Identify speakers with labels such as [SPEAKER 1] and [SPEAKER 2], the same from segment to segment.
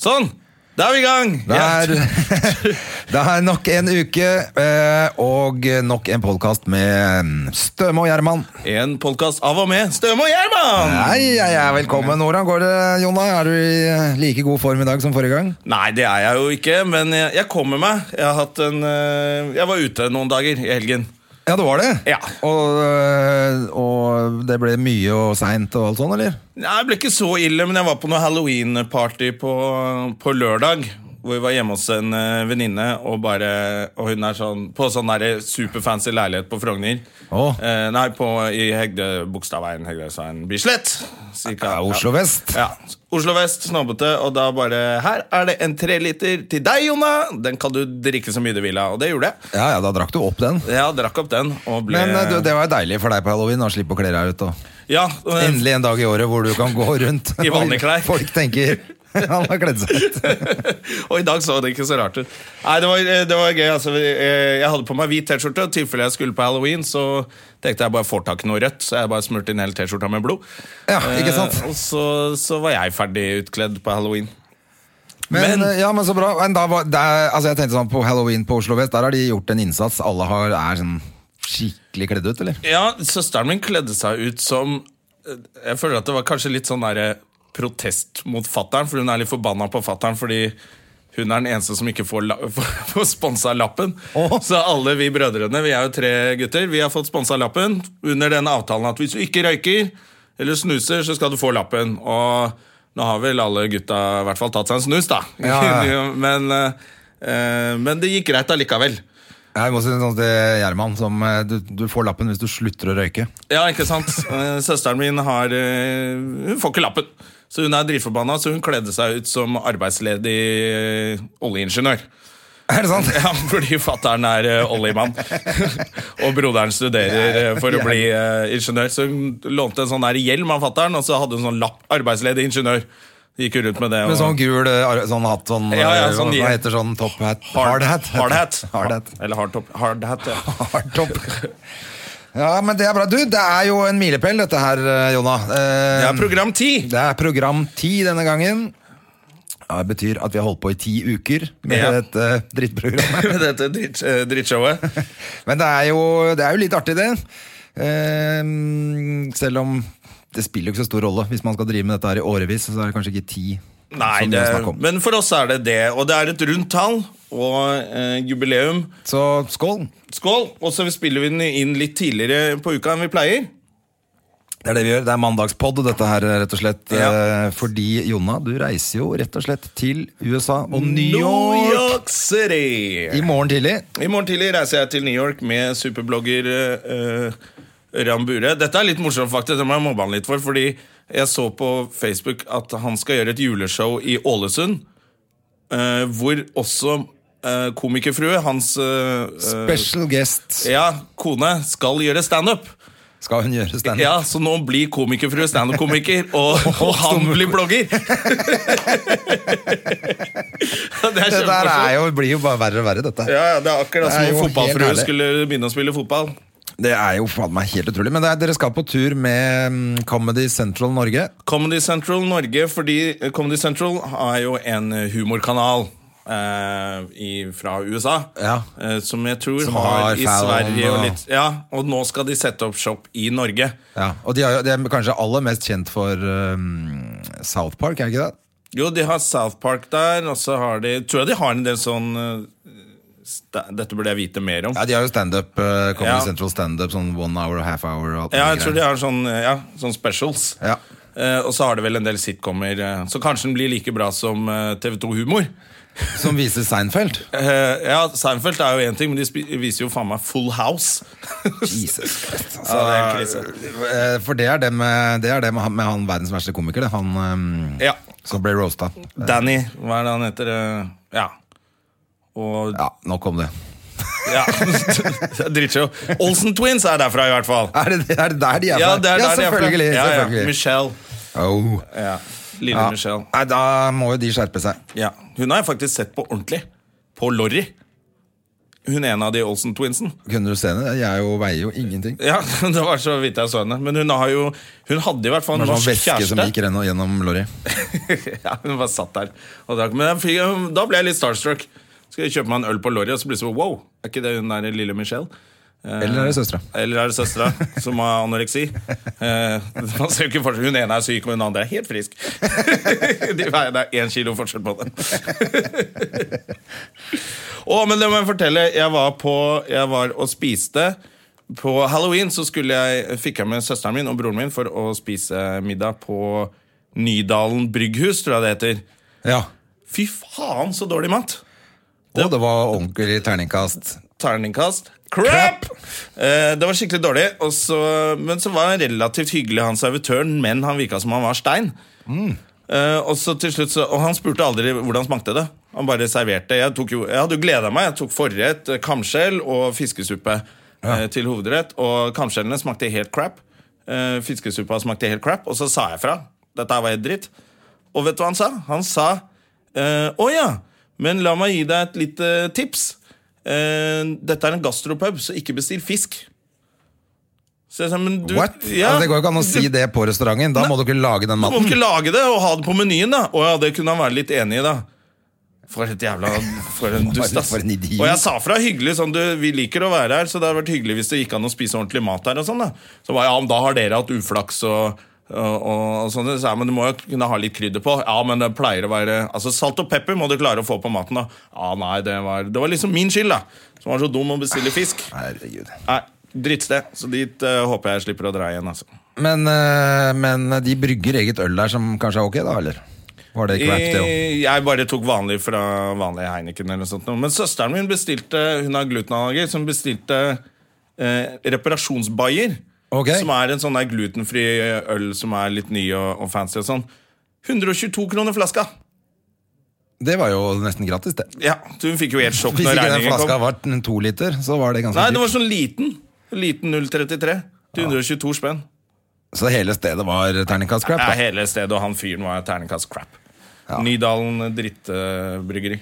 [SPEAKER 1] Sånn! Da er vi i gang!
[SPEAKER 2] Det
[SPEAKER 1] Ja.
[SPEAKER 2] er, det er nok en uke eh, og nok en podkast med mm, Støme og Gjerman.
[SPEAKER 1] En podkast av og med Støme og Gjerman!
[SPEAKER 2] Hei, hei, hei, velkommen. Hvordan går det, Jonna? Er du i eh, like god form i dag som forrige gang?
[SPEAKER 1] Nei, det er jeg jo ikke, men jeg, jeg kommer meg. Jeg, har hatt en, eh, jeg var ute noen dager i helgen.
[SPEAKER 2] Ja, det var det.
[SPEAKER 1] Ja.
[SPEAKER 2] Og, eh, og det ble mye og seint og alt sånn, eller?
[SPEAKER 1] Nei, Det ble ikke så ille, men jeg var på noe Halloween-party på, på lørdag. Hvor vi var hjemme hos en eh, venninne, og, bare- og hun er sånn, på sånn der superfancy leilighet på Frogner.
[SPEAKER 2] Å.
[SPEAKER 1] Eh, nei, på, i Hegde, Bogstadveien, Hegdesveien, Bislett. Cirka,
[SPEAKER 2] Ja, Oslo vest.
[SPEAKER 1] Ja. Oslo vest, snobbete, og da bare Her er det en treliter til deg, Jonna! Den kan du drikke så mye du vil av. Og det gjorde jeg.
[SPEAKER 2] Ja, ja, da drakk du opp den.
[SPEAKER 1] Jeg drakk opp den og ble
[SPEAKER 2] Men eh, du, det var jo deilig for deg på halloween å slippe å kle deg ut. Og.
[SPEAKER 1] Ja, eh,
[SPEAKER 2] Endelig en dag i året hvor du kan gå rundt.
[SPEAKER 1] I vanlige klær.
[SPEAKER 2] Folk tenker han har kledd seg ut.
[SPEAKER 1] og i dag så det ikke så rart ut. Nei, det var, det var gøy. Altså, Eh, jeg hadde på meg hvit T-skjorte, og i tilfelle jeg skulle på halloween, så tenkte jeg bare får tak i noe rødt, så jeg bare smurte inn hele T-skjorta med blod.
[SPEAKER 2] Ja, ikke sant?
[SPEAKER 1] Eh, og så, så var jeg ferdig utkledd på halloween.
[SPEAKER 2] Men, eh,
[SPEAKER 1] Men-
[SPEAKER 2] ja, men så bra. Men da var, der, altså jeg tenkte sånn På halloween på Oslo Vest, der har de gjort en innsats. Alle har, er sånn skikkelig kledd ut, eller?
[SPEAKER 1] Ja, søsteren min kledde seg ut som eh, Jeg føler at det var kanskje litt sånn derre protest mot fattern, for hun er litt forbanna på fattern fordi hun er den eneste som ikke får, la får sponsa lappen.
[SPEAKER 2] Åh.
[SPEAKER 1] Så alle vi brødrene, vi er jo tre gutter, vi har fått sponsa lappen under den avtalen at hvis du ikke røyker eller snuser, så skal du få lappen. Og nå har vel alle gutta i hvert fall tatt seg en snus, da.
[SPEAKER 2] Ja, ja.
[SPEAKER 1] men, eh, eh, men det gikk greit allikevel.
[SPEAKER 2] Jeg må si sånn til Gjerman som eh, du, du får lappen hvis du slutter å røyke.
[SPEAKER 1] Ja, ikke sant? Eh, Søsteren min har eh, Hun får ikke lappen. Så hun er dritforbanna, så hun kledde seg ut som arbeidsledig eh, oljeingeniør.
[SPEAKER 2] Er det sant?
[SPEAKER 1] Ja, fordi fattern er eh, oljemann. og broderen studerer eh, for å bli eh, ingeniør. Så hun lånte en sånn der hjelm av fattern, og så hadde hun sånn lapp 'arbeidsledig ingeniør'. Gikk hun rundt med det.
[SPEAKER 2] Med sånn gul eh, ar- sånn hatt, sånn,
[SPEAKER 1] Ja, ja,
[SPEAKER 2] eh,
[SPEAKER 1] sånn
[SPEAKER 2] hva,
[SPEAKER 1] gir-
[SPEAKER 2] hva heter sånn top hat? Hard, hat.
[SPEAKER 1] Hard hat.
[SPEAKER 2] Hard hat.
[SPEAKER 1] Eller hard top. Hard hat, ja.
[SPEAKER 2] Hard top. Ja, men det er bra. Du, det er jo en milepæl dette her, eh, Jonna. Eh,
[SPEAKER 1] Det er program ti!
[SPEAKER 2] Det er program ti denne gangen. Ja, det betyr at vi har holdt på i ti uker med eh,
[SPEAKER 1] Ja.
[SPEAKER 2] dette drittprogrammet.
[SPEAKER 1] Med dette dritt, eh, drittshowet.
[SPEAKER 2] Men det er, jo, det er jo litt artig, det. Ehm, selv om det spiller jo ikke så stor rolle. Hvis man skal drive med dette her i årevis, så er det kanskje ikke ti.
[SPEAKER 1] Nei,
[SPEAKER 2] som
[SPEAKER 1] det,
[SPEAKER 2] det er snakk om.
[SPEAKER 1] men for oss er det det. Og det er et rundt tall og eh, jubileum.
[SPEAKER 2] Så skål!
[SPEAKER 1] Skål! Og så spiller vi den inn litt tidligere på uka enn vi pleier.
[SPEAKER 2] Det er det vi gjør. Det er mandagspod, dette her, rett og slett.
[SPEAKER 1] Ja.
[SPEAKER 2] Eh, fordi, Jonna, du reiser jo rett og slett til USA og New
[SPEAKER 1] New
[SPEAKER 2] York
[SPEAKER 1] York City!
[SPEAKER 2] i morgen tidlig.
[SPEAKER 1] I morgen tidlig reiser jeg til New York med superblogger uh, Ram Bure. Dette er litt morsomt, faktisk. Det må jeg mobbe han litt for. Fordi jeg så på Facebook at han skal gjøre et juleshow i Ålesund. eh, hvor også eh, komikerfrue, hans eh, eh,
[SPEAKER 2] Special guest
[SPEAKER 1] ja, kone, skal gjøre standup.
[SPEAKER 2] skal hun gjøre standup.
[SPEAKER 1] Ja, så nå blir komikerfrue standup-komiker, og, og han blir blogger! det er
[SPEAKER 2] Det der er
[SPEAKER 1] kjempemorsomt.
[SPEAKER 2] jo, blir jo bare verre og verre, dette.
[SPEAKER 1] Ja, ja, det er akkurat
[SPEAKER 2] Det er
[SPEAKER 1] som
[SPEAKER 2] jo
[SPEAKER 1] om
[SPEAKER 2] helt
[SPEAKER 1] fotballfrue
[SPEAKER 2] herlig.
[SPEAKER 1] skulle begynne å spille fotball.
[SPEAKER 2] Det er jo faen meg helt utrolig. Men det er, dere skal på tur med mm, Comedy Central Norge.
[SPEAKER 1] Comedy Central Norge, fordi eh, Comedy Central har jo en eh, humorkanal. eh, i, fra USA,
[SPEAKER 2] Ja.
[SPEAKER 1] eh, som jeg tror
[SPEAKER 2] Som
[SPEAKER 1] har,
[SPEAKER 2] har
[SPEAKER 1] i
[SPEAKER 2] Fallon
[SPEAKER 1] Sverige og
[SPEAKER 2] og-
[SPEAKER 1] litt Ja, og nå skal de sette opp shop i Norge.
[SPEAKER 2] Ja. Og de, har, jo- de er kanskje aller mest kjent for mm, South Park, er det ikke det?
[SPEAKER 1] Jo, de har South Park der, og så har de Tror jeg de har en del sånn eh, sta- Dette burde jeg vite mer om.
[SPEAKER 2] Ja, De har jo standup, eh, Comedy
[SPEAKER 1] Ja.
[SPEAKER 2] Central standup, sånn one hour og half hour. Og alt
[SPEAKER 1] Ja,
[SPEAKER 2] mulig
[SPEAKER 1] jeg tror de
[SPEAKER 2] greier.
[SPEAKER 1] har sånn, ja, sånn specials.
[SPEAKER 2] Ja.
[SPEAKER 1] Eh, og så har de vel en del sitcomer, eh, så kanskje den blir like bra som eh, TV2 Humor.
[SPEAKER 2] Som viser Seinfeld.
[SPEAKER 1] Eh, ja, Seinfeld er jo én ting, men de spi- viser jo faen meg Full House.
[SPEAKER 2] Jesus Christ. Altså,
[SPEAKER 1] Ja, det er sånn. en
[SPEAKER 2] eh, for det er det, med, det er det med han- med han verdens verste komiker, det. Han mm,
[SPEAKER 1] Ja.
[SPEAKER 2] som ble roasta.
[SPEAKER 1] Danny, hva er det han heter? eh, ja. Og
[SPEAKER 2] Ja, nok om det.
[SPEAKER 1] Ja. Drittshow. Olsen Twins er derfra, i hvert fall.
[SPEAKER 2] Er det, er det der de er fra?
[SPEAKER 1] Ja, det er der de er fra.
[SPEAKER 2] selvfølgelig.
[SPEAKER 1] Ja, ja.
[SPEAKER 2] selvfølgelig.
[SPEAKER 1] Michelle.
[SPEAKER 2] Oh.
[SPEAKER 1] Ja. Lille
[SPEAKER 2] Ja.
[SPEAKER 1] Michelle.
[SPEAKER 2] Nei, da må jo de skjerpe seg.
[SPEAKER 1] Ja. Hun har jeg faktisk sett på ordentlig. På Lorry. hun ene av de Olsen-twinsen.
[SPEAKER 2] Kunne du se det? Jeg er jo, veier jo ingenting.
[SPEAKER 1] Ja, det var så vidt jeg så henne. Men hun, har jo, hun hadde i hvert fall
[SPEAKER 2] Det
[SPEAKER 1] en
[SPEAKER 2] var sånn
[SPEAKER 1] norsk
[SPEAKER 2] væske
[SPEAKER 1] kjæreste.
[SPEAKER 2] som gikk gjennom, gjennom lorry.
[SPEAKER 1] ja, hun bare satt der og drakk. Men jeg fikk, da ble jeg litt starstruck. Skal jeg kjøpe meg en øl på Lorry, og så blir det sånn wow, er ikke det hun der lille Michelle? Eh,
[SPEAKER 2] Eller er det søstera?
[SPEAKER 1] Eller er det søstera som har anoreksi? Eh, man ser jo ikke forskjell. Hun ene er syk, og hun andre er helt frisk. De veier, det er én kilo forskjell på dem. Å, men det må jeg fortelle. Jeg var, på, jeg var og spiste. På halloween så skulle jeg, fikk jeg med søsteren min og broren min for å spise middag på Nydalen brygghus, tror jeg det heter.
[SPEAKER 2] Ja.
[SPEAKER 1] Fy faen, så dårlig mat!
[SPEAKER 2] Og det var ordentlig terningkast.
[SPEAKER 1] Terningkast. Crap! Eh, det var skikkelig dårlig. Og så, men så var han relativt hyggelig, han servitøren, men han virka som han var stein. Eh, og så til slutt så, og han spurte aldri hvordan smakte det. Han bare serverte. Jeg, tok jo, jeg hadde jo gleda meg. Jeg tok forrett, eh, kamskjell og fiskesuppe eh, til hovedrett. Og kamskjellene smakte helt crap. Eh, fiskesuppa smakte helt crap. Og så sa jeg fra. Dette her var helt dritt. Og vet du hva han sa? Han sa eh, Å ja, men la meg gi deg et lite tips. Eh, dette er en gastropub, så ikke bestill fisk. Så jeg sa, men du
[SPEAKER 2] What?
[SPEAKER 1] Ja,
[SPEAKER 2] altså, det går jo ikke an å si det på restauranten. Da må du ikke lage den
[SPEAKER 1] må du
[SPEAKER 2] maten.
[SPEAKER 1] ikke lage det og ha det på menyen, da? Og ja, det kunne han være litt enig i, da. For et jævla For en dust, ass.
[SPEAKER 2] For en idiot.
[SPEAKER 1] Og jeg sa fra hyggelig sånn du, Vi liker å være her, så det hadde vært hyggelig hvis det gikk an å spise ordentlig mat her. og sånn da Så bare, ja, men da har dere hatt uflaks og, og, og, og sånn. Så, jeg, men du må jo kunne ha litt krydder på. Ja, men det pleier å være Altså Salt og pepper må du klare å få på maten, da. Ja, nei, det var, det var liksom min skyld, da. Som var så dum å bestille fisk.
[SPEAKER 2] Herregud.
[SPEAKER 1] Nei, drittsted. Så dit eh, håper jeg slipper å dra igjen, altså.
[SPEAKER 2] Men, eh, men de brygger eget øl der som kanskje er ok, da, eller? Var det crap, det òg?
[SPEAKER 1] Eh, Jeg bare tok vanlig fra vanlig Heineken eller noe sånt. nå. Men søsteren min bestilte, hun har glutenallergi, så hun bestilte eh, reparasjonsbayer.
[SPEAKER 2] Ok.
[SPEAKER 1] Som er en sånn der glutenfri øl som er litt ny og, og fancy og sånn. 122 kroner flaska!
[SPEAKER 2] Det var jo nesten gratis, det.
[SPEAKER 1] Ja, så Hun fikk jo helt sjokk
[SPEAKER 2] Hvis
[SPEAKER 1] når
[SPEAKER 2] ikke den
[SPEAKER 1] regningen
[SPEAKER 2] flaska
[SPEAKER 1] kom.
[SPEAKER 2] var en to liter, så var det ganske
[SPEAKER 1] Nei,
[SPEAKER 2] dyrt.
[SPEAKER 1] det var sånn liten. Liten 033 til 122 spenn.
[SPEAKER 2] Så hele stedet var terningkast crap?
[SPEAKER 1] Det er
[SPEAKER 2] Da.
[SPEAKER 1] hele stedet, og han fyren var terningkast crap. Nydalen drittbryggeri.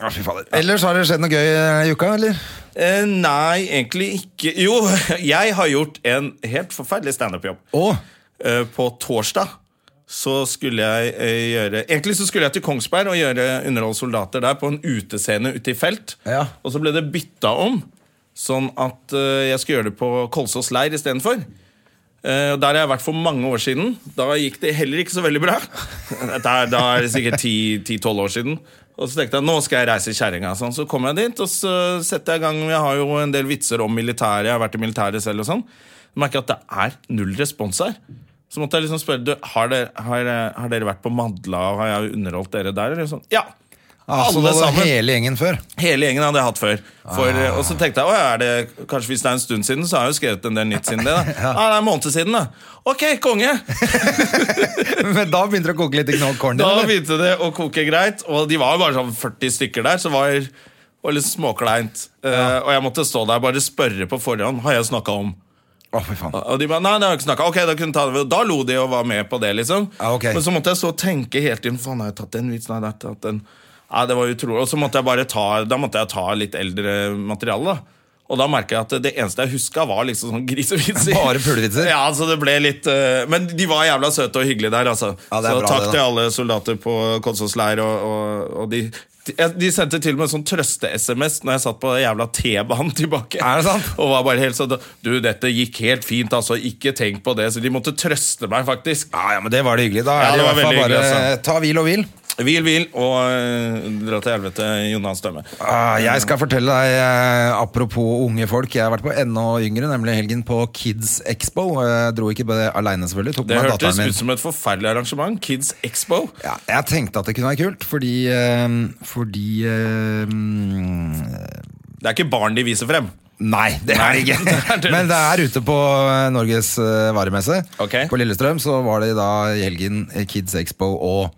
[SPEAKER 2] Ja, fy fader. Ellers har det skjedd noe gøy eh, i uka, eller?
[SPEAKER 1] Eh, nei, egentlig ikke. Jo, jeg har gjort en helt forferdelig standup-jobb.
[SPEAKER 2] Å,
[SPEAKER 1] Eh, på torsdag så skulle jeg eh, gjøre Egentlig så skulle jeg til Kongsberg og gjøre Underhold soldater der på en utescene ute i felt.
[SPEAKER 2] Ja.
[SPEAKER 1] Og så ble det bytta om, sånn at eh, jeg skulle gjøre det på Kolsås leir istedenfor. Eh, og Der har jeg vært for mange år siden. Da gikk det heller ikke så veldig bra. Dette er, da er det sikkert 10-12 år siden. Og så tenkte jeg nå skal jeg reise i kjerringa. Sånn. Så kom jeg dit, og så setter jeg i gang. Jeg har jo en del vitser om militæret. Jeg har vært i militæret selv og sånn. Jeg merker at det er null respons her. Så måtte jeg liksom spørre du, har, dere, har, har dere vært på Madla, og har jeg underholdt dere der? Eller sånn. Ja!
[SPEAKER 2] altså, det var hele gjengen før.
[SPEAKER 1] Hele gjengen hadde jeg hatt før. For, eh, Og så tenkte jeg «Å, er det, kanskje hvis det er en stund siden, så har jeg jo skrevet en del nytt siden det. da ah, Det er en måned siden, da. Ok, konge!
[SPEAKER 2] Men da begynte det å koke litt i knollkornet?
[SPEAKER 1] Da
[SPEAKER 2] eller?
[SPEAKER 1] begynte det å koke greit, og de var jo bare sånn 40 stykker der, så det var, var litt småkleint. Eh, og jeg måtte stå der og bare spørre på forhånd har jeg snakka om.
[SPEAKER 2] Å, fy faen.
[SPEAKER 1] Og de bare nei, det har jeg ikke snakket. Ok, Da kunne jeg ta det Og da lo de og var med på det, liksom.
[SPEAKER 2] Ja, ok.
[SPEAKER 1] Men så måtte jeg så tenke hele tiden Faen, har jeg tatt den vitsen? Har jeg tatt den? Nei, det var utrolig. Og så måtte jeg bare ta Da måtte jeg ta litt eldre materiale, da. Og da merker jeg at det eneste jeg huska, var liksom sånn grisevitser.
[SPEAKER 2] Bare pulevitser?
[SPEAKER 1] Ja, så det ble litt eh, Men de var jævla søte og hyggelige der, altså.
[SPEAKER 2] Ja, det er
[SPEAKER 1] så
[SPEAKER 2] bra
[SPEAKER 1] takk
[SPEAKER 2] det, da.
[SPEAKER 1] til alle soldater på Kolsås leir, og, og, og de de- de sendte til og med en sånn trøste-SMS når jeg satt på den jævla T-banen tilbake.
[SPEAKER 2] Er det sant?
[SPEAKER 1] Og var bare helt sånn Du, dette gikk helt fint, altså. Ikke tenk på det. Så de måtte trøste meg, faktisk.
[SPEAKER 2] Ja, ja, men det var det hyggelig. Da
[SPEAKER 1] Ja,
[SPEAKER 2] er det i
[SPEAKER 1] det var
[SPEAKER 2] hvert fall
[SPEAKER 1] veldig
[SPEAKER 2] bare
[SPEAKER 1] hyggelig, altså.
[SPEAKER 2] ta hvil og hvil.
[SPEAKER 1] Hvil, hvil, og øh, dra til helvete, Jonas Dømme.
[SPEAKER 2] Ah, jeg skal fortelle deg, eh, apropos unge folk, jeg har vært på enda yngre, nemlig helgen på Kids Expo. Og jeg dro ikke på det aleine, selvfølgelig. Tok
[SPEAKER 1] Det
[SPEAKER 2] med
[SPEAKER 1] hørtes
[SPEAKER 2] datteren min.
[SPEAKER 1] ut som et forferdelig arrangement. Kids Expo.
[SPEAKER 2] Ja, jeg tenkte at det kunne være kult, fordi eh, Fordi eh, mm,
[SPEAKER 1] Det er ikke barn de viser frem.
[SPEAKER 2] Nei, det er det
[SPEAKER 1] Nei, det er
[SPEAKER 2] ikke.
[SPEAKER 1] det.
[SPEAKER 2] Men det er ute på eh, Norges eh, varemesse.
[SPEAKER 1] Ok.
[SPEAKER 2] På Lillestrøm så var det da i helgen eh, Kids Expo og,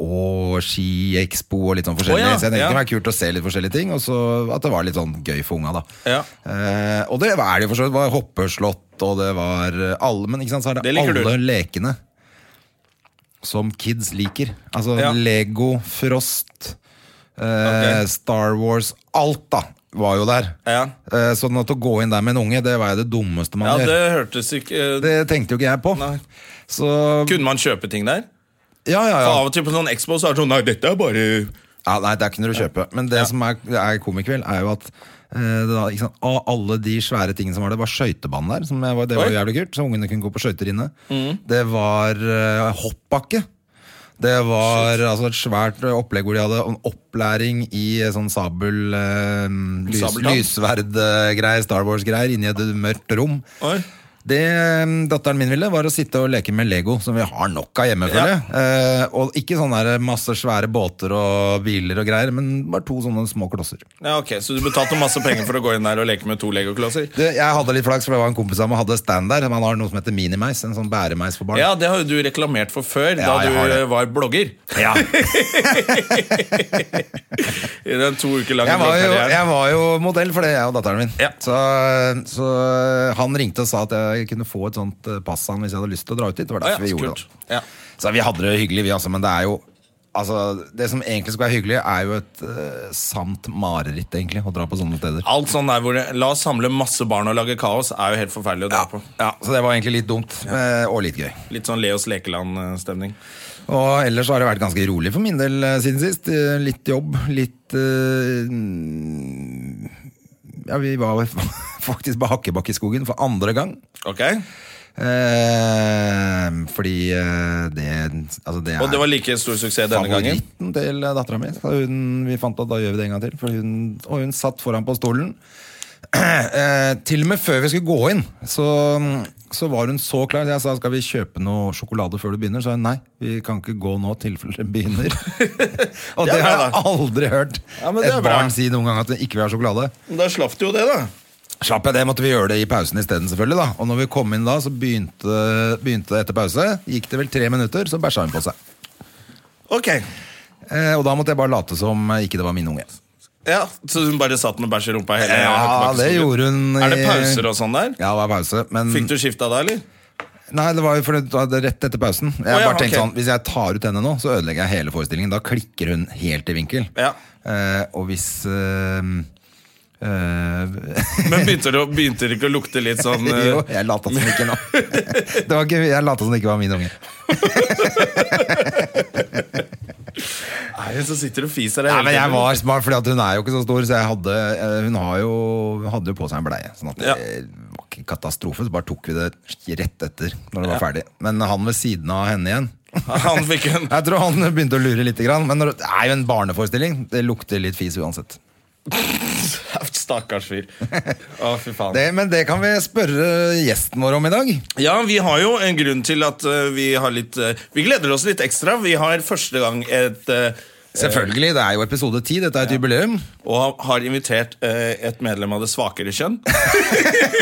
[SPEAKER 2] og Ski Expo og litt sånn forskjellig.
[SPEAKER 1] Å ja,
[SPEAKER 2] så jeg tenkte
[SPEAKER 1] ja.
[SPEAKER 2] det var kult å se litt forskjellige ting, og så at det var litt sånn gøy for unga, da.
[SPEAKER 1] Ja.
[SPEAKER 2] Eh, og det var det jo for så vidt. Det var hoppeslott, og det var eh, alle Men ikke sant, så er det,
[SPEAKER 1] Det liker du.
[SPEAKER 2] alle lekene som kids liker. Altså
[SPEAKER 1] Ja.
[SPEAKER 2] Lego, Frost Eh,
[SPEAKER 1] Ok.
[SPEAKER 2] Star Wars, alt da var jo der.
[SPEAKER 1] Ja.
[SPEAKER 2] Eh, Sånn at å gå inn der med en unge, det var jo det dummeste man
[SPEAKER 1] Ja,
[SPEAKER 2] gjør.
[SPEAKER 1] det
[SPEAKER 2] Det...
[SPEAKER 1] hørtes ikke
[SPEAKER 2] tenkte jo ikke jeg på.
[SPEAKER 1] Nei.
[SPEAKER 2] Så
[SPEAKER 1] Kunne man kjøpe ting der?
[SPEAKER 2] Ja, ja, ja.
[SPEAKER 1] Av og til på sånn Expo så er det sånn Nei, dette er bare
[SPEAKER 2] ja nei, der kunne du kjøpe. Men det som er, er komikveld, er jo at eh, det da, ikke sant? av alle de svære tingene som var der, var skøytebanen der. Som jeg var, det var
[SPEAKER 1] Oi. Mm.
[SPEAKER 2] jo jævlig kult, så ungene kunne gå på skøyter inne. Det var eh, hoppbakke. Det var altså et svært opplegg hvor de hadde en opplæring i eh, sånn sabel eh, lys,
[SPEAKER 1] Sabeltann?
[SPEAKER 2] Lysverd-greier, Star Wars-greier, inni et mørkt rom.
[SPEAKER 1] Oi.
[SPEAKER 2] Det mm, datteren min ville, var å sitte og leke med Lego, som vi har nok av hjemme.
[SPEAKER 1] Ja.
[SPEAKER 2] føler jeg. Eh, og ikke sånne der masse svære båter og biler og greier, men bare to sånne små klosser.
[SPEAKER 1] Ja, ok, Så du betalte masse penger for å gå inn der og leke med to legoklosser?
[SPEAKER 2] Det, jeg hadde litt flaks, for det var en kompis av meg hadde stand der. Man har noe som heter minimeis, en sånn bæremeis for barn.
[SPEAKER 1] Ja, det har jo du reklamert for før,
[SPEAKER 2] Ja, jeg
[SPEAKER 1] da du
[SPEAKER 2] har det.
[SPEAKER 1] eh, var blogger.
[SPEAKER 2] Ja.
[SPEAKER 1] I den to uker lange
[SPEAKER 2] Jeg var, jo,
[SPEAKER 1] bloggkarrieren.
[SPEAKER 2] jeg var jo modell for det, jeg og datteren min.
[SPEAKER 1] Ja.
[SPEAKER 2] Så, så han ringte og sa at jeg kunne få et sånt eh, pass han hvis jeg hadde lyst til å dra ut dit. Det var
[SPEAKER 1] Å ja,
[SPEAKER 2] derfor vi
[SPEAKER 1] så
[SPEAKER 2] gjorde
[SPEAKER 1] kult.
[SPEAKER 2] det.
[SPEAKER 1] Ja.
[SPEAKER 2] Så vi hadde det hyggelig, vi altså, men det er jo Altså, Det som egentlig skal være hyggelig, er jo et eh, sant mareritt, egentlig, å dra på sånne steder.
[SPEAKER 1] Alt sånn der hvor det, La oss samle masse barn og lage kaos er jo helt forferdelig å dra på.
[SPEAKER 2] Ja, Så det var egentlig litt dumt, eh, og litt gøy.
[SPEAKER 1] Litt sånn Leos Lekeland-stemning.
[SPEAKER 2] Og ellers så har det vært ganske rolig for min del eh, siden sist. Eh, Litt jobb, litt eh, mm, Ja, vi var faktisk på Hakkebakkeskogen for andre gang.
[SPEAKER 1] Ok?
[SPEAKER 2] Eh, fordi eh, det Altså, det er
[SPEAKER 1] Og det var like stor suksess denne gangen?
[SPEAKER 2] favoritten til eh, dattera mi. Så hun, vi fant at da gjør vi det en gang til. For hun, og hun satt foran på stolen. Eh, til og med før vi skulle gå inn, så, så var hun så klar. Jeg sa skal vi kjøpe noe sjokolade før du begynner. Så sa hun nei, vi kan ikke gå nå tilfelle det begynner. og
[SPEAKER 1] Det
[SPEAKER 2] det
[SPEAKER 1] er
[SPEAKER 2] har
[SPEAKER 1] bra,
[SPEAKER 2] jeg aldri hørt
[SPEAKER 1] Ja, men det
[SPEAKER 2] et
[SPEAKER 1] er bra.
[SPEAKER 2] barn si noen gang at hun ikke vil ha sjokolade.
[SPEAKER 1] Da slapp du jo det, da.
[SPEAKER 2] Slapp jeg det, måtte vi gjøre det i pausen isteden, selvfølgelig. da Og når vi kom inn da, så begynte, begynte det etter pause. Gikk det vel tre minutter, så bæsja hun på seg.
[SPEAKER 1] Ok.
[SPEAKER 2] Eh, og da måtte jeg bare late som eh, ikke det var min unge.
[SPEAKER 1] Ja, Så hun bare satt med bæsj i rumpa hele
[SPEAKER 2] Ja, det gjorde hun i-
[SPEAKER 1] Er det pauser og sånn der?
[SPEAKER 2] Ja, det var pause, men
[SPEAKER 1] Fikk du skifta da, eller?
[SPEAKER 2] Nei, det var jo fordi det var rett etter pausen. Jeg
[SPEAKER 1] Å, ja,
[SPEAKER 2] bare tenkte
[SPEAKER 1] ok.
[SPEAKER 2] sånn, Hvis jeg tar ut henne nå, så ødelegger jeg hele forestillingen. Da klikker hun helt i vinkel.
[SPEAKER 1] Ja.
[SPEAKER 2] Eh, og hvis eh, eh,
[SPEAKER 1] Men begynte det, å- begynte det ikke å lukte litt sånn eh,
[SPEAKER 2] Jo, jeg lata som ikke nå. det var ikke, jeg lata som det ikke var min unge.
[SPEAKER 1] Nei, så sitter du og fiser deg
[SPEAKER 2] Nei, men jeg
[SPEAKER 1] tiden.
[SPEAKER 2] var smart, for hun er jo ikke så stor, så jeg hadde, eh, hun har jo, hun hadde jo på seg en bleie. Sånn at det
[SPEAKER 1] Ja.
[SPEAKER 2] var ikke katastrofe, så bare tok vi det rett etter når det var ferdig. Men han ved siden av henne igjen
[SPEAKER 1] Han fikk en
[SPEAKER 2] Jeg tror han begynte å lure litt, grann, men når, det er jo en barneforestilling. Det lukter litt fis uansett.
[SPEAKER 1] Stakkars fyr. Å, fy faen.
[SPEAKER 2] Det, men det kan vi spørre gjesten vår om i dag.
[SPEAKER 1] Ja, vi har jo en grunn til at eh, vi har litt eh, Vi gleder oss litt ekstra. Vi har første gang et eh,
[SPEAKER 2] Selvfølgelig, det er jo episode 10, dette er et jubileum.
[SPEAKER 1] Og har invitert eh, et medlem av det svakere kjønn.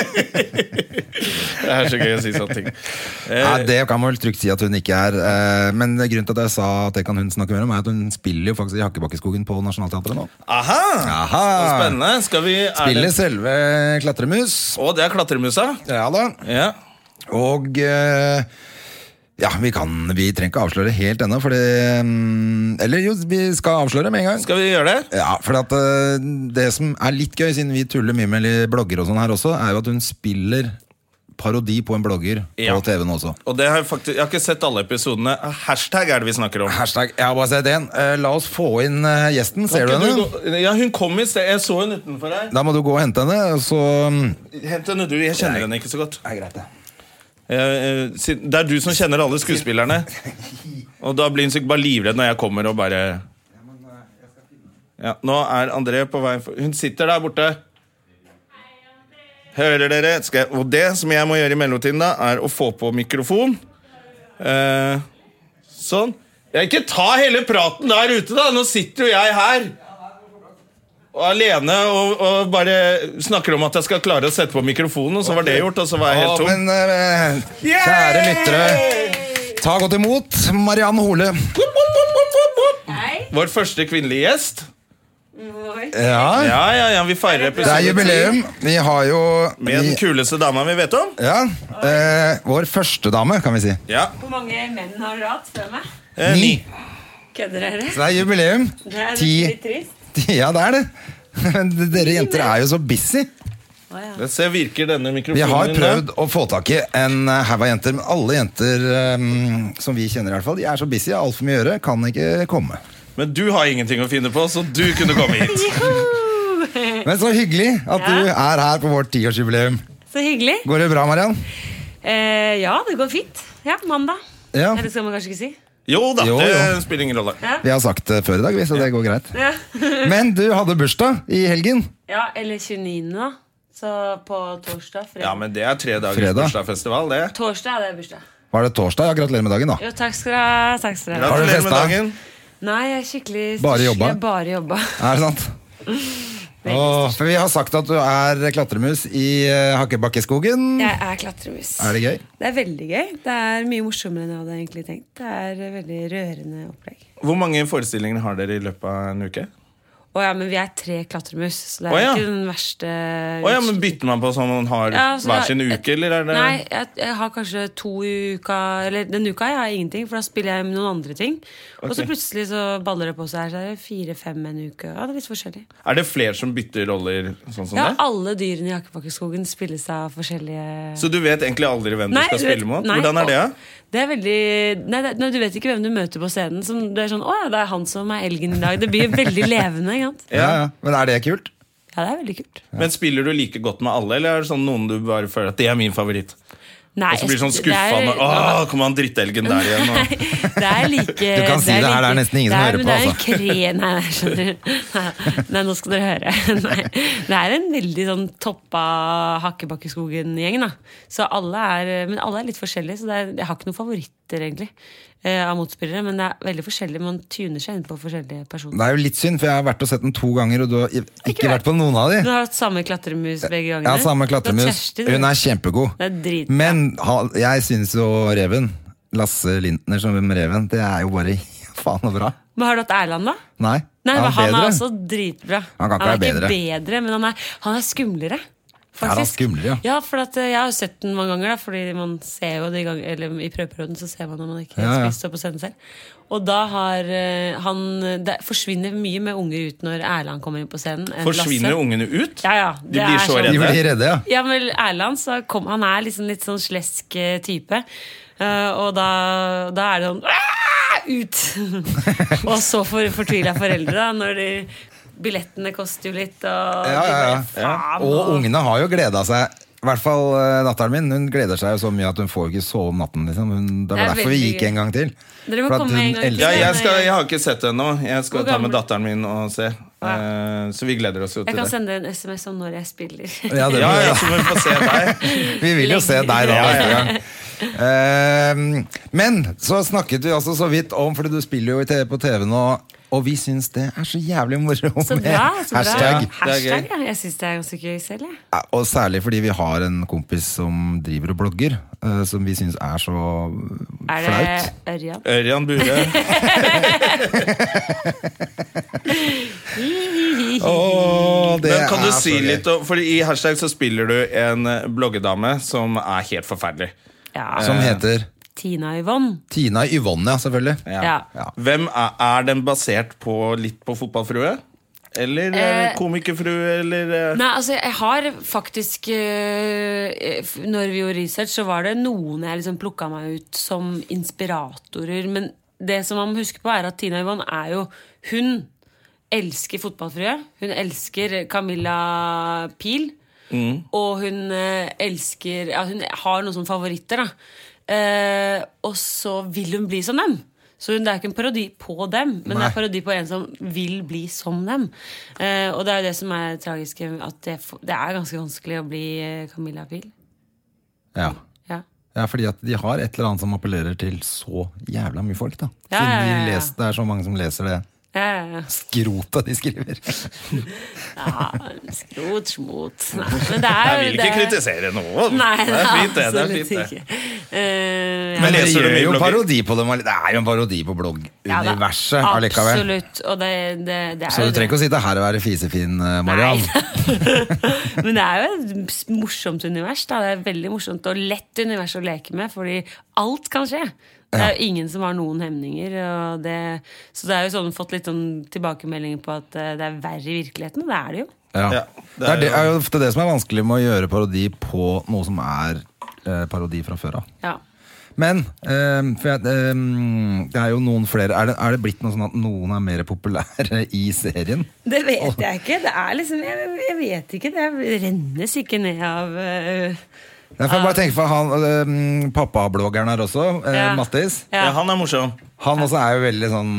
[SPEAKER 1] det er så gøy å si sånne ting. Eh,
[SPEAKER 2] Ja, det kan man vel trygt si at hun ikke er. eh, Men grunnen til at jeg sa at det kan hun snakke mer om, er at hun spiller jo faktisk i Hakkebakkeskogen på Nationaltheatret nå.
[SPEAKER 1] aha!
[SPEAKER 2] Aha!
[SPEAKER 1] Så spennende. Skal vi er
[SPEAKER 2] Spiller
[SPEAKER 1] det-
[SPEAKER 2] selve Klatremus.
[SPEAKER 1] Å, det er klatremusa?
[SPEAKER 2] Ja da.
[SPEAKER 1] Ja.
[SPEAKER 2] Og eh, ja, vi kan Vi trenger ikke avsløre helt ennå, for det mm, Eller jo, vi skal avsløre med en gang.
[SPEAKER 1] Skal vi gjøre det?
[SPEAKER 2] Ja, for at, eh, det som er litt gøy, siden vi tuller mye med li- blogger og sånn her også, er jo at hun spiller parodi på en blogger
[SPEAKER 1] Ja.
[SPEAKER 2] på TV-en også.
[SPEAKER 1] Og det har jeg, faktisk, jeg har ikke sett alle episodene. Hashtag er det vi snakker om.
[SPEAKER 2] Hashtag, jeg har bare sett en. Eh, La oss få inn eh, gjesten, ser du
[SPEAKER 1] Kan ikke
[SPEAKER 2] henne?
[SPEAKER 1] gå- Ja, hun kom i sted. Jeg så henne utenfor her.
[SPEAKER 2] Da må du gå og hente henne, og så mm,
[SPEAKER 1] Hent henne, du. Jeg kjenner henne ikke så godt.
[SPEAKER 2] er greit det.
[SPEAKER 1] Eh, eh, siden- Det er du som kjenner alle skuespillerne. Og da blir hun sikkert bare livredd når jeg kommer og bare ja, Nå er André på vei for Hun sitter der borte. Hører dere? Skal jeg... Og det som jeg må gjøre i mellomtiden, da, er å få på mikrofon. Eh, sånn. Ja, ikke ta hele praten der ute, da! Nå sitter jo jeg her. Og alene og, og bare snakker om at jeg skal klare å sette på mikrofonen, og så var det gjort, og så var jeg helt
[SPEAKER 2] Å,
[SPEAKER 1] tom.
[SPEAKER 2] men eh, kjære lyttere, ta godt imot Mariann Hole.
[SPEAKER 3] Hei.
[SPEAKER 1] Vår første kvinnelige gjest.
[SPEAKER 3] Oi.
[SPEAKER 2] Ja,
[SPEAKER 1] Ja, ja, ja, vi feirer
[SPEAKER 2] det er
[SPEAKER 1] episode
[SPEAKER 2] jubileum. Vi har jo
[SPEAKER 1] med den
[SPEAKER 2] vi,
[SPEAKER 1] kuleste dama vi vet om.
[SPEAKER 2] ja, eh, Vår første dame, kan vi si.
[SPEAKER 1] Ja.
[SPEAKER 3] Hvor mange menn har dere hatt før meg?
[SPEAKER 1] Eh, ni.
[SPEAKER 3] Kødder dere?
[SPEAKER 2] Så det er jubileum.
[SPEAKER 3] Det er
[SPEAKER 2] Ti.
[SPEAKER 3] litt trist.
[SPEAKER 2] Ja, det er det. Men dere jenter er jo så busy.
[SPEAKER 3] Å, ja.
[SPEAKER 1] Jeg ser virker denne mikrofonen
[SPEAKER 2] Vi har
[SPEAKER 1] din der?
[SPEAKER 2] prøvd å få tak i en eh, haug av jenter, men alle jenter eh, som vi kjenner, i hvert fall, de er så busy, har altfor mye å gjøre, kan ikke komme.
[SPEAKER 1] Men du har ingenting å finne på, så du kunne komme hit.
[SPEAKER 2] Men så hyggelig at
[SPEAKER 3] Ja.
[SPEAKER 2] du er her på vårt tiårsjubileum.
[SPEAKER 3] Så hyggelig.
[SPEAKER 2] Går det bra, Mariann?
[SPEAKER 3] Eh, ja, det går fint. Ja, mandag.
[SPEAKER 2] Ja.
[SPEAKER 3] Eller skal man kanskje ikke si.
[SPEAKER 1] Jo da,
[SPEAKER 2] Jo,
[SPEAKER 1] det
[SPEAKER 2] jo.
[SPEAKER 1] spiller ingen rolle.
[SPEAKER 3] Ja,
[SPEAKER 2] Vi har sagt det før i dag, vi, så det går greit.
[SPEAKER 3] ja.
[SPEAKER 2] Men du hadde bursdag i helgen.
[SPEAKER 3] ja eller 29. da. Så på torsdag. Fredag.
[SPEAKER 1] Ja, men det er tre dagers
[SPEAKER 2] Fredag.
[SPEAKER 1] bursdagsfestival, det.
[SPEAKER 3] Torsdag er det bursdag.
[SPEAKER 2] Var det torsdag? Ja, gratulerer med dagen, da.
[SPEAKER 3] Jo, takk skal du ha. Takk skal du ha.
[SPEAKER 2] Har du
[SPEAKER 1] Gratulerer med
[SPEAKER 2] festa?
[SPEAKER 1] dagen.
[SPEAKER 3] Nei, jeg er skikkelig
[SPEAKER 2] Bare jobba?
[SPEAKER 3] Jeg bare jobba.
[SPEAKER 2] Er det sant? Åh, for vi har sagt at du er klatremus i eh, Hakkebakkeskogen.
[SPEAKER 3] Jeg er klatremus.
[SPEAKER 2] Er det gøy?
[SPEAKER 3] Det er veldig gøy. Det er mye morsommere enn jeg hadde egentlig tenkt. Det er et veldig rørende opplegg.
[SPEAKER 1] Hvor mange forestillinger har dere i løpet av en uke?
[SPEAKER 3] Å ja, men vi er tre klatremus, så det er
[SPEAKER 1] Å ja.
[SPEAKER 3] ikke den verste
[SPEAKER 1] Å ja, men Bytter man på sånn man har
[SPEAKER 3] Ja, så
[SPEAKER 1] hver
[SPEAKER 3] da-
[SPEAKER 1] sin uke, eller er det
[SPEAKER 3] Nei, jeg, jeg har kanskje to i uka Eller den uka jeg har ingenting, for da spiller jeg med noen andre ting. Og så
[SPEAKER 1] Ok.
[SPEAKER 3] plutselig så baller det på seg her, så er det fire-fem en uke. Ja, det er litt forskjellig.
[SPEAKER 1] Er det flere som bytter roller sånn som
[SPEAKER 3] Ja,
[SPEAKER 1] Sånn det?
[SPEAKER 3] alle dyrene i Hakkebakkeskogen spilles av forskjellige
[SPEAKER 1] Så du vet egentlig aldri hvem du skal
[SPEAKER 3] du vet-
[SPEAKER 1] spille mot?
[SPEAKER 3] nei,
[SPEAKER 1] Hvordan er det?
[SPEAKER 3] og- Det er veldig nei, det, nei, Du vet ikke hvem du møter på scenen. Som, det er sånn 'Å ja, det er han som er elgen i dag'. Det blir veldig levende. Ikke sant?
[SPEAKER 2] Ja, ja. Men er det kult?
[SPEAKER 3] Ja, det er veldig kult.
[SPEAKER 1] Men spiller du like godt med alle, eller er det sånn noen du bare føler at det er min favoritt?
[SPEAKER 3] Nei,
[SPEAKER 1] Og så blir du sånn
[SPEAKER 3] jeg-
[SPEAKER 1] skuffa
[SPEAKER 3] det
[SPEAKER 1] med
[SPEAKER 3] er-
[SPEAKER 1] Åh, kom han drittelgen der igjen?
[SPEAKER 3] Nei,
[SPEAKER 1] Og...
[SPEAKER 3] det er like
[SPEAKER 2] Du kan si det her, det er nesten ingen som hører på, altså.
[SPEAKER 3] altså. Det er en kre... Nei, nei, skjønner du. Nei, nå skal dere høre. Nei, det er en veldig sånn toppa Hakkebakkeskogen-gjeng, da. Så alle er, men alle er litt forskjellige, så det er, jeg har ikke noen favoritter, egentlig. eh, Av motspillere, men det er veldig forskjellig. Man tuner seg inn på forskjellige personer.
[SPEAKER 2] Det er jo litt synd, for jeg har vært og sett den to ganger, og du har i- ikke vært på noen av de.
[SPEAKER 3] Du har hatt samme klatremus begge gangene.
[SPEAKER 2] Ja, samme klatremus. Hun er kjempegod.
[SPEAKER 3] Det er drit.
[SPEAKER 2] Men ha- jeg synes jo Reven, Lasse Lintner som Reven, det er jo bare faen og bra.
[SPEAKER 3] Men har du hatt Erland, da?
[SPEAKER 2] Nei,
[SPEAKER 3] Nei,
[SPEAKER 2] er
[SPEAKER 3] men han
[SPEAKER 2] bedre?
[SPEAKER 3] er også dritbra.
[SPEAKER 2] Han kan ikke
[SPEAKER 3] er
[SPEAKER 2] være
[SPEAKER 3] ikke bedre, men han er, han er skumlere.
[SPEAKER 2] Er han
[SPEAKER 3] Faktisk.
[SPEAKER 2] skumlere, ja?
[SPEAKER 3] Ja, for at, eh, jeg har jo sett den mange ganger, da, fordi man ser jo det i, gang, eller, i prøveperioden så ser man når man ikke helt
[SPEAKER 2] Ja, ja.
[SPEAKER 3] spiser opp på scenen selv. Og da har eh, han Det forsvinner mye med unger ut når Erland kommer inn på scenen. enn
[SPEAKER 1] Forsvinner
[SPEAKER 3] Lasse.
[SPEAKER 1] ungene ut?
[SPEAKER 3] Ja, sånn. ja.
[SPEAKER 1] De blir så
[SPEAKER 2] De
[SPEAKER 1] redde.
[SPEAKER 2] blir redde, ja.
[SPEAKER 3] Ja, men Erland så kom, han er liksom litt sånn slesk eh, type. Eh, og da, da er det sånn «Ah! Ut! og så for, fortvila foreldre, da, når de, billettene koster jo litt. Og,
[SPEAKER 2] Ja, ja, ja.
[SPEAKER 3] de bare, faen, altså.
[SPEAKER 2] Og
[SPEAKER 3] og-
[SPEAKER 2] ungene har jo gleda seg. I hvert fall eh, datteren min. Hun gleder seg jo så mye at hun får ikke sove om natten. Liksom. Hun, det var
[SPEAKER 3] Det er
[SPEAKER 2] derfor vi
[SPEAKER 3] veldig
[SPEAKER 2] gikk
[SPEAKER 3] gøy.
[SPEAKER 2] en gang til.
[SPEAKER 3] Dere må
[SPEAKER 2] For at
[SPEAKER 3] komme en
[SPEAKER 2] hun
[SPEAKER 3] gang til.
[SPEAKER 2] elsker-
[SPEAKER 1] Ja, jeg, skal, jeg har ikke sett det ennå. Jeg skal
[SPEAKER 3] Hvor
[SPEAKER 1] ta med
[SPEAKER 3] gammel?
[SPEAKER 1] datteren min og se. Eh, så vi gleder oss jo
[SPEAKER 3] Jeg
[SPEAKER 1] til
[SPEAKER 3] kan
[SPEAKER 1] det.
[SPEAKER 3] sende en SMS om når jeg spiller.
[SPEAKER 2] Ja, det,
[SPEAKER 1] Ja, ja, så må vi få se deg.
[SPEAKER 2] Vi vil jo se deg da neste gang. Ehm, men så snakket vi også så vidt om, Fordi du spiller jo i TV på TV nå, og vi syns det er så jævlig moro
[SPEAKER 3] Så
[SPEAKER 2] med
[SPEAKER 3] bra! så bra
[SPEAKER 2] hashtag.
[SPEAKER 1] Det er
[SPEAKER 3] Hashtag
[SPEAKER 1] gøy.
[SPEAKER 3] ja. Jeg syns det er ganske gøy selv, jeg.
[SPEAKER 2] Ja, Og særlig fordi vi har en kompis som driver og blogger, eh, som vi syns er så
[SPEAKER 3] Er
[SPEAKER 2] flaut.
[SPEAKER 3] det Ørjan?
[SPEAKER 1] Ørjan Bure.
[SPEAKER 2] Åh, det
[SPEAKER 1] Men kan du
[SPEAKER 2] er så
[SPEAKER 1] si
[SPEAKER 2] gøy.
[SPEAKER 1] litt om For i hashtag så spiller du en eh, bloggedame som er helt forferdelig.
[SPEAKER 3] Ja.
[SPEAKER 2] Som heter
[SPEAKER 3] Tina Yvonne.
[SPEAKER 2] Tina Yvonne, ja, selvfølgelig.
[SPEAKER 3] Ja.
[SPEAKER 2] Ja.
[SPEAKER 1] Hvem er, er den basert på litt på fotballfrue? Eller eh,
[SPEAKER 3] Eh,
[SPEAKER 1] komikerfrue, eller eh,
[SPEAKER 3] Nei, altså jeg har faktisk øh, f- Når vi gjorde research, så var det noen jeg liksom plukka meg ut som inspiratorer. Men det som man må huske på, er at Tina Yvonne er jo Hun elsker fotballfrue. Hun elsker Camilla Pil. Og hun eh, elsker ja, Hun har noen sånne favoritter, da. Eh, og så vil hun bli som dem. Så hun, det er ikke en parodi på dem, men det
[SPEAKER 2] Nei.
[SPEAKER 3] er parodi på en som vil bli som dem. Eh, og det er jo det som er tragisk, at det, f- det er ganske vanskelig å bli eh, Camilla Pil.
[SPEAKER 2] Ja.
[SPEAKER 3] Ja.
[SPEAKER 2] ja, fordi at de har et eller annet som appellerer til så jævla mye folk, da.
[SPEAKER 3] Ja,
[SPEAKER 2] Så
[SPEAKER 3] ja, ja,
[SPEAKER 2] de
[SPEAKER 3] ja.
[SPEAKER 2] les, det er så mange som leser det
[SPEAKER 3] Eh,
[SPEAKER 2] skrotet de skriver.
[SPEAKER 3] ja, skrot, smot Nei, men det er
[SPEAKER 1] Jeg vil ikke
[SPEAKER 3] det er-
[SPEAKER 1] kritisere noen.
[SPEAKER 3] Nei,
[SPEAKER 1] det er fint, det. det, er
[SPEAKER 3] absolutt
[SPEAKER 1] fint, det.
[SPEAKER 3] ikke. Eh, ja.
[SPEAKER 1] Men
[SPEAKER 2] Men det
[SPEAKER 1] leser du
[SPEAKER 2] gjør
[SPEAKER 1] mye
[SPEAKER 2] jo
[SPEAKER 1] blogger?
[SPEAKER 2] parodi på dem. all- Det er jo en parodi på
[SPEAKER 3] Ja, da,
[SPEAKER 2] blogguniverset allikevel.
[SPEAKER 3] Absolutt. Og det, det, det er
[SPEAKER 2] Så du
[SPEAKER 3] jo det.
[SPEAKER 2] trenger ikke å sitte her og være fisefin, eh, Mariann.
[SPEAKER 3] Nei. Men det er jo et morsomt univers. Da. Det er et veldig morsomt og lett univers å leke med, fordi alt kan skje. Det er jo ingen som har noen hemninger. Og det, så det er jo sånn fått litt sånn tilbakemeldinger på at eh, det er verre i virkeligheten, og det er det jo.
[SPEAKER 2] Ja.
[SPEAKER 1] Ja,
[SPEAKER 2] det, er, det er jo ofte det som er vanskelig med å gjøre parodi på noe som er eh, parodi fra før av.
[SPEAKER 3] Ja.
[SPEAKER 2] Men eh, for jeg, eh, det er jo noen flere er det, er det blitt noe sånn at noen er mer populære i serien?
[SPEAKER 3] Det vet jeg ikke. Det er liksom Jeg, jeg vet ikke. Det rennes ikke ned av eh,
[SPEAKER 2] Ja, for jeg bare tenker for han eh, Pappabloggeren her også, eh,
[SPEAKER 3] Ja.
[SPEAKER 2] Mattis.
[SPEAKER 1] Ja,
[SPEAKER 3] Ja.
[SPEAKER 1] han er morsom.
[SPEAKER 2] Han også er jo veldig sånn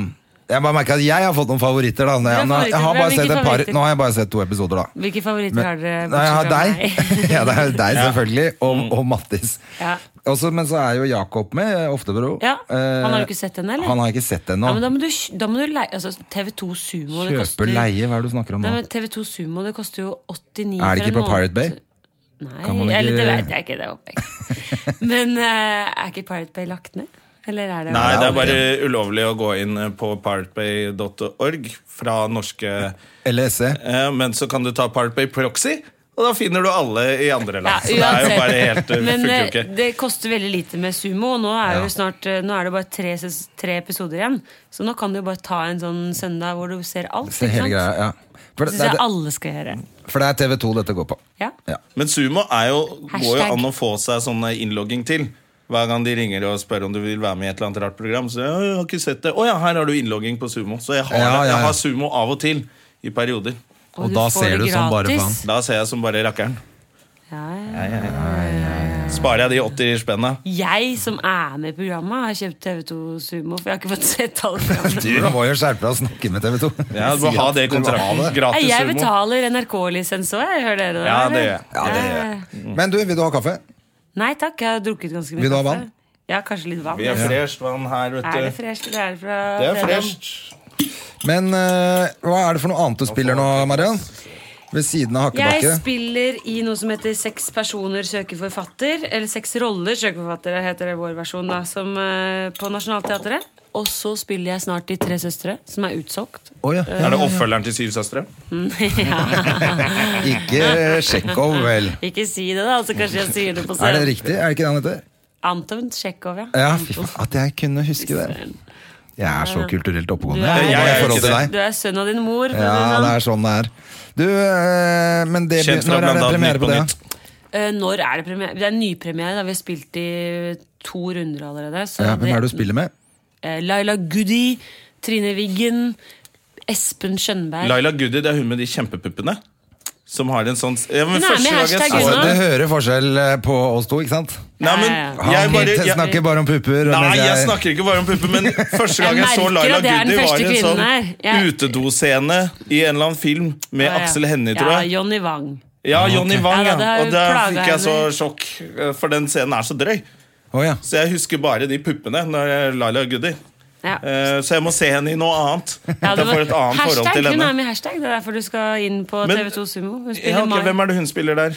[SPEAKER 2] jeg bare merker at jeg har fått noen favoritter. da Nå-
[SPEAKER 3] Hvem er
[SPEAKER 2] nå- jeg har
[SPEAKER 3] favoritter?
[SPEAKER 2] bare
[SPEAKER 3] Hvem er
[SPEAKER 2] sett et par,
[SPEAKER 3] favoritter?
[SPEAKER 2] Nå har jeg bare sett to episoder, da.
[SPEAKER 3] Hvilke favoritter
[SPEAKER 2] Men-
[SPEAKER 3] har dere?
[SPEAKER 2] Nei, jeg har
[SPEAKER 3] bortsett fra
[SPEAKER 2] deg.
[SPEAKER 3] meg? Mm.
[SPEAKER 2] ja, det er deg, selvfølgelig. Og, og Mattis.
[SPEAKER 3] Ja.
[SPEAKER 2] Også, men så er jo Jakob med, eh, Oftebro.
[SPEAKER 3] Ja,
[SPEAKER 2] Eh,
[SPEAKER 3] han har jo ikke sett henne, eller?
[SPEAKER 2] Han har ikke sett henne
[SPEAKER 3] Ja,
[SPEAKER 2] nå.
[SPEAKER 3] men da må du, da må du leie altså, TV2 Sumo det
[SPEAKER 2] Kjøpe
[SPEAKER 3] koster-
[SPEAKER 2] leie, hva er det du snakker om
[SPEAKER 3] Nei,
[SPEAKER 2] nå?
[SPEAKER 3] men TV2 Sumo det koster jo
[SPEAKER 2] Er det
[SPEAKER 3] 89 for
[SPEAKER 2] ikke
[SPEAKER 3] en
[SPEAKER 2] på Pirate Bay?
[SPEAKER 3] måned. Nei,
[SPEAKER 2] Kan man ikke-
[SPEAKER 3] eller det vet jeg ikke. Det håper jeg ikke. Men eh, er ikke Pirate Bay lagt ned? Eller er det
[SPEAKER 1] Nei, det
[SPEAKER 2] det
[SPEAKER 1] er bare ulovlig å gå inn på piratebay.org fra norske
[SPEAKER 2] Eller SE?
[SPEAKER 1] eh, Men så kan du ta Piratebay Proxy, og da finner du alle i andre
[SPEAKER 3] Ja,
[SPEAKER 1] land. Så det er jo
[SPEAKER 3] uansett.
[SPEAKER 1] bare helt eh,
[SPEAKER 3] Men
[SPEAKER 1] funker jo
[SPEAKER 3] eh,
[SPEAKER 1] ikke.
[SPEAKER 3] det koster veldig lite med sumo, og nå er,
[SPEAKER 2] Ja.
[SPEAKER 3] jo snart, eh, nå er det bare tre, ses- tre episoder igjen. Så nå kan du jo bare ta en sånn søndag hvor du ser alt.
[SPEAKER 2] Se hele
[SPEAKER 3] ikke sant?
[SPEAKER 2] greia, ja. For det,
[SPEAKER 3] Det syns jeg
[SPEAKER 2] det,
[SPEAKER 3] alle skal gjøre.
[SPEAKER 2] for det er TV2 dette går på.
[SPEAKER 3] Ja.
[SPEAKER 2] Ja.
[SPEAKER 1] Men sumo er jo, går jo
[SPEAKER 3] Hashtag.
[SPEAKER 1] an å få seg sånn innlogging til. Hver gang de ringer og spør om du vil være med i et eller annet rart program, så ja, jeg har ikke sett det. Å ja, her har du innlogging på sumo. Så jeg har,
[SPEAKER 2] Ja, ja, ja.
[SPEAKER 1] jeg har sumo av og til. I perioder.
[SPEAKER 2] Og da
[SPEAKER 3] får
[SPEAKER 2] ser
[SPEAKER 3] det
[SPEAKER 2] du sånn bare
[SPEAKER 3] gratis.
[SPEAKER 1] Da ser jeg som bare rakkeren.
[SPEAKER 3] Ja, ja.
[SPEAKER 1] Sparer jeg de 80 spenna?
[SPEAKER 3] Jeg som er med i programmet, har kjøpt TV2 Sumo, for jeg har ikke fått sett alle
[SPEAKER 2] Du
[SPEAKER 3] programmene.
[SPEAKER 2] må jo skjerpe deg og snakke med TV2.
[SPEAKER 1] Ja, du må
[SPEAKER 2] Sier
[SPEAKER 1] ha
[SPEAKER 2] at
[SPEAKER 1] det i
[SPEAKER 2] du må ha
[SPEAKER 1] kontrakten.
[SPEAKER 2] det.
[SPEAKER 3] Nei,
[SPEAKER 1] Gratis
[SPEAKER 3] Jeg
[SPEAKER 1] sumo.
[SPEAKER 3] betaler NRK-lisens òg, hører dere det?
[SPEAKER 1] Ja, det
[SPEAKER 3] eller?
[SPEAKER 1] gjør jeg.
[SPEAKER 2] Ja, det gjør jeg. Men du, vil du ha kaffe?
[SPEAKER 3] Nei takk, jeg har drukket ganske mye
[SPEAKER 2] Vil du ha
[SPEAKER 3] kaffe.
[SPEAKER 2] vann?
[SPEAKER 3] Ja, kanskje litt vann.
[SPEAKER 1] Vi er fresht vann her,
[SPEAKER 3] Er det
[SPEAKER 1] vet du.
[SPEAKER 3] fresh, eller er det fra
[SPEAKER 1] Det er
[SPEAKER 3] fredag?
[SPEAKER 1] fresht.
[SPEAKER 2] Men eh, hva er det for noe annet du spiller nå, Mariann? Ved siden av
[SPEAKER 3] Jeg
[SPEAKER 2] Hakkebakket?
[SPEAKER 3] spiller i noe som heter Seks personer søker forfatter. Eller Seks roller søker forfatter, heter det vår versjon da, som, eh, på Nationaltheatret. Og så spiller jeg snart De tre søstre, som er utsolgt.
[SPEAKER 2] Å, ja.
[SPEAKER 1] Er det oppfølgeren til Syv søstre?
[SPEAKER 2] Ikke Tsjekhov, vel?
[SPEAKER 3] Ikke si det, da, så kanskje jeg sier det på
[SPEAKER 2] Er det
[SPEAKER 3] scenen.
[SPEAKER 2] riktig? Er det ikke det han heter?
[SPEAKER 3] Anton Tsjekhov, ja.
[SPEAKER 2] Ja, fy faen, At jeg kunne huske det. Jeg er så kulturelt oppegående.
[SPEAKER 3] Du er-
[SPEAKER 2] Jeg,
[SPEAKER 1] Jeg er
[SPEAKER 2] i forhold
[SPEAKER 1] ikke
[SPEAKER 2] til
[SPEAKER 1] det.
[SPEAKER 2] deg.
[SPEAKER 3] Du er sønn av din mor. for å si
[SPEAKER 2] Ja,
[SPEAKER 3] sånn.
[SPEAKER 2] det er sånn det er. Du, eh, men det,
[SPEAKER 1] Kjent fra
[SPEAKER 2] når er det
[SPEAKER 1] blant annet
[SPEAKER 2] premiere
[SPEAKER 1] Nytt
[SPEAKER 2] på
[SPEAKER 1] på
[SPEAKER 2] det?
[SPEAKER 1] Nytt.
[SPEAKER 3] Eh, når er det premiere? Det er nypremiere. da. Vi har spilt i to runder allerede. Så
[SPEAKER 2] Ja, hvem er det
[SPEAKER 3] det-
[SPEAKER 2] du spiller med?
[SPEAKER 3] Eh, Laila Goody, Trine Wiggen, Espen Skjønberg.
[SPEAKER 1] Laila Goody, det er hun med de kjempepuppene. Som har en sånn ja, men
[SPEAKER 3] Hun er
[SPEAKER 1] første
[SPEAKER 3] med i
[SPEAKER 1] gang jeg
[SPEAKER 3] hashtag
[SPEAKER 1] så
[SPEAKER 2] Altså,
[SPEAKER 3] Gunnar.
[SPEAKER 1] henne-
[SPEAKER 2] det hører forskjell eh, på oss to, ikke sant?
[SPEAKER 1] Nei, men
[SPEAKER 3] Han
[SPEAKER 1] jeg
[SPEAKER 2] Han
[SPEAKER 1] bare jeg,
[SPEAKER 2] snakker bare om pupper. og
[SPEAKER 1] Nei,
[SPEAKER 2] mens
[SPEAKER 1] jeg snakker ikke bare om pupper, men første gang
[SPEAKER 3] Jeg
[SPEAKER 1] jeg, så
[SPEAKER 3] merker
[SPEAKER 1] Laila
[SPEAKER 3] at det er den
[SPEAKER 1] Goody, var i
[SPEAKER 3] første
[SPEAKER 1] en sånn
[SPEAKER 3] kvinnen her. Jeg-
[SPEAKER 1] utedoscene i en eller annen film med
[SPEAKER 3] Ja, ja.
[SPEAKER 1] Aksel Hennie, tror jeg.
[SPEAKER 3] Ja, Jonny Wang.
[SPEAKER 1] Ja, Jonny Wang,
[SPEAKER 3] Ja,
[SPEAKER 1] ja.
[SPEAKER 3] det har
[SPEAKER 1] Og der
[SPEAKER 3] plaget
[SPEAKER 1] fikk jeg så
[SPEAKER 3] henne.
[SPEAKER 1] sjokk, eh, for den scenen er så drøy.
[SPEAKER 2] Å, ja.
[SPEAKER 1] Så jeg husker bare de puppene når jeg Laila Goody.
[SPEAKER 3] Ja.
[SPEAKER 1] Eh, Så jeg må se henne i noe annet.
[SPEAKER 3] Ja,
[SPEAKER 1] At
[SPEAKER 3] du
[SPEAKER 1] jeg
[SPEAKER 3] må-
[SPEAKER 1] får et annet
[SPEAKER 3] hashtag,
[SPEAKER 1] forhold til
[SPEAKER 3] Hun er
[SPEAKER 1] henne.
[SPEAKER 3] med i hashtag. Det er derfor du skal inn på
[SPEAKER 1] Men-
[SPEAKER 3] TV2 Sumo. Hun spiller
[SPEAKER 1] Ja, ok,
[SPEAKER 3] Mai.
[SPEAKER 1] hvem er det hun spiller der?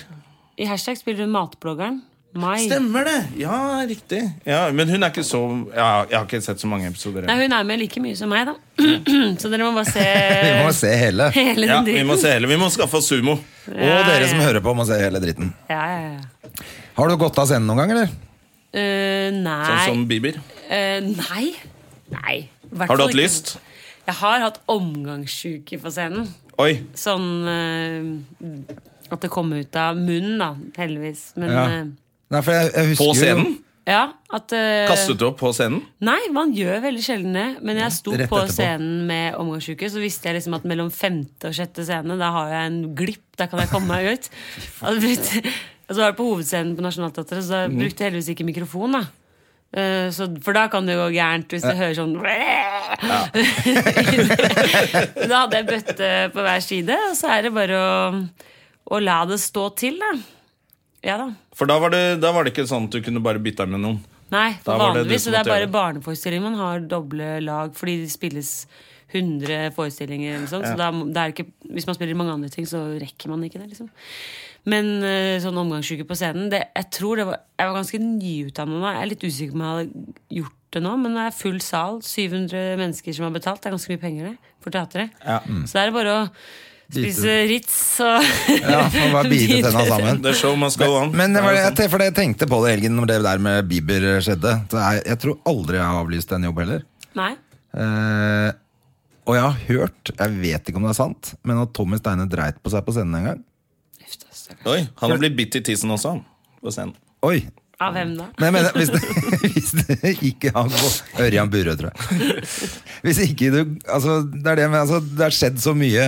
[SPEAKER 3] I hashtag spiller hun matbloggeren. Mai.
[SPEAKER 1] Stemmer det! Ja, riktig. Ja, men hun er ikke så ja, Jeg har ikke sett så mange episoder.
[SPEAKER 3] Nei, hun er med like mye som meg, da. Så dere må bare se
[SPEAKER 2] Vi må se hele.
[SPEAKER 3] hele
[SPEAKER 1] Ja,
[SPEAKER 3] den
[SPEAKER 1] vi må
[SPEAKER 3] dritten.
[SPEAKER 1] se hele. Vi må skaffe oss sumo.
[SPEAKER 2] Og dere som
[SPEAKER 3] ja.
[SPEAKER 2] hører på, må se hele dritten.
[SPEAKER 3] Ja, ja, ja.
[SPEAKER 2] Har du gått av scenen noen gang, eller?
[SPEAKER 3] Eh, nei.
[SPEAKER 1] Sånn som Bieber.
[SPEAKER 3] Eh, nei. Nei. Hvert
[SPEAKER 1] Har du
[SPEAKER 3] fall
[SPEAKER 1] hatt
[SPEAKER 3] ikke.
[SPEAKER 1] lyst?
[SPEAKER 3] Jeg har hatt omgangssjuke på scenen.
[SPEAKER 1] Oi.
[SPEAKER 3] Sånn eh, at det kom ut av munnen, da. Heldigvis. Men eh,
[SPEAKER 2] Ja.
[SPEAKER 3] ja.
[SPEAKER 2] Nei, for jeg, jeg husker
[SPEAKER 1] På scenen?
[SPEAKER 2] Jo,
[SPEAKER 3] ja at eh,
[SPEAKER 1] Kastet du opp på scenen?
[SPEAKER 3] Nei, man gjør veldig sjelden det. Men jeg sto
[SPEAKER 2] rett
[SPEAKER 3] på
[SPEAKER 2] etterpå.
[SPEAKER 3] scenen med omgangsuke, så visste jeg liksom at mellom femte og sjette scene, da har jeg en glipp. Da kan jeg komme meg ut. Og, brukte, og så var det på hovedscenen på Nationaltheatret, så da
[SPEAKER 2] Mhm.
[SPEAKER 3] brukte jeg heldigvis ikke mikrofon. da Eh, så, for da kan det jo gå gærent hvis du hører sånn Da hadde jeg bøtte på hver side, og så er det bare å, å la det stå til, da. Ja da.
[SPEAKER 1] For da var, det, da var det ikke sånn at du kunne bare bytte med noen.
[SPEAKER 3] Nei, for
[SPEAKER 1] Da var det du
[SPEAKER 3] vanligvis
[SPEAKER 1] som
[SPEAKER 3] det er
[SPEAKER 1] måtte
[SPEAKER 3] bare
[SPEAKER 1] gjøre det.
[SPEAKER 3] barneforestillinger man har doble lag, fordi det spilles 100 forestillinger. Eller sånt, Så da, må- det er ikke, hvis man spiller mange andre ting, så rekker man ikke det. liksom Men eh, sånn omgangsuke på scenen det, Jeg tror det var, jeg var ganske nyutdannet da. Jeg er litt usikker på om jeg hadde gjort det nå, men det er full
[SPEAKER 1] Mm.
[SPEAKER 3] sal. 700 mennesker som har betalt. Det er ganske mye penger det, for teatret. Så det er bare å spise Ritz og
[SPEAKER 2] Ja, og bare bite tenna sammen.
[SPEAKER 1] The show must go on.
[SPEAKER 2] Men det var,
[SPEAKER 1] Det er jo
[SPEAKER 2] jeg, te- for jeg tenkte på det i helgen når det der med Bieber eh, skjedde. Så jeg, jeg tror aldri jeg har avlyst en jobb heller.
[SPEAKER 3] Nei.
[SPEAKER 2] Eh, og jeg har hørt, jeg vet ikke om det er sant, men at Tommy Steine dreit på seg på scenen en gang.
[SPEAKER 3] Uff, da, stakkars.
[SPEAKER 1] Oi, han har blitt bitt i tissen også, han. På scenen.
[SPEAKER 2] Oi!
[SPEAKER 3] Av hvem da?
[SPEAKER 2] Men jeg mener, hvis det, hvis det ikke har gått Ørjan Burøe, tror jeg. Hvis ikke du Altså, det er det, men altså, det har skjedd så mye.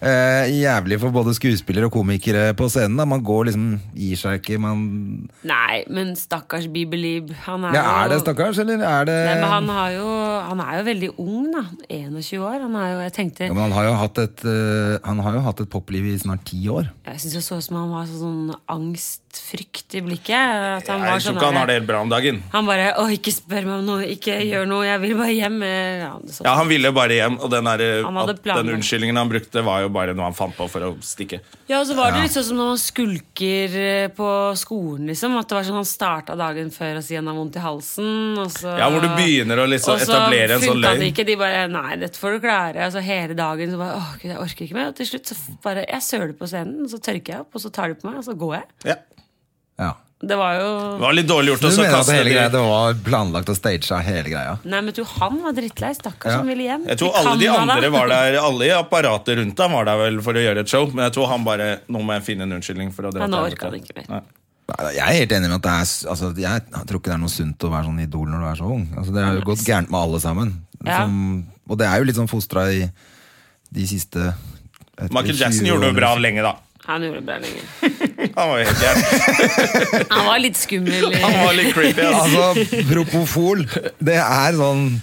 [SPEAKER 2] eh, jævlig for både skuespillere og komikere på scenen. Da. Man går liksom Gir seg ikke. Man
[SPEAKER 3] Nei, men stakkars Bibelib. Han er,
[SPEAKER 2] ja, Er
[SPEAKER 3] jo
[SPEAKER 2] det stakkars, eller er det
[SPEAKER 3] Nei, men han, har jo, han er jo veldig ung, da. 21 år. Han er jo, jeg tenkte
[SPEAKER 2] Ja, men han har jo hatt et, eh, han har jo hatt et popliv i snart ti år.
[SPEAKER 3] Jeg syns det så ut som han var sånn angstfrykt i blikket. At han var
[SPEAKER 1] Jeg tror
[SPEAKER 3] sånn
[SPEAKER 1] ikke han
[SPEAKER 3] der-
[SPEAKER 1] har det helt bra om dagen.
[SPEAKER 3] Han bare 'Å, ikke spør meg om noe. Ikke gjør noe. Jeg vil bare hjem.' Eh, Ja, det er sånn.
[SPEAKER 1] Ja, Han ville bare hjem, og den, der, eh,
[SPEAKER 3] Han hadde
[SPEAKER 1] at
[SPEAKER 3] planer.
[SPEAKER 1] den unnskyldningen han brukte, var jo bare noe han fant på for å stikke.
[SPEAKER 3] Ja, og så var det litt sånn som når man skulker eh, på skolen, liksom. At det var sånn han starta dagen før og sier han har vondt i halsen, og så
[SPEAKER 1] Ja, hvor du begynner å liksom
[SPEAKER 3] og så
[SPEAKER 1] etablere en sånn
[SPEAKER 3] funka
[SPEAKER 1] løgn.
[SPEAKER 3] det ikke. De bare 'nei, dette får du klare'. Altså hele dagen så bare 'åh, gud, jeg orker ikke mer'. Og til slutt så f- bare Jeg søler på scenen, så tørker jeg opp, og så tar de på meg, og så går jeg.
[SPEAKER 1] Ja.
[SPEAKER 2] Ja.
[SPEAKER 3] Det var jo
[SPEAKER 1] Det var litt dårlig gjort
[SPEAKER 2] Du
[SPEAKER 1] å så
[SPEAKER 2] mener at
[SPEAKER 1] kaste
[SPEAKER 2] hele
[SPEAKER 1] det
[SPEAKER 2] greia,
[SPEAKER 1] i-
[SPEAKER 2] det var planlagt og staged av hele greia?
[SPEAKER 3] Nei, men du, han var drittlei. Stakkars,
[SPEAKER 2] Ja.
[SPEAKER 3] han ville hjem.
[SPEAKER 1] Jeg tror
[SPEAKER 3] Vi
[SPEAKER 1] alle de
[SPEAKER 3] kan ha
[SPEAKER 1] andre
[SPEAKER 3] det.
[SPEAKER 1] var der Alle i apparatet rundt ham var der vel for å gjøre et show, men jeg tror han bare Nå må jeg finne en unnskyldning. for å dra
[SPEAKER 3] Ja, nå
[SPEAKER 1] til
[SPEAKER 3] orker han
[SPEAKER 1] helvete.
[SPEAKER 3] ikke mer.
[SPEAKER 1] Nei.
[SPEAKER 2] Nei, Jeg er helt enig med at det er s- altså, Jeg tror ikke det er noe sunt å være sånn idol når du er så ung. Altså, det har jo gått gærent med alle sammen.
[SPEAKER 3] Ja.
[SPEAKER 2] Som, og det er jo litt sånn fostra i de siste etter
[SPEAKER 1] Michael Jackson
[SPEAKER 2] 20
[SPEAKER 1] gjorde det
[SPEAKER 2] år.
[SPEAKER 1] bra lenge, da.
[SPEAKER 3] Han gjorde det bra lenge.
[SPEAKER 1] Han var, jo helt jævlig.
[SPEAKER 3] Han var litt skummel.
[SPEAKER 1] han var litt creepy. Altså.
[SPEAKER 2] Altså, propofol, det er sånn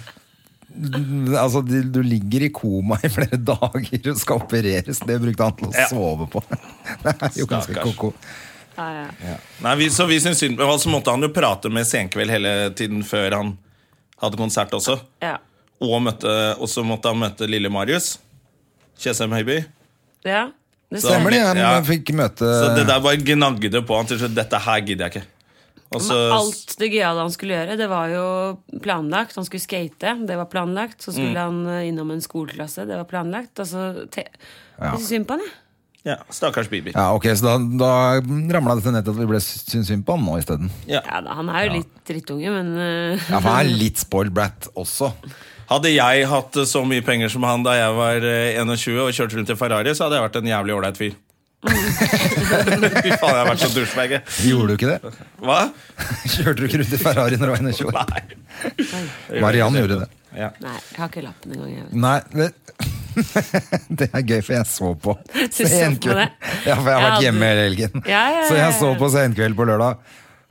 [SPEAKER 2] Altså, du, du ligger i koma i flere dager og skal opereres. Det brukte han til å
[SPEAKER 1] Ja.
[SPEAKER 2] sove på. Det er jo ganske
[SPEAKER 1] Stakkars.
[SPEAKER 2] ko-ko.
[SPEAKER 3] Ja, ja.
[SPEAKER 1] Nei, vi, så vi syns synd på ham. Så måtte han jo prate med Senkveld hele tiden før han hadde konsert også.
[SPEAKER 3] Ja.
[SPEAKER 1] Og, møtte, og så måtte han møte lille Marius. Tjessem Høiby.
[SPEAKER 3] ja. Det
[SPEAKER 1] Så-
[SPEAKER 2] Stemmer det, han
[SPEAKER 1] Ja.
[SPEAKER 2] fikk møte
[SPEAKER 1] Så det der bare gnagde på han til slutt. Dette her gidder jeg ikke. Og så,
[SPEAKER 3] Men alt det gøyale han skulle gjøre, det var jo planlagt. Han skulle skate, det var planlagt. Så skulle
[SPEAKER 1] Mm.
[SPEAKER 3] han eh, innom en skoleklasse, det var planlagt. Altså, te
[SPEAKER 2] Ja.
[SPEAKER 3] Jeg syns synd på han, jeg.
[SPEAKER 1] ja, stakkars Bibi.
[SPEAKER 2] Ja, ok, så da, da ramla det til nettet at vi ble syntes synd på han nå isteden.
[SPEAKER 1] Ja.
[SPEAKER 3] Ja, da, han er jo litt drittunge, men eh,
[SPEAKER 2] Ja, for han er litt spoiled brat også.
[SPEAKER 1] Hadde jeg hatt eh, så mye penger som han da jeg var eh, 21 og kjørte rundt i Ferrari, så hadde jeg vært en jævlig ålreit fyr. Fy faen, jeg har vært så douchebag. jeg.
[SPEAKER 2] Gjorde du ikke det?
[SPEAKER 1] Hva?
[SPEAKER 2] Kjørte du ikke rundt i Ferrari når du var 21 år?
[SPEAKER 1] Nei.
[SPEAKER 2] Mariann gjorde det.
[SPEAKER 1] Ja.
[SPEAKER 3] Nei, jeg har ikke lappen engang. Jeg vet.
[SPEAKER 2] Nei, det, det er gøy, for jeg så på
[SPEAKER 3] Du så på det?
[SPEAKER 2] Ja, for jeg har vært
[SPEAKER 3] Ja, du-
[SPEAKER 2] hjemme hele helgen.
[SPEAKER 3] Ja, ja, ja,
[SPEAKER 2] Så jeg
[SPEAKER 3] ja.
[SPEAKER 2] så på Senkveld på lørdag,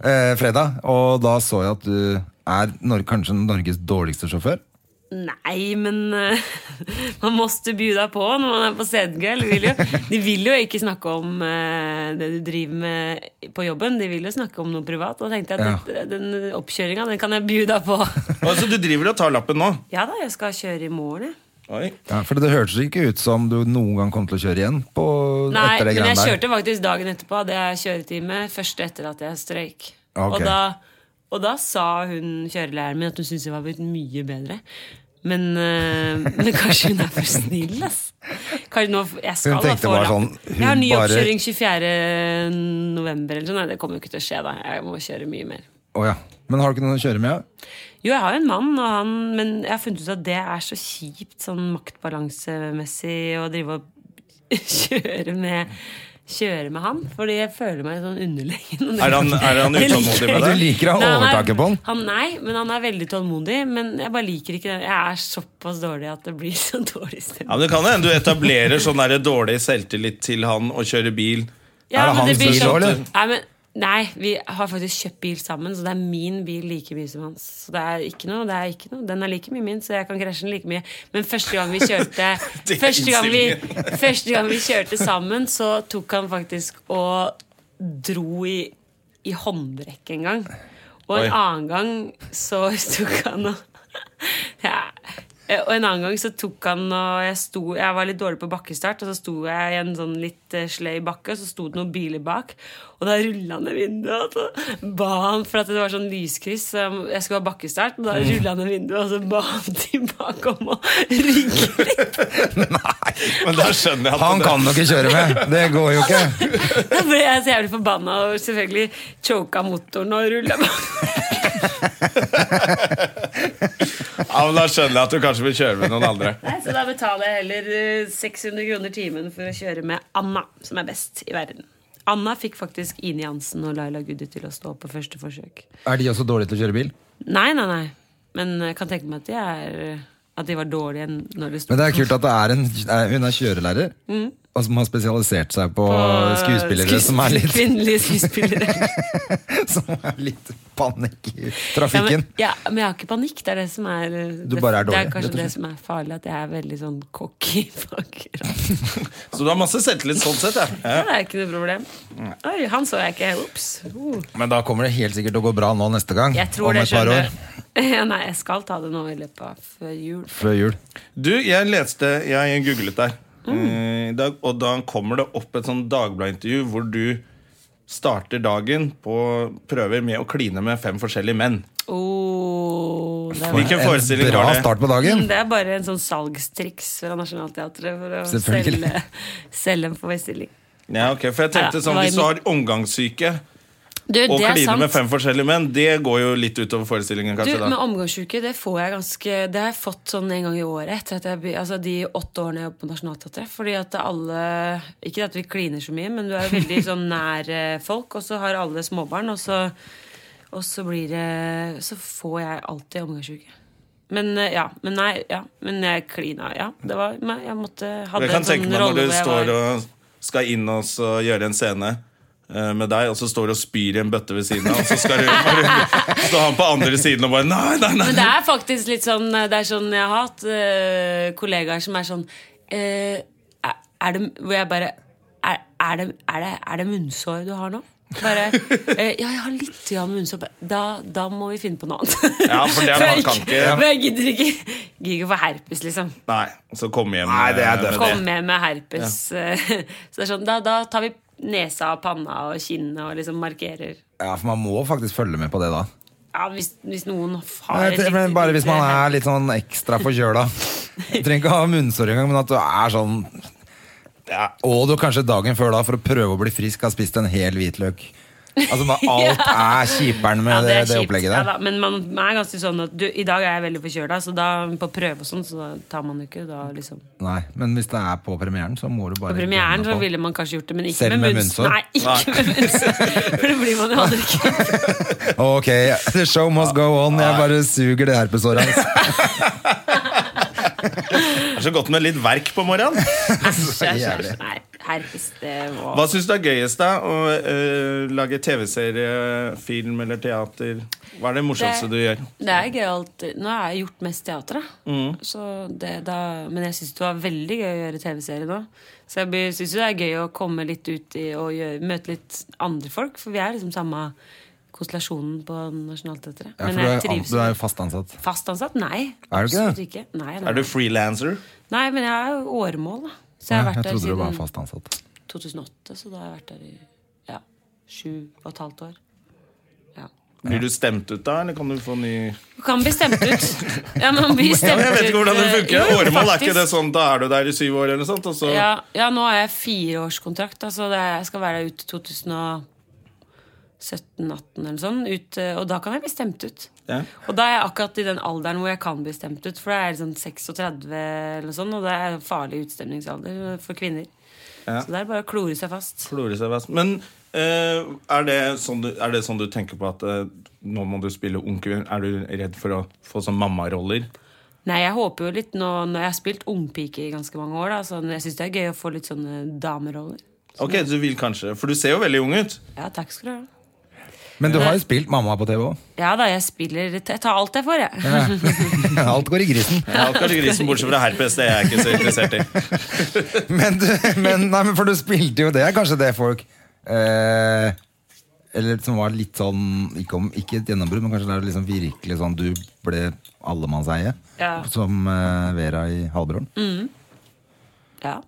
[SPEAKER 2] eh, fredag, og da så jeg at du er nor kanskje Norges dårligste sjåfør.
[SPEAKER 3] Nei, men eh, man måste bjuda på når man er på Sedgell. De vil jo ikke snakke om eh, det du driver med på jobben, de vil jo snakke om noe privat. Og da tenkte jeg at den, den oppkjøringa, den kan jeg bjuda på.
[SPEAKER 1] Og så Altså, du driver og tar lappen nå?
[SPEAKER 3] Ja da, jeg skal kjøre i morgen, jeg.
[SPEAKER 1] Oi.
[SPEAKER 2] Ja, for det hørtes ikke ut som du noen gang kom til å kjøre igjen på,
[SPEAKER 3] Nei,
[SPEAKER 2] etter det
[SPEAKER 3] men jeg
[SPEAKER 2] greiene der.
[SPEAKER 3] kjørte faktisk dagen etterpå. Hadde jeg kjøretime først etter at jeg strøyk.
[SPEAKER 2] Ok.
[SPEAKER 3] Og, da, og da sa hun kjørelæreren min at hun syntes jeg var blitt mye bedre. Men, eh, men kanskje hun er for snill, ass. Kanskje nå, jeg skal
[SPEAKER 2] Hun
[SPEAKER 3] da
[SPEAKER 2] tenkte
[SPEAKER 3] få
[SPEAKER 2] bare
[SPEAKER 3] lapp.
[SPEAKER 2] sånn, hun
[SPEAKER 3] Jeg har ny
[SPEAKER 2] bare-
[SPEAKER 3] oppkjøring 24. november eller sånn. Nei, det kommer jo ikke til å skje, da. Jeg må kjøre mye mer.
[SPEAKER 2] Å ja. Men har du ikke noen å kjøre med? ja?
[SPEAKER 3] Jo, jeg har jo en mann, og han, men jeg har funnet ut at det er så kjipt sånn maktbalansemessig å drive og kjøre med Kjøre med han, fordi jeg føler meg sånn underlegen.
[SPEAKER 1] Er han- er han
[SPEAKER 3] Jeg
[SPEAKER 1] utålmodig
[SPEAKER 3] liker-
[SPEAKER 1] med
[SPEAKER 2] deg? Du liker å ha
[SPEAKER 3] Nei, han er-
[SPEAKER 2] overtaket på han?
[SPEAKER 3] han? Nei, men han er veldig tålmodig. Men jeg bare liker ikke det. Jeg er såpass dårlig at det blir så dårlig stemning.
[SPEAKER 1] Ja, men det kan hende du etablerer sånn der dårlig selvtillit til han og kjører bil.
[SPEAKER 2] Er det
[SPEAKER 3] men
[SPEAKER 2] hans
[SPEAKER 3] blir
[SPEAKER 2] bil
[SPEAKER 3] sånn-
[SPEAKER 2] også, eller?
[SPEAKER 3] Nei, men, nei, vi har faktisk kjøpt bil sammen, så det er min bil like mye som hans. Så det er ikke noe, det er ikke noe. Den er like mye min, så jeg kan krasje den like mye. Men første gang vi kjørte
[SPEAKER 1] Det er
[SPEAKER 3] første, gang vi, første gang vi kjørte sammen, så tok han faktisk og dro i, i håndbrekket en gang. Og en
[SPEAKER 1] Oi.
[SPEAKER 3] annen gang så tok han og ja, Eh, Og en annen gang så tok han og jeg, sto, jeg var litt dårlig på bakkestart, og så sto jeg i en sånn litt eh, sløy bakke, og så sto det noen biler bak. Og da rulla han ned vinduet, og så ba han For at det var sånn lyskryss, så jeg skulle ha bakkestart, og da rulla han ned vinduet, og så ba han tilbake om å rygge litt.
[SPEAKER 1] Men da skjønner jeg at
[SPEAKER 2] Han
[SPEAKER 1] det,
[SPEAKER 2] kan du ikke kjøre med! Det går jo ikke.
[SPEAKER 3] Da ble jeg så jævlig forbanna og selvfølgelig choka motoren og rulla
[SPEAKER 1] ja, men da skjønner jeg at du kanskje vil kjøre med noen andre.
[SPEAKER 3] Nei, Så da betaler jeg heller eh, 600 kroner timen for å kjøre med Anna, som er best i verden. Anna fikk faktisk Ine Jansen og Laila Gudde til å stå på første forsøk.
[SPEAKER 2] Er de også dårlige til å kjøre bil?
[SPEAKER 3] Nei, nei, nei. Men jeg kan tenke meg at de, er, at de var dårlige enn når de sto
[SPEAKER 2] Men det er kult at det er en, eh, hun er kjørelærer, og som har spesialisert seg på
[SPEAKER 3] eh,
[SPEAKER 2] skuespillere som er litt,
[SPEAKER 3] Kvinnelige skuespillere.
[SPEAKER 2] som er litt panikk i
[SPEAKER 3] Ja, men,
[SPEAKER 2] trafikken.
[SPEAKER 3] ja, men jeg har ikke panikk. Det er det som er
[SPEAKER 2] Du bare er
[SPEAKER 3] Det
[SPEAKER 2] dårlig,
[SPEAKER 3] er kanskje
[SPEAKER 2] rett og
[SPEAKER 3] det
[SPEAKER 2] slett.
[SPEAKER 3] som er farlig, at jeg er veldig sånn cocky. fucker.
[SPEAKER 1] Så du har masse selvtillit sånn sett. jeg. Ja.
[SPEAKER 3] Ja, Det er ikke noe problem. Oi, han så jeg ikke. Ops. Uh.
[SPEAKER 2] Men da kommer det helt sikkert til å gå bra nå neste gang.
[SPEAKER 3] Jeg tror
[SPEAKER 2] om
[SPEAKER 3] det
[SPEAKER 2] et par
[SPEAKER 3] skjønner.
[SPEAKER 2] år.
[SPEAKER 3] Ja, nei, jeg skal ta det nå i løpet av før jul.
[SPEAKER 2] Før jul.
[SPEAKER 1] Du, jeg leste, jeg googlet deg eh, i dag, og da kommer det opp et sånn Dagbladet-intervju hvor du starter dagen på prøver med å kline med fem forskjellige menn.
[SPEAKER 3] Oh, det, er,
[SPEAKER 1] Hvilken forestilling
[SPEAKER 2] en bra
[SPEAKER 1] var det?
[SPEAKER 2] start på dagen.
[SPEAKER 3] det er bare en sånn salgstriks fra Nationaltheatret for å
[SPEAKER 2] Selvfølgelig.
[SPEAKER 3] selge, selge en forestilling.
[SPEAKER 1] Ja, ok, for jeg tenkte
[SPEAKER 3] Ja,
[SPEAKER 1] sånn,
[SPEAKER 3] var i
[SPEAKER 1] Hvis du har omgangssyke
[SPEAKER 3] Du,
[SPEAKER 1] og
[SPEAKER 3] det er
[SPEAKER 1] kliner med
[SPEAKER 3] sant.
[SPEAKER 1] fem forskjellige menn, det går jo litt utover forestillingen,
[SPEAKER 3] Du,
[SPEAKER 1] kanskje.
[SPEAKER 3] med
[SPEAKER 1] da
[SPEAKER 3] omgangsuke, det får jeg ganske Det har jeg fått sånn en gang i året etter at jeg, be- altså de åtte årene jeg jobbet på Nationaltheatret. Fordi at alle Ikke at vi kliner så mye, men du er jo veldig sånn nær eh, folk, og så har alle småbarn, og så, og så blir det Så får jeg alltid omgangsuke. Men eh, ja. Men nei, ja. Men jeg klina, ja. Det var nei, Jeg måtte
[SPEAKER 1] Jeg
[SPEAKER 3] Hadde
[SPEAKER 1] kan
[SPEAKER 3] en
[SPEAKER 1] tenke
[SPEAKER 3] sånn
[SPEAKER 1] meg når
[SPEAKER 3] rolle
[SPEAKER 1] du
[SPEAKER 3] hvor jeg
[SPEAKER 1] står
[SPEAKER 3] var
[SPEAKER 1] og skal inn og så gjøre en scene eh, med deg, og så står du og spyr i en bøtte ved siden av, og så skal du bare stå han på andre siden og bare Nei, nei, nei!
[SPEAKER 3] Men det er faktisk litt sånn Det er sånn jeg har hatt eh, kollegaer som er sånn eh, er, er det, Hvor jeg bare er, er, det, er, det, er det munnsår du har nå? Bare, eh, ja, jeg har litt grann munnsår. Bare, Da, da må vi finne på noe annet.
[SPEAKER 1] Ja, for det er- man kan ikke-
[SPEAKER 3] For jeg gidder ikke Gidder ikke å få herpes, liksom.
[SPEAKER 1] Nei, så kom hjem.
[SPEAKER 2] Nei, det er
[SPEAKER 1] eh,
[SPEAKER 2] døft.
[SPEAKER 1] med
[SPEAKER 3] Komme med med herpes. eh, Så det er sånn, da, da tar vi nesa og panna og kinnet og liksom markerer.
[SPEAKER 2] Ja, for man må faktisk følge med på det da.
[SPEAKER 3] Ja, hvis, hvis noen har
[SPEAKER 2] Nei,
[SPEAKER 3] et
[SPEAKER 2] det- men
[SPEAKER 3] riktig
[SPEAKER 2] bare hvis man
[SPEAKER 3] lite-
[SPEAKER 2] er litt sånn ekstra forkjøla. Du trenger ikke ha munnsår engang, men at du er sånn ja, Og du kanskje dagen før da, for å prøve å bli frisk, har spist en hel hvitløk. Altså, når alt er kjiperen med det, det,
[SPEAKER 3] kjipt.
[SPEAKER 2] opplegget
[SPEAKER 3] Ja,
[SPEAKER 2] der.
[SPEAKER 3] da, men man er ganske sånn at du, i dag er jeg veldig forkjøla, så da på prøve og sånn, så da tar man jo ikke da liksom
[SPEAKER 2] Nei, Men hvis det er på premieren, så må du bare
[SPEAKER 3] På premieren
[SPEAKER 2] gønne
[SPEAKER 3] så
[SPEAKER 2] på.
[SPEAKER 3] ville man kanskje gjort det, men ikke
[SPEAKER 2] Selv med
[SPEAKER 3] med munnsår.
[SPEAKER 2] munnsår?
[SPEAKER 3] Nei, ikke med munnsår. For det blir man jo aldri ikke.
[SPEAKER 2] Ok, the show must go on. Jeg bare suger det herpesåret hans.
[SPEAKER 1] Det er så godt med litt verk på morgenen.
[SPEAKER 3] Æsj, æsj, æsj.
[SPEAKER 2] jævlig.
[SPEAKER 3] Nei, herpes, det var
[SPEAKER 1] Hva syns du er gøyest, da? Å eh, lage TV-serie, film eller teater? Hva er det morsomste
[SPEAKER 3] Det-
[SPEAKER 1] du gjør?
[SPEAKER 3] Det er gøyalt. Nå har jeg gjort mest teater, da.
[SPEAKER 2] Mm.
[SPEAKER 3] Så det, da men jeg syns det var veldig gøy å gjøre TV-serie nå. Så jeg syns det er gøy å komme litt ut i, og gjøre, møte litt andre folk, for vi er liksom samme konstellasjonen på Nationaltheatret.
[SPEAKER 2] Ja, for
[SPEAKER 3] men
[SPEAKER 2] du er,
[SPEAKER 3] jeg
[SPEAKER 2] an-
[SPEAKER 3] trives
[SPEAKER 2] du er jo fast ansatt.
[SPEAKER 3] fast ansatt. Nei.
[SPEAKER 2] Er du ikke
[SPEAKER 3] absolutt
[SPEAKER 2] det?
[SPEAKER 3] ikke? Nei, nei.
[SPEAKER 1] Er du frilanser?
[SPEAKER 3] nei, men jeg er jo åremål, da. Så jeg har
[SPEAKER 2] Jeg,
[SPEAKER 3] vært der
[SPEAKER 2] trodde du var
[SPEAKER 3] siden
[SPEAKER 2] fast ansatt.
[SPEAKER 3] 2008, så da har jeg vært der i ja, sju og et halvt år. Ja.
[SPEAKER 1] Blir du stemt ut da, eller kan du få ny
[SPEAKER 3] Du kan bli stemt ut. Ja, men man blir stemt ut.
[SPEAKER 1] Jeg vet ikke hvordan det funker.
[SPEAKER 3] Eh, Jo, jo,
[SPEAKER 1] Åremål er
[SPEAKER 3] faktisk.
[SPEAKER 1] ikke det sånn da er du der i syv år, eller noe sånt, og så
[SPEAKER 3] Ja, ja, nå har jeg fireårskontrakt. Altså det, jeg skal være der ut 2017-18 eller sånn. Ut, eh, og da kan jeg bli stemt ut.
[SPEAKER 1] Ja.
[SPEAKER 3] Og da er jeg akkurat i den alderen hvor jeg kan bli stemt ut. For da er jeg sånn 36 eller noe sånt, og det er en farlig utstemningsalder for kvinner.
[SPEAKER 1] Ja.
[SPEAKER 3] Så det er bare å klore seg fast.
[SPEAKER 1] klorer seg best. Men eh, er, det sånn du, er det sånn du tenker på at eh, nå må du spille onkel? Er du redd for å få sånn mammaroller?
[SPEAKER 3] Nei, jeg håper jo litt nå når jeg har spilt ungpike i ganske mange år, da, så jeg syns det er gøy å få litt sånne dameroller.
[SPEAKER 1] Ok, du vil kanskje For du ser jo veldig ung ut.
[SPEAKER 3] Ja, takk skal du ha.
[SPEAKER 2] Men du har jo spilt mamma på TV òg.
[SPEAKER 3] Ja da, jeg spiller Jeg tar alt jeg får, jeg.
[SPEAKER 2] Alt går i grisen.
[SPEAKER 1] Jeg har kanskje grisen bortsett fra herpes. Det er jeg ikke så interessert i.
[SPEAKER 2] Men, du, men, nei, men for du spilte jo det, er kanskje det folk eh, eller som var litt sånn Ikke, om, ikke et gjennombrudd, men kanskje det er liksom virkelig sånn du ble allemannseie.
[SPEAKER 3] Ja. Mm.
[SPEAKER 2] Som eh, Vera i Halvbroren.
[SPEAKER 3] Ja.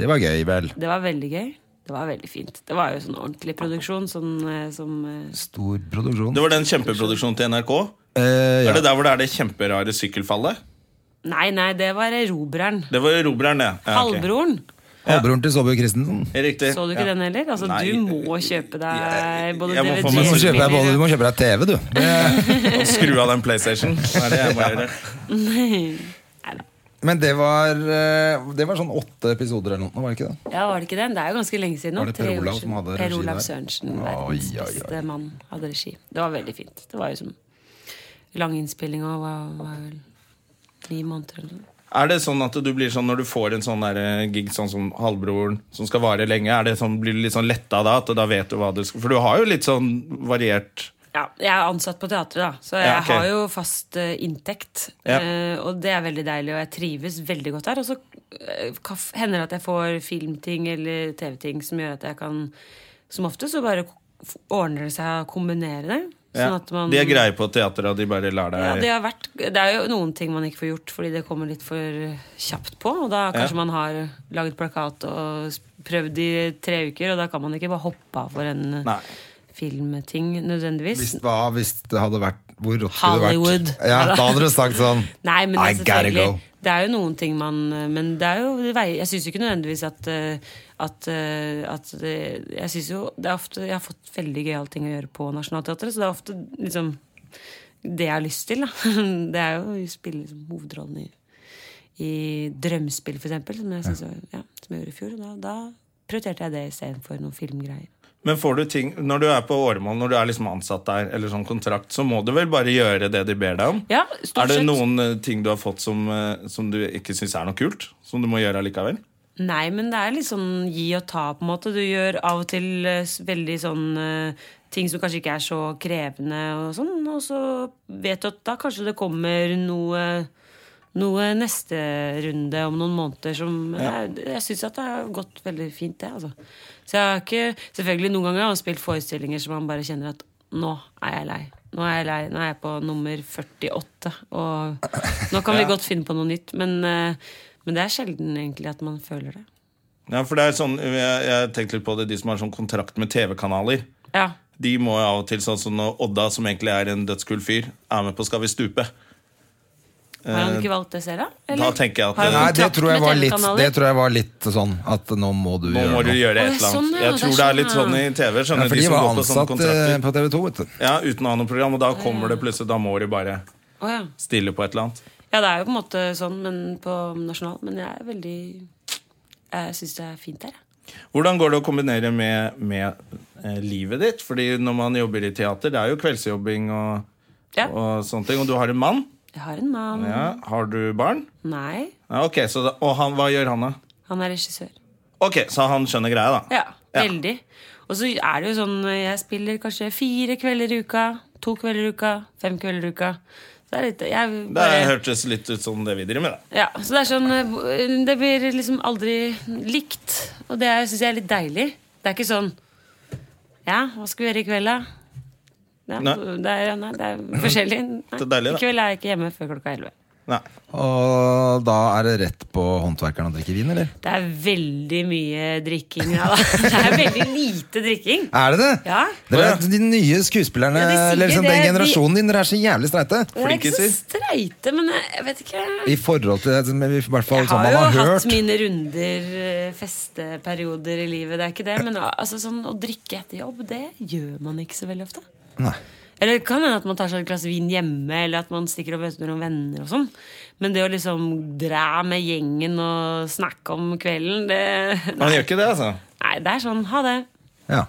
[SPEAKER 2] Det var gøy, vel.
[SPEAKER 3] Det var veldig gøy. Det var veldig fint. Det var jo sånn ordentlig produksjon. Sånn, eh, som, eh,
[SPEAKER 2] Stor produksjon.
[SPEAKER 1] Det var den kjempeproduksjonen til NRK.
[SPEAKER 2] Eh, ja.
[SPEAKER 1] Er det der hvor det er det kjemperare sykkelfallet?
[SPEAKER 3] nei, nei, det var Erobreren.
[SPEAKER 1] Det var Robreren, det. Ja, ok.
[SPEAKER 3] Halvbroren.
[SPEAKER 2] Halvbroren til Saabye Christensen.
[SPEAKER 1] Riktig.
[SPEAKER 3] Så du ikke
[SPEAKER 1] ja.
[SPEAKER 3] den heller? Altså,
[SPEAKER 1] Nei,
[SPEAKER 3] du må
[SPEAKER 1] jeg-
[SPEAKER 3] kjøpe deg både
[SPEAKER 1] jeg må
[SPEAKER 3] DVD
[SPEAKER 1] få
[SPEAKER 2] Du
[SPEAKER 1] meg
[SPEAKER 2] må
[SPEAKER 1] så
[SPEAKER 2] kjøpe deg, både- du
[SPEAKER 3] og
[SPEAKER 2] må kjøpe deg TV, du. Det,
[SPEAKER 1] Og skru av den PlayStation. Det er det jeg bare gjør.
[SPEAKER 2] men det var, eh, det var sånn åtte episoder eller noe, var det ikke det?
[SPEAKER 3] Ja, var det ikke den? Det er jo ganske lenge siden nå.
[SPEAKER 2] Var det Per
[SPEAKER 3] tre år
[SPEAKER 2] Olav
[SPEAKER 3] siden.
[SPEAKER 2] som hadde
[SPEAKER 3] Per
[SPEAKER 2] regi
[SPEAKER 3] Olav
[SPEAKER 2] der?
[SPEAKER 3] Sørensen,
[SPEAKER 2] Oi,
[SPEAKER 3] verdens
[SPEAKER 2] oi, oi.
[SPEAKER 3] beste mann, hadde regi. Det var veldig fint. Det var jo som lang innspilling og var, var vel ni måneder eller noe.
[SPEAKER 1] Er det sånn at du blir sånn når du får en sånn der eh, gig sånn som Halvbroren, som skal vare lenge, er det sånn, blir du litt sånn letta da? At da vet du hva du skal For du har jo litt sånn variert
[SPEAKER 3] Ja, jeg er ansatt på teatret, da, så jeg
[SPEAKER 1] Ja, ok.
[SPEAKER 3] har jo fast eh, inntekt.
[SPEAKER 1] Ja.
[SPEAKER 3] Eh, og det er veldig deilig, og jeg trives veldig godt der. Og så eh, kaff- hender det at jeg får filmting eller TV-ting som gjør at jeg kan Som ofte så bare ko- f- ordner det seg å kombinere det.
[SPEAKER 1] ja.
[SPEAKER 3] Sånn at man
[SPEAKER 1] De er greie på teatret, og de bare lar deg
[SPEAKER 3] Ja, det, har vært, det er jo noen ting man ikke får gjort fordi det kommer litt for kjapt på. Og da kanskje
[SPEAKER 1] Ja.
[SPEAKER 3] man har laget plakat og s- prøvd i tre uker, og da kan man ikke bare hoppe av for en
[SPEAKER 1] Nei.
[SPEAKER 3] filmting nødvendigvis.
[SPEAKER 2] Hvis, hva, hvis det hadde vært Hvor rått skulle det vært?
[SPEAKER 3] Hollywood.
[SPEAKER 2] Ja, da hadde du sagt sånn
[SPEAKER 3] Nei, men det
[SPEAKER 2] I
[SPEAKER 3] er
[SPEAKER 2] gotta
[SPEAKER 3] selvfølgelig
[SPEAKER 2] go.
[SPEAKER 3] Det er jo noen ting man eh, Men det er jo det veier- Jeg syns ikke nødvendigvis at eh, At, eh, at det, Jeg syns jo det er ofte Jeg har fått veldig gøyale ting å gjøre på Nationaltheatret, så det er ofte liksom det jeg har lyst til, da. Det er jo å spille liksom, hovedrollen i, i Drømmespill, for eksempel, som jeg, synes, var- ja, som jeg gjorde i fjor. Og da, da prioriterte jeg det istedenfor noen filmgreier.
[SPEAKER 1] Men får du ting Når du er på Åremål, når du er liksom ansatt der, eller sånn kontrakt, så må du vel bare gjøre det de ber deg om?
[SPEAKER 3] Ja,
[SPEAKER 1] Er
[SPEAKER 3] stort
[SPEAKER 1] det
[SPEAKER 3] sett.
[SPEAKER 1] noen eh, ting du har fått som, eh, som du ikke syns er noe kult? Som du må gjøre allikevel?
[SPEAKER 3] Nei, men det er litt sånn gi og ta, på en måte. Du gjør av og til eh, s- veldig sånn eh, ting som kanskje ikke er så krevende, og sånn, og så vet du at da kanskje det kommer noe noe neste runde om noen måneder som Jeg, jeg syns at det har gått veldig fint, det, altså. Så jeg har ikke Selvfølgelig, noen ganger har man spilt forestillinger som man bare kjenner at nå er jeg lei. Nå er jeg lei, nå er jeg på nummer 48, og nå kan vi godt finne på noe nytt. Men, eh, men det er sjelden egentlig at man føler det.
[SPEAKER 1] Ja, for det er sånn, jeg, jeg tenkte litt på det, de som har sånn kontrakt med TV-kanaler.
[SPEAKER 3] Ja,
[SPEAKER 1] De må jo av og til sånn som når Odda, som egentlig er en dødskul fyr, er med på Skal vi stupe.
[SPEAKER 3] Har han ikke valgt det selv, da?
[SPEAKER 1] Da tenker jeg at
[SPEAKER 3] Har han
[SPEAKER 2] Nei,
[SPEAKER 1] eh,
[SPEAKER 2] det
[SPEAKER 3] kontrakt
[SPEAKER 2] tror jeg
[SPEAKER 3] med
[SPEAKER 2] var litt
[SPEAKER 3] TV-kanaler?
[SPEAKER 2] Det tror jeg var litt sånn at nå må du
[SPEAKER 1] nå må
[SPEAKER 2] gjøre
[SPEAKER 1] du
[SPEAKER 2] noe.
[SPEAKER 1] gjøre
[SPEAKER 3] Å,
[SPEAKER 1] et eller
[SPEAKER 3] sånn,
[SPEAKER 1] annet.
[SPEAKER 3] ja,
[SPEAKER 1] Jeg
[SPEAKER 3] det er
[SPEAKER 1] tror det er litt
[SPEAKER 3] sånn,
[SPEAKER 1] sånn i TV.
[SPEAKER 2] Ja,
[SPEAKER 1] skjønner du,
[SPEAKER 2] for
[SPEAKER 1] de
[SPEAKER 2] de
[SPEAKER 1] som
[SPEAKER 2] var
[SPEAKER 1] går på sånne
[SPEAKER 2] ansatt eh,
[SPEAKER 1] kontrakter.
[SPEAKER 2] på TV 2, vet du.
[SPEAKER 1] Ja, Uten å ha noe program, og da kommer det plutselig. Da må de bare
[SPEAKER 3] Å, ja.
[SPEAKER 1] stille på et eller annet.
[SPEAKER 3] Ja, det er jo på en måte sånn men på nasjonal, men jeg er veldig Jeg syns det er fint der, jeg.
[SPEAKER 1] Hvordan går det å kombinere med, med eh, livet ditt? Fordi når man jobber i teater, det er jo kveldsjobbing og,
[SPEAKER 3] Ja.
[SPEAKER 1] og sånne ting. Og du har en mann.
[SPEAKER 3] Jeg har en mann.
[SPEAKER 1] Ja. Har du barn?
[SPEAKER 3] Nei,
[SPEAKER 1] Ja, ok, så da, Og han, hva gjør han, da?
[SPEAKER 3] han er regissør.
[SPEAKER 1] Ok, Så han skjønner greia, da.
[SPEAKER 3] Ja, veldig. Og så er det jo sånn jeg spiller kanskje fire kvelder i uka, to kvelder i uka, fem kvelder i uka. Så det er litt jeg,
[SPEAKER 1] Det
[SPEAKER 3] bare,
[SPEAKER 1] hørtes litt ut som det vi driver med. da.
[SPEAKER 3] Ja, så det er sånn eh, Det blir liksom aldri likt. Og det syns jeg er litt deilig. Det er ikke sånn Ja, hva skal vi gjøre i kveld, da? Ja,
[SPEAKER 1] Nei.
[SPEAKER 3] Det, er, nei, det er forskjellig. Nei,
[SPEAKER 1] Det er deilig, da.
[SPEAKER 3] I kveld er jeg ikke hjemme før klokka elleve.
[SPEAKER 1] Nei.
[SPEAKER 2] Og da er det rett på håndverkeren å drikke vin, eller?
[SPEAKER 3] Det er veldig mye drikking. Ja, da. Det er veldig lite drikking.
[SPEAKER 2] Er det det?
[SPEAKER 3] Ja.
[SPEAKER 2] Dere, er- de nye skuespillerne,
[SPEAKER 3] Ja, de sier
[SPEAKER 2] eller liksom den
[SPEAKER 3] det, de-
[SPEAKER 2] generasjonen din, dere er så jævlig streite.
[SPEAKER 3] Det er ikke så
[SPEAKER 1] Flinkiser.
[SPEAKER 3] streite, men jeg jeg vet ikke
[SPEAKER 2] I forhold til det, men i hvert fall
[SPEAKER 3] Jeg
[SPEAKER 2] sånn
[SPEAKER 3] har
[SPEAKER 2] man
[SPEAKER 3] jo
[SPEAKER 2] har hørt.
[SPEAKER 3] hatt mine runder, eh, festeperioder i livet, det er ikke det. Men altså, sånn, å drikke etter jobb, det gjør man ikke så veldig ofte.
[SPEAKER 2] Nei.
[SPEAKER 3] Eller det kan hende at man tar seg et glass vin hjemme, eller at man stikker og møter noen venner og sånn. Men det å liksom dra med gjengen og snakke om kvelden, det
[SPEAKER 1] Han
[SPEAKER 3] Nei,
[SPEAKER 1] gjør ikke det, altså.
[SPEAKER 3] nei det er sånn. Ha det.
[SPEAKER 2] Ja.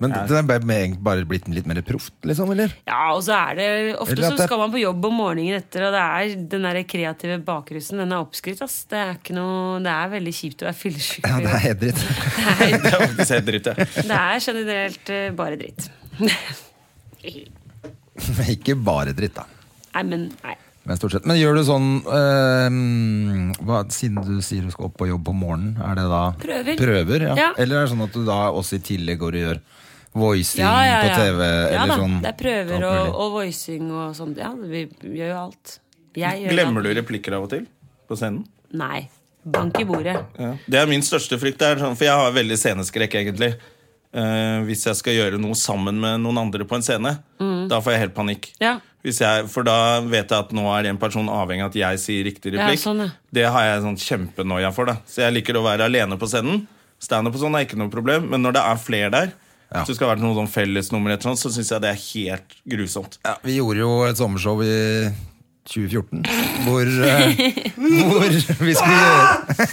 [SPEAKER 2] Men det er bare- med- bare blitt litt mer proft, liksom, eller?
[SPEAKER 3] Ja, og så er det Ofte
[SPEAKER 2] Eller at
[SPEAKER 3] så
[SPEAKER 2] det er-
[SPEAKER 3] skal man på jobb om morgenen etter, og det er den der kreative bakrusen, den er oppskrytt, ass. Det er ikke noe Det er veldig kjipt å være fyllesyk.
[SPEAKER 2] Ja,
[SPEAKER 3] på
[SPEAKER 2] det
[SPEAKER 3] jobb.
[SPEAKER 2] er helt dritt.
[SPEAKER 1] Det er faktisk helt dritt, ja.
[SPEAKER 3] Det er generelt eh, bare dritt. nei,
[SPEAKER 2] Ikke bare dritt, da.
[SPEAKER 3] men nei.
[SPEAKER 2] Men stort sett. Men gjør du sånn øhm, hva, Siden du sier du skal opp på jobb på morgenen, er det da
[SPEAKER 3] Prøver.
[SPEAKER 2] ja.
[SPEAKER 3] Ja.
[SPEAKER 2] Eller er det sånn at du da også i tillegg går og gjør voicing
[SPEAKER 3] Ja, ja, ja.
[SPEAKER 2] på TV.
[SPEAKER 3] ja,
[SPEAKER 2] eller
[SPEAKER 3] da.
[SPEAKER 2] sånn.
[SPEAKER 3] Det er prøver
[SPEAKER 2] Alt
[SPEAKER 3] og,
[SPEAKER 2] mulig.
[SPEAKER 3] og voicing og sånn. Ja, vi gjør jo alt. Jeg gjør
[SPEAKER 1] Glemmer
[SPEAKER 3] alt.
[SPEAKER 1] du replikker av og til på scenen?
[SPEAKER 3] Nei. Bank i bordet.
[SPEAKER 1] Det er min største frykt, det er sånn, for jeg har veldig sceneskrekk, egentlig. Eh, hvis jeg skal gjøre noe sammen med noen andre på en scene, da får jeg helt panikk.
[SPEAKER 3] Ja.
[SPEAKER 1] Hvis jeg, for da vet jeg at nå er en person avhengig av at jeg sier riktig
[SPEAKER 3] Ja,
[SPEAKER 1] replikk.
[SPEAKER 3] sånn, ja.
[SPEAKER 1] Det har jeg sånn kjempenoia for. da Så jeg liker å være alene på scenen. Standup og sånn er ikke noe problem, men når det er flere der,
[SPEAKER 2] Ja.
[SPEAKER 1] hvis det skal være noe sånn fellesnummer, eller sånt, så syns jeg det er helt grusomt.
[SPEAKER 2] Ja, vi gjorde jo et sommershow i 2014 hvor, eh, hvor vi skulle gjøre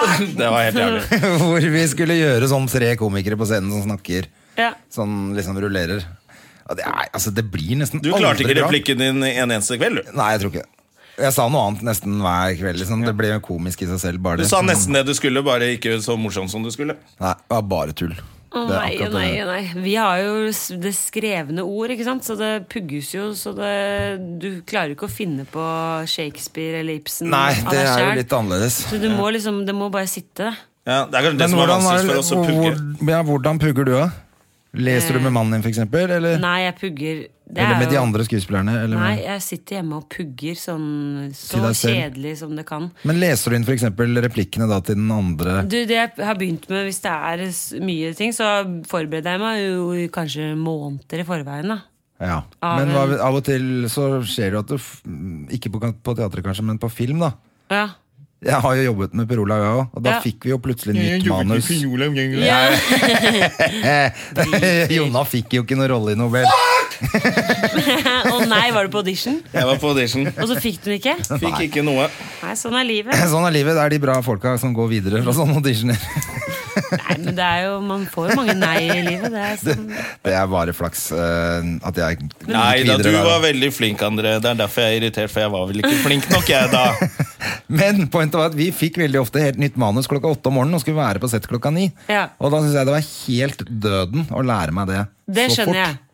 [SPEAKER 1] Det var helt jævlig.
[SPEAKER 2] Hvor vi skulle gjøre sånn tre komikere på scenen som snakker.
[SPEAKER 3] Ja.
[SPEAKER 2] Sånn liksom rullerer. Ja, det, er, altså, det blir nesten
[SPEAKER 1] Du klarte ikke
[SPEAKER 2] aldri bra.
[SPEAKER 1] replikken din en eneste kveld, du.
[SPEAKER 2] Nei, jeg tror ikke det. Jeg sa noe annet nesten hver kveld. Liksom. Det ble jo komisk i seg selv. Bare
[SPEAKER 1] Du
[SPEAKER 2] det.
[SPEAKER 1] sa nesten det du skulle, bare ikke så morsomt som du skulle.
[SPEAKER 2] Nei, det var bare tull.
[SPEAKER 3] Å
[SPEAKER 2] Det er
[SPEAKER 3] nei,
[SPEAKER 2] akkurat
[SPEAKER 3] å nei,
[SPEAKER 2] det.
[SPEAKER 3] å nei. Vi har jo s- det skrevne ord, ikke sant? så det pugges jo. Så det, du klarer ikke å finne på Shakespeare eller Ibsen
[SPEAKER 2] Nei,
[SPEAKER 3] av
[SPEAKER 2] det
[SPEAKER 3] deg
[SPEAKER 2] er jo
[SPEAKER 3] selv.
[SPEAKER 2] litt annerledes.
[SPEAKER 3] Så du må liksom, det må bare sitte.
[SPEAKER 1] Ja, det er kanskje det
[SPEAKER 2] Men
[SPEAKER 1] som er
[SPEAKER 2] hvordan,
[SPEAKER 1] vanskeligst
[SPEAKER 2] er,
[SPEAKER 1] for oss å pugge.
[SPEAKER 2] hvor- ja, hvordan pugger du, da? Leser du med mannen din, for eksempel? Eller,
[SPEAKER 3] Eh, Nei, jeg pugger. Det
[SPEAKER 2] eller
[SPEAKER 3] er
[SPEAKER 2] med de
[SPEAKER 3] jo-
[SPEAKER 2] andre skuespillerne? Eller
[SPEAKER 3] Nei,
[SPEAKER 2] med,
[SPEAKER 3] jeg sitter hjemme og pugger sånn så
[SPEAKER 2] Til deg selv.
[SPEAKER 3] kjedelig som det kan.
[SPEAKER 2] men leser du inn for eksempel replikkene da, til den andre?
[SPEAKER 3] Du, det jeg har begynt med, hvis det er s- mye ting, så forbereder jeg meg jo i kanskje måneder i forveien, da.
[SPEAKER 2] Ja.
[SPEAKER 3] Av
[SPEAKER 2] Men
[SPEAKER 3] en-
[SPEAKER 2] hva, av og til så skjer det jo at du f- Ikke på, kan- på teatret, kanskje, men på film, da.
[SPEAKER 3] Ja.
[SPEAKER 2] Jeg har jo jobbet med Per Olav, jeg òg, og da
[SPEAKER 3] Ja.
[SPEAKER 2] fikk vi jo plutselig nytt manus. Eh, Jonna fikk jo ikke noe rolle i Nobel.
[SPEAKER 3] Å nei, var du på audition?
[SPEAKER 1] Jeg var på audition.
[SPEAKER 3] Og så fikk du den ikke?
[SPEAKER 1] Fikk ikke noe.
[SPEAKER 3] Nei, sånn er livet.
[SPEAKER 2] Sånn er livet. Det er de bra folka som går videre fra sånne auditioner.
[SPEAKER 3] Nei, men det er jo, man får jo mange nei i livet. Det er sånn.
[SPEAKER 2] Det er bare flaks eh, at jeg gikk
[SPEAKER 1] Nei da,
[SPEAKER 2] videre
[SPEAKER 1] du
[SPEAKER 2] der,
[SPEAKER 1] var veldig flink, André. Det er derfor jeg er irritert, for jeg var vel ikke flink nok, jeg, da.
[SPEAKER 2] Men pointet var at vi fikk veldig ofte helt nytt manus klokka åtte om morgenen og skulle være på sett klokka ni.
[SPEAKER 3] Ja.
[SPEAKER 2] Og da syns jeg det var helt døden å lære meg det,
[SPEAKER 3] Det
[SPEAKER 2] så
[SPEAKER 3] skjønner
[SPEAKER 2] fort.
[SPEAKER 3] jeg.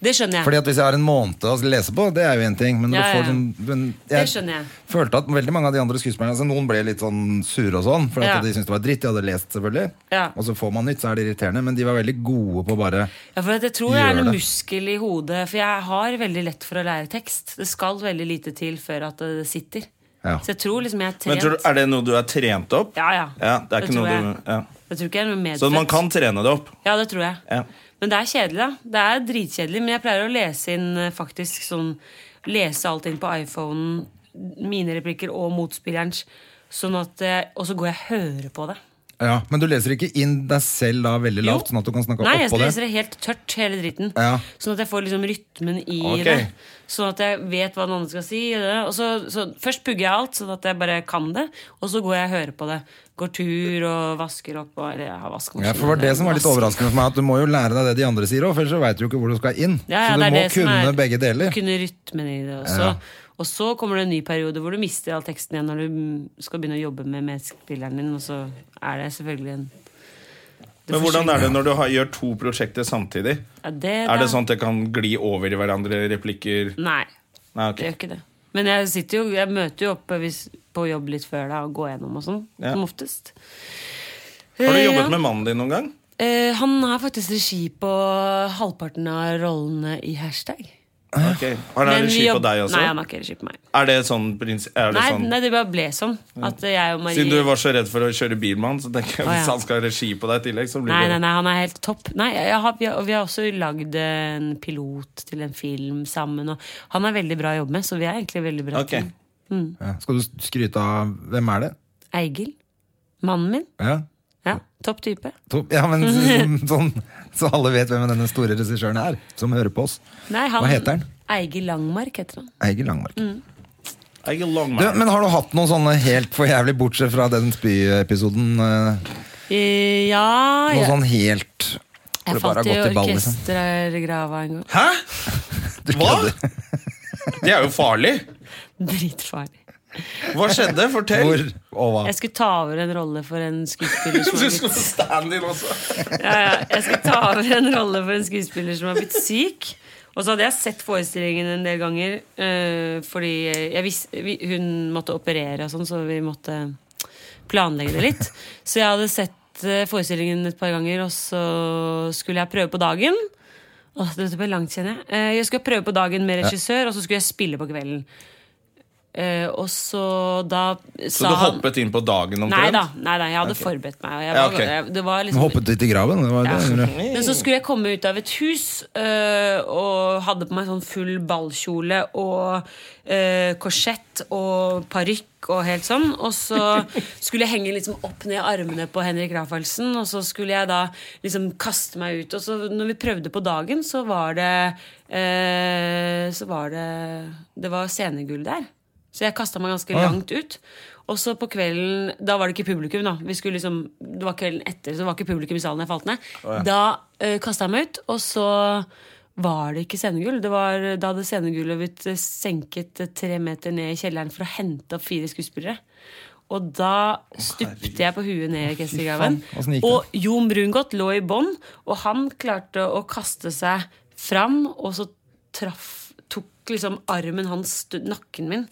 [SPEAKER 3] Det skjønner jeg.
[SPEAKER 2] Fordi at Hvis jeg har en måned å lese på, det er jo én ting. Men, når
[SPEAKER 3] Ja,
[SPEAKER 2] du får
[SPEAKER 3] ja.
[SPEAKER 2] sånn, men
[SPEAKER 3] Det skjønner jeg.
[SPEAKER 2] følte at veldig mange av de andre skuespillerne altså Noen ble litt sånn sure og sånn, for at
[SPEAKER 3] Ja.
[SPEAKER 2] de syntes det var dritt. De hadde lest, selvfølgelig.
[SPEAKER 3] Ja.
[SPEAKER 2] Og så får man nytt, så er det irriterende. Men de var veldig gode på bare
[SPEAKER 3] Ja, for at jeg tror det er
[SPEAKER 2] Gjør
[SPEAKER 3] en
[SPEAKER 2] det.
[SPEAKER 3] muskel i hodet. For jeg har veldig lett for å lære tekst. Det skal veldig lite til før at det sitter.
[SPEAKER 2] Ja.
[SPEAKER 3] Så jeg tror liksom jeg er
[SPEAKER 1] Men
[SPEAKER 3] trent.
[SPEAKER 1] tror du, Er det noe du er trent opp?
[SPEAKER 3] Ja, ja.
[SPEAKER 1] det er ikke
[SPEAKER 3] tror
[SPEAKER 1] noe
[SPEAKER 3] jeg.
[SPEAKER 1] du, ja.
[SPEAKER 3] Jeg tror ikke jeg er noe medfødt.
[SPEAKER 1] Så man kan trene det opp.
[SPEAKER 3] Ja, det tror jeg.
[SPEAKER 1] Ja.
[SPEAKER 3] Men det er kjedelig, da. Det er dritkjedelig. Men jeg pleier å lese inn eh, faktisk sånn Lese alt inn på iPhonen, mine replikker og motspillerens, sånn at eh, Og så går jeg og hører på det.
[SPEAKER 2] ja, Men du leser ikke inn deg selv da veldig
[SPEAKER 3] Jo.
[SPEAKER 2] lavt, sånn at du kan snakke
[SPEAKER 3] Nei, jeg
[SPEAKER 2] oppå det?
[SPEAKER 3] leser det helt tørt, hele dritten.
[SPEAKER 2] Ja.
[SPEAKER 3] Sånn at jeg får liksom rytmen i
[SPEAKER 1] Ok.
[SPEAKER 3] det. Sånn at jeg vet hva den andre skal si. eh, Og så, så Først pugger jeg alt, sånn at jeg bare kan det. Og så går jeg og hører på det. Går tur og vasker opp. Og, eller jeg har vaskemaskin.
[SPEAKER 2] Ja, for det var det som var litt
[SPEAKER 3] Vask-
[SPEAKER 2] overraskende for meg, at du må jo lære deg det de andre sier òg, for ellers så veit du jo ikke hvor du skal inn.
[SPEAKER 3] Ja, ja,
[SPEAKER 2] så du
[SPEAKER 3] det er
[SPEAKER 2] må
[SPEAKER 3] det som
[SPEAKER 2] kunne
[SPEAKER 3] er-
[SPEAKER 2] begge deler.
[SPEAKER 3] Kunne rytmen i det også. Og så kommer det en ny periode hvor du mister all teksten igjen når du mm, skal begynne å jobbe med medspilleren din, og så er det selvfølgelig en det
[SPEAKER 1] Men hvordan
[SPEAKER 3] forsvinner.
[SPEAKER 1] er det når du har, gjør to prosjekter samtidig?
[SPEAKER 3] ja, det, da-
[SPEAKER 1] Er det sånn at det kan gli over i hverandre replikker?
[SPEAKER 3] Nei,
[SPEAKER 1] Nei,
[SPEAKER 3] det gjør
[SPEAKER 1] ok.
[SPEAKER 3] ikke det. Men jeg sitter jo Jeg møter jo opp hvis, på jobb litt før deg og går gjennom og sånn,
[SPEAKER 1] Ja.
[SPEAKER 3] som oftest.
[SPEAKER 1] Har du
[SPEAKER 3] Eh,
[SPEAKER 1] jobbet
[SPEAKER 3] ja.
[SPEAKER 1] med mannen din noen gang?
[SPEAKER 3] Eh, han har faktisk regi på halvparten av rollene i hashtag.
[SPEAKER 1] Ok. Har han
[SPEAKER 3] Men vi
[SPEAKER 1] regi på
[SPEAKER 3] jobb-
[SPEAKER 1] deg også?
[SPEAKER 3] Nei, han har ikke regi på meg.
[SPEAKER 1] Er det sånn prins... Er det
[SPEAKER 3] Nei,
[SPEAKER 1] sånn
[SPEAKER 3] nei, det bare ble sånn. At jeg og Marie
[SPEAKER 1] Siden du var så redd for å kjøre bil med han, så tenker jeg
[SPEAKER 3] Å,
[SPEAKER 1] hvis
[SPEAKER 3] ja.
[SPEAKER 1] han skal ha regi på deg i tillegg, så blir
[SPEAKER 3] Nei,
[SPEAKER 1] det
[SPEAKER 3] nei, nei, han er helt topp. Nei, jeg har, vi, har, vi har også lagd en pilot til en film sammen. Og han er veldig bra å jobbe med, så vi er egentlig veldig bra.
[SPEAKER 1] Ok.
[SPEAKER 3] team.
[SPEAKER 2] Ja. Skal du skryte av Hvem er det?
[SPEAKER 3] Eigil. Mannen min.
[SPEAKER 2] Ja,
[SPEAKER 3] Ja, Topp type.
[SPEAKER 2] to, ja men sånn, sånn, Så alle vet hvem denne store regissøren er, som hører på oss.
[SPEAKER 3] Nei, han,
[SPEAKER 2] Hva heter han?
[SPEAKER 3] Eigil Langmark heter han.
[SPEAKER 2] Eigil Langmark.
[SPEAKER 3] Mm.
[SPEAKER 1] Jeg er lang,
[SPEAKER 2] Du,
[SPEAKER 1] man.
[SPEAKER 2] men har du hatt noen sånne helt for jævlig, bortsett fra den spyepisoden? eh,
[SPEAKER 3] Eh, ja,
[SPEAKER 2] Noe
[SPEAKER 3] jeg,
[SPEAKER 2] sånn helt hvor
[SPEAKER 3] jeg
[SPEAKER 2] det bare
[SPEAKER 3] falt i
[SPEAKER 2] har gått i ball, liksom?
[SPEAKER 3] orkestergrava en gang.
[SPEAKER 1] Hæ?
[SPEAKER 2] Du
[SPEAKER 1] Hva?
[SPEAKER 2] kødder.
[SPEAKER 1] Det er jo farlig!
[SPEAKER 3] Dritfarlig.
[SPEAKER 1] Hva skjedde? Fortell!
[SPEAKER 2] Hvor? Og hva?
[SPEAKER 3] Jeg skulle ta over en rolle for en skuespiller som
[SPEAKER 1] Du
[SPEAKER 3] var
[SPEAKER 1] skulle stand-in også.
[SPEAKER 3] ja, ja. Jeg skal ta over en rolle for en skuespiller som har blitt syk. Og så hadde jeg sett forestillingen en del ganger, eh, fordi jeg vis, vi, hun måtte operere og sånn, så vi måtte planlegge det litt. Så jeg hadde sett sett eh, forestillingen et par ganger, og så skulle jeg prøve på dagen. Åh, dette ble langt, kjenner jeg. Eh, Jeg skulle prøve på dagen med regissør, og så skulle jeg spille på kvelden. Eh, Og så da
[SPEAKER 1] Så
[SPEAKER 3] sa
[SPEAKER 1] du
[SPEAKER 3] han
[SPEAKER 1] hoppet inn på dagen omtrent?
[SPEAKER 3] Nei da, nei da, jeg hadde forberedt meg. Og jeg
[SPEAKER 1] Ja,
[SPEAKER 3] var,
[SPEAKER 1] ok.
[SPEAKER 3] jeg, det var
[SPEAKER 2] Du
[SPEAKER 3] liksom
[SPEAKER 2] hoppet litt i graven. Det var det,
[SPEAKER 3] Ja.
[SPEAKER 2] gjorde.
[SPEAKER 3] Men så skulle jeg komme ut av et hus øh, og hadde på meg sånn full ballkjole og øh, korsett og parykk og helt sånn. Og så skulle jeg henge liksom opp ned armene på Henrik Rafaelsen, og så skulle jeg da liksom kaste meg ut. Og så når vi prøvde på dagen, så var det øh, Så var det Det var scenegull der. Så jeg kasta meg ganske langt ut. Og så på kvelden Da var det ikke publikum, da. Vi skulle liksom, det var kvelden etter, så det var ikke publikum i salen jeg falt ned. Da uh, kasta jeg meg ut, og så var det ikke scenegull. Det var, da hadde scenegullet blitt eh, senket eh, tre meter ned i kjelleren for å hente opp fire skuespillere. Og da stupte jeg på huet ned i orkestergraven.
[SPEAKER 2] Fy faen, åssen gikk det?
[SPEAKER 3] Og Jon Brungot lå i bånn, og han klarte å kaste seg fram, og så traff, tok liksom armen hans stu- nakken min.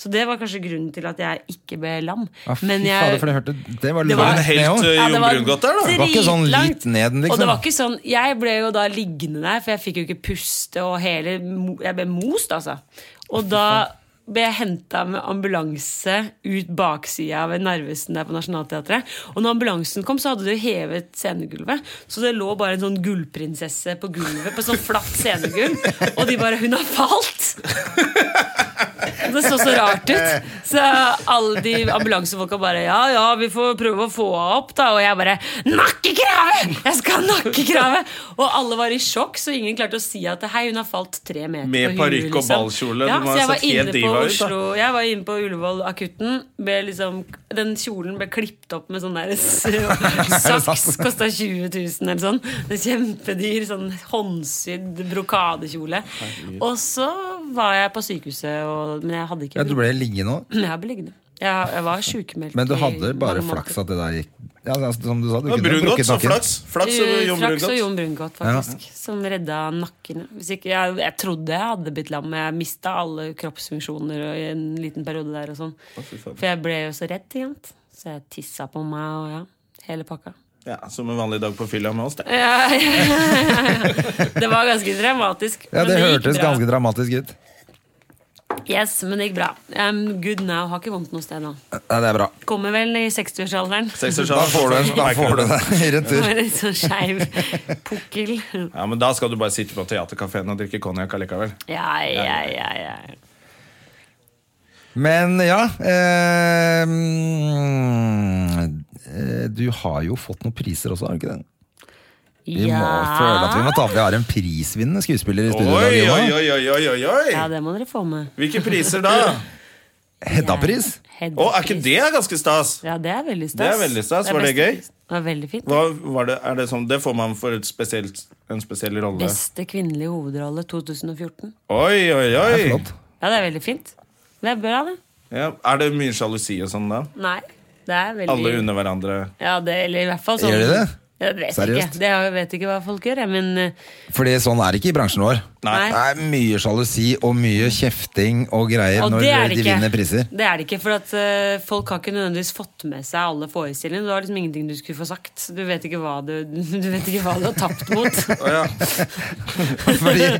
[SPEAKER 3] Så det var kanskje grunnen til at jeg ikke ble lam.
[SPEAKER 2] Ja, fy
[SPEAKER 3] Men jeg,
[SPEAKER 2] fader, for jeg hørte Det var
[SPEAKER 3] Det
[SPEAKER 2] langt
[SPEAKER 3] var-
[SPEAKER 1] En
[SPEAKER 2] ned
[SPEAKER 1] helt
[SPEAKER 2] også.
[SPEAKER 1] eh,
[SPEAKER 3] Ja, det
[SPEAKER 1] Jon
[SPEAKER 3] var
[SPEAKER 1] Brungot der, da.
[SPEAKER 2] Det var ikke sånn
[SPEAKER 3] dritlangt.
[SPEAKER 2] litt ned, liksom.
[SPEAKER 3] Og det var ikke sånn, jeg ble jo da liggende der, for jeg fikk jo ikke puste, og hele, mo- jeg ble most, altså. Og da ble jeg henta med ambulanse ut baksida ved Narvesen der på Nationaltheatret. Og når ambulansen kom, så hadde de hevet scenegulvet. Så det lå bare en sånn gullprinsesse på gulvet, på sånn flatt scenegulv. Og de bare 'Hun har falt!' Det så så rart ut. Så alle de ambulansefolka bare Ja, ja, vi får prøve å få henne opp, da. Og jeg bare Nakkekrave! Jeg skal ha nakkekrave! Og alle var i sjokk, så ingen klarte å si at hei, hun har falt tre meter
[SPEAKER 1] Med
[SPEAKER 3] på huet,
[SPEAKER 1] parykk og
[SPEAKER 3] liksom.
[SPEAKER 1] ballkjole,
[SPEAKER 3] Ja,
[SPEAKER 1] du må
[SPEAKER 3] så
[SPEAKER 1] ha
[SPEAKER 3] jeg var
[SPEAKER 1] sett helt
[SPEAKER 3] inne på
[SPEAKER 1] diva ut, da.
[SPEAKER 3] Oslo Jeg var inne på Ullevål akutten. ble Liksom, den kjolen ble klippet opp med sånn der s- saks. Kosta 20 000 eller sånn. Det er kjempedyr sånn håndsydd brokadekjole. Og så var jeg på sykehuset, og, men jeg hadde ikke
[SPEAKER 2] Ja, du ble liggende òg.
[SPEAKER 3] jeg er beliggende. Jeg, jeg var sjukmeldt.
[SPEAKER 2] Men du
[SPEAKER 3] i
[SPEAKER 2] hadde bare
[SPEAKER 3] mange måneder.
[SPEAKER 2] flaks at det der gikk ja, altså, Som du sa, du
[SPEAKER 1] Ja,
[SPEAKER 2] kunne
[SPEAKER 1] Brungot,
[SPEAKER 2] brukket
[SPEAKER 1] så
[SPEAKER 2] nakken.
[SPEAKER 1] flaks. Flaks og
[SPEAKER 3] Eh,
[SPEAKER 1] Jon
[SPEAKER 3] Flaks og
[SPEAKER 1] Brungot.
[SPEAKER 3] Jon Brungot, faktisk. Som redda nakkene. Hvis ikke, jeg, jeg trodde jeg hadde blitt lam, men jeg mista alle kroppsfunksjoner og i en liten periode der. og sånn For jeg ble jo så redd, ikke sant. Så jeg tissa på meg og ja. Hele pakka.
[SPEAKER 1] Ja, som en vanlig dag på fylla med oss, det.
[SPEAKER 3] Ja, ja, ja, ja. Det var ganske dramatisk.
[SPEAKER 2] Ja,
[SPEAKER 3] men
[SPEAKER 2] Det
[SPEAKER 3] gikk
[SPEAKER 2] hørtes
[SPEAKER 3] bra.
[SPEAKER 2] ganske dramatisk ut.
[SPEAKER 3] Yes, men det gikk bra. Um, good now. Har ikke vondt noe sted nå.
[SPEAKER 2] Ja, det er bra.
[SPEAKER 3] Kommer vel i 60-årsalderen.
[SPEAKER 2] Da får du, da får du det i retur.
[SPEAKER 3] Med litt sånn skeiv pukkel.
[SPEAKER 1] Ja, men da skal du bare sitte på teaterkafeen og drikke konjakk allikevel.
[SPEAKER 3] Ja, ja, ja, ja.
[SPEAKER 2] Men ja eh, mm, eh, Du har jo fått noen priser også, har du ikke det? Vi må føle at vi må ta Vi har en prisvinnende skuespiller i
[SPEAKER 1] Oi,
[SPEAKER 2] studio. i dag,
[SPEAKER 1] oi,
[SPEAKER 2] Johan.
[SPEAKER 1] oi, oi, oi, oi,
[SPEAKER 3] Ja,
[SPEAKER 1] oi!
[SPEAKER 3] det må dere få med.
[SPEAKER 1] Hvilke priser da?
[SPEAKER 2] Hedda-pris?
[SPEAKER 3] Hedda
[SPEAKER 1] Å, er ikke
[SPEAKER 3] Pris.
[SPEAKER 1] det ganske stas?
[SPEAKER 3] Ja, det er veldig stas.
[SPEAKER 1] Det er veldig stas.
[SPEAKER 3] er
[SPEAKER 1] Var det
[SPEAKER 3] beste
[SPEAKER 1] gøy?
[SPEAKER 3] pris. Det var veldig fint.
[SPEAKER 1] Hva var det, er det sånn, det får man for et spesielt, en spesiell rolle.
[SPEAKER 3] Beste kvinnelige hovedrolle 2014.
[SPEAKER 1] Oi, oi,
[SPEAKER 2] Det er
[SPEAKER 1] oi!
[SPEAKER 2] flott.
[SPEAKER 3] Ja, det er veldig fint. Det er bra, det.
[SPEAKER 1] Ja, er det mye sjalusi og sånn da?
[SPEAKER 3] Nei, det er veldig
[SPEAKER 1] Alle under hverandre.
[SPEAKER 3] Ja, det, eller i hvert fall sånn
[SPEAKER 2] Gjør de det?
[SPEAKER 3] Jeg vet
[SPEAKER 2] Seriøst?
[SPEAKER 3] ikke. Det, jeg vet ikke hva folk gjør, jeg, men eh,
[SPEAKER 2] Fordi sånn er det ikke i bransjen vår.
[SPEAKER 1] Nei.
[SPEAKER 2] Det er mye sjalusi og mye kjefting og greier
[SPEAKER 3] Og
[SPEAKER 2] når
[SPEAKER 3] det er det
[SPEAKER 2] de
[SPEAKER 3] ikke.
[SPEAKER 2] vinner priser.
[SPEAKER 3] Det er det ikke, for at eh, folk har ikke nødvendigvis fått med seg alle forestillingene. Du har liksom ingenting du skulle få sagt. Du vet ikke hva du, du, vet ikke hva du har tapt mot.
[SPEAKER 1] Å ja.
[SPEAKER 2] Fordi,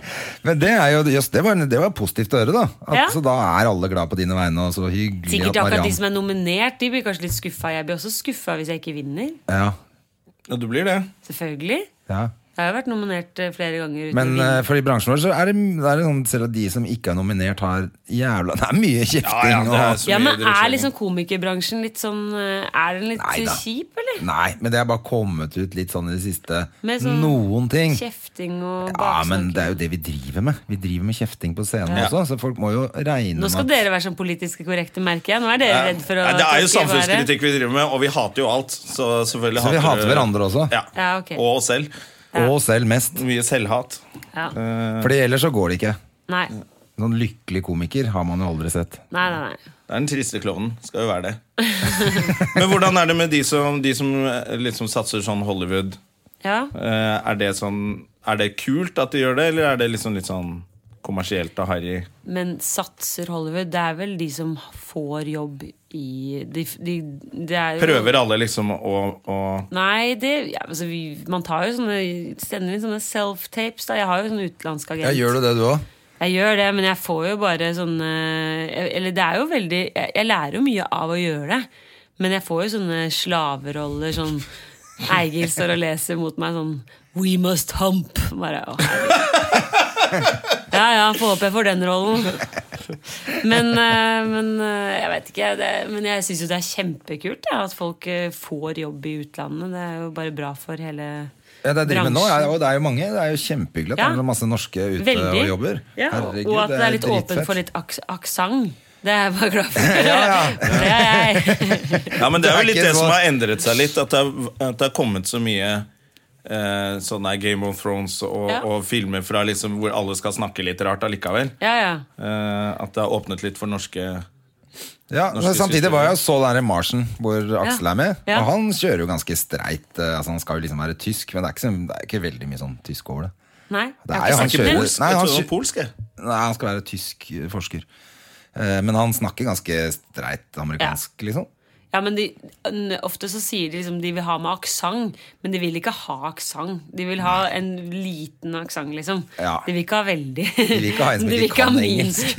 [SPEAKER 2] men det er jo jøss, det, var, det var positivt å høre, da. At,
[SPEAKER 3] Ja.
[SPEAKER 2] Så da er alle glad på dine vegne, og så hyggelig
[SPEAKER 3] Sikkert
[SPEAKER 2] at
[SPEAKER 3] akkurat de
[SPEAKER 2] Mariann
[SPEAKER 3] som er nominert, de blir kanskje litt skuffa. Jeg blir også skuffa hvis jeg ikke vinner.
[SPEAKER 2] ja,
[SPEAKER 1] ja, du blir det.
[SPEAKER 3] Selvfølgelig.
[SPEAKER 2] ja.
[SPEAKER 3] Jeg har jo vært nominert eh, flere ganger. Uten
[SPEAKER 2] Men
[SPEAKER 3] å
[SPEAKER 2] eh,
[SPEAKER 3] vinne.
[SPEAKER 2] for i bransjen vår så er det, det er det sånn selv at de som ikke er nominert, har jævla Det er mye
[SPEAKER 1] Ja, ja,
[SPEAKER 2] kjefting
[SPEAKER 1] det er
[SPEAKER 2] og
[SPEAKER 1] så
[SPEAKER 3] ja,
[SPEAKER 1] mye
[SPEAKER 3] men er
[SPEAKER 1] drittskjegg.
[SPEAKER 3] liksom komikerbransjen litt sånn eh, Er den litt
[SPEAKER 2] Neida.
[SPEAKER 3] kjip, eller?
[SPEAKER 2] Nei, men det er bare kommet ut litt sånn i det siste.
[SPEAKER 3] Med sånn
[SPEAKER 2] Noen ting.
[SPEAKER 3] Kjefting
[SPEAKER 2] Ja,
[SPEAKER 3] og
[SPEAKER 2] men
[SPEAKER 3] baksnakking.
[SPEAKER 2] det er jo det vi driver med. Vi driver med kjefting på scenen
[SPEAKER 1] Ja.
[SPEAKER 2] også, så folk må jo regne
[SPEAKER 3] Nå skal
[SPEAKER 2] med at
[SPEAKER 3] dere være sånn politisk korrekte, merker jeg. Nå er dere redd for å
[SPEAKER 1] Nei, det er jo
[SPEAKER 3] tråkke i været.
[SPEAKER 1] samfunnskritikk vi driver med, og vi hater jo alt. Så selvfølgelig
[SPEAKER 2] Så vi hater
[SPEAKER 1] vi-
[SPEAKER 2] hverandre også.
[SPEAKER 1] Ja.
[SPEAKER 3] Ja, ok.
[SPEAKER 1] Og oss selv.
[SPEAKER 2] Og oss selv mest.
[SPEAKER 1] Mye selvhat.
[SPEAKER 3] Ja.
[SPEAKER 1] Eh,
[SPEAKER 2] Fordi ellers så går det ikke.
[SPEAKER 3] Nei.
[SPEAKER 2] Noen lykkelig komiker har man jo aldri sett.
[SPEAKER 3] Nei, nei, nei.
[SPEAKER 1] Det er den triste klovnen. Skal jo være det. Men hvordan er det med de som, de som eh, liksom satser sånn Hollywood?
[SPEAKER 3] Ja.
[SPEAKER 1] Eh, er, det sånn, er det kult at de gjør det, eller er det liksom litt sånn kommersielt og harry?
[SPEAKER 3] Men satser Hollywood, det er vel de som får jobb i de, de, det er jo-
[SPEAKER 1] Prøver alle liksom å, å
[SPEAKER 3] Nei, det ja, altså, vi, Man tar jo sånne sender inn sånne self-tapes. da Jeg har jo sånn utenlandsk agent.
[SPEAKER 2] Ja, gjør du det, du òg?
[SPEAKER 3] Jeg gjør det, men jeg får jo bare sånne jeg- Eller det er jo veldig Jeg, jeg lærer jo mye av å gjøre det, men jeg får jo sånne slaveroller sånn Eigil står og leser mot meg sånn We must hump. Bare, å, herregud. ja ja, får håpe jeg får den rollen. Men, eh, men eh, jeg vet ikke. Det, men jeg syns jo det er kjempekult ja, at folk eh, får jobb i utlandet. Det er jo bare bra for hele
[SPEAKER 2] Ja, det jeg driver med nå,
[SPEAKER 3] Bransjen.
[SPEAKER 2] ja, og det er jo mange. Det er jo kjempehyggelig at
[SPEAKER 3] Ja.
[SPEAKER 2] det er masse norske ute og jobber.
[SPEAKER 3] Ja.
[SPEAKER 2] Herregud,
[SPEAKER 3] og at det er litt åpent
[SPEAKER 2] dritfett.
[SPEAKER 3] for litt aks aksent. Det er jeg bare glad for.
[SPEAKER 2] ja.
[SPEAKER 3] For det er jeg.
[SPEAKER 1] Ja, men det er
[SPEAKER 2] Det er
[SPEAKER 1] jo litt
[SPEAKER 2] ikke
[SPEAKER 1] det
[SPEAKER 2] så-
[SPEAKER 1] som har endret seg litt. At det har, at det har kommet så mye eh, sånn der Game of Thrones og,
[SPEAKER 3] Ja.
[SPEAKER 1] og filmer fra liksom hvor alle skal snakke litt rart allikevel.
[SPEAKER 3] Ja, ja.
[SPEAKER 1] Eh, at det har åpnet litt for norske
[SPEAKER 2] Ja, men
[SPEAKER 1] norske
[SPEAKER 2] Samtidig
[SPEAKER 1] systemer.
[SPEAKER 2] var jeg og så den her Marsen, hvor Aksel
[SPEAKER 3] Ja.
[SPEAKER 2] er med.
[SPEAKER 3] Ja.
[SPEAKER 2] Og han kjører jo ganske streit. eh, Altså, han skal jo liksom være tysk, men det er ikke, så- det er ikke veldig mye sånn tysk over det.
[SPEAKER 3] Nei.
[SPEAKER 2] Det
[SPEAKER 3] jeg
[SPEAKER 2] er
[SPEAKER 3] har
[SPEAKER 2] jo
[SPEAKER 3] ikke
[SPEAKER 2] han
[SPEAKER 3] sagt
[SPEAKER 2] kjører-
[SPEAKER 1] Ikke
[SPEAKER 3] det.
[SPEAKER 1] polsk,
[SPEAKER 2] Nei,
[SPEAKER 1] jeg
[SPEAKER 2] han
[SPEAKER 1] trodde det
[SPEAKER 2] kjø-
[SPEAKER 1] var polsk, jeg.
[SPEAKER 2] Nei, han skal være tysk eh, forsker. Eh, Men han snakker ganske streit amerikansk, liksom.
[SPEAKER 3] Ja, men de, n- Ofte så sier de liksom de vil ha med aksent, men de vil ikke ha aksent. De vil ha en liten aksent, liksom.
[SPEAKER 2] Ja.
[SPEAKER 3] De vil ikke ha veldig.
[SPEAKER 2] vil ikke ha en som
[SPEAKER 3] De
[SPEAKER 2] ikke
[SPEAKER 3] vil
[SPEAKER 2] kan
[SPEAKER 3] min.
[SPEAKER 2] engelsk.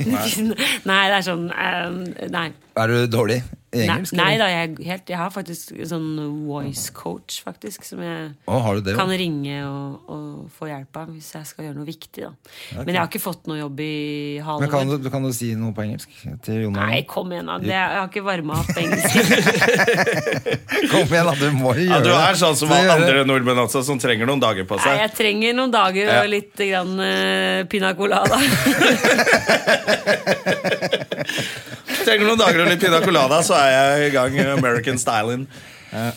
[SPEAKER 3] Nei, det er sånn eh, Nei.
[SPEAKER 2] Er du dårlig i
[SPEAKER 3] Nei,
[SPEAKER 2] engelsk?
[SPEAKER 3] nei
[SPEAKER 2] eller?
[SPEAKER 3] da, jeg, er helt, jeg har faktisk sånn voice coach, faktisk, som jeg
[SPEAKER 2] Å, har du det?
[SPEAKER 3] kan
[SPEAKER 2] jo?
[SPEAKER 3] ringe og, og få hjelp av hvis jeg skal gjøre noe viktig. Da. Men jeg har ikke fått noe jobb i
[SPEAKER 2] Men kan
[SPEAKER 3] Hollywood.
[SPEAKER 2] du, kan du si noe på engelsk til Jon
[SPEAKER 3] Nei,
[SPEAKER 2] Arne?
[SPEAKER 3] kom igjen, da. Det, jeg har ikke varma opp engelsk.
[SPEAKER 2] Kom igjen, da! Du må jo gjøre
[SPEAKER 1] Ja,
[SPEAKER 2] det.
[SPEAKER 1] du er sånn som
[SPEAKER 2] Du gjør det.
[SPEAKER 1] andre nordmenn altså, som trenger noen dager på
[SPEAKER 3] Nei,
[SPEAKER 1] seg.
[SPEAKER 3] jeg trenger noen dager og litt grann, eh, pina colada.
[SPEAKER 1] Trenger noen dager og litt pina colada, så er jeg i gang med American styling. Eh.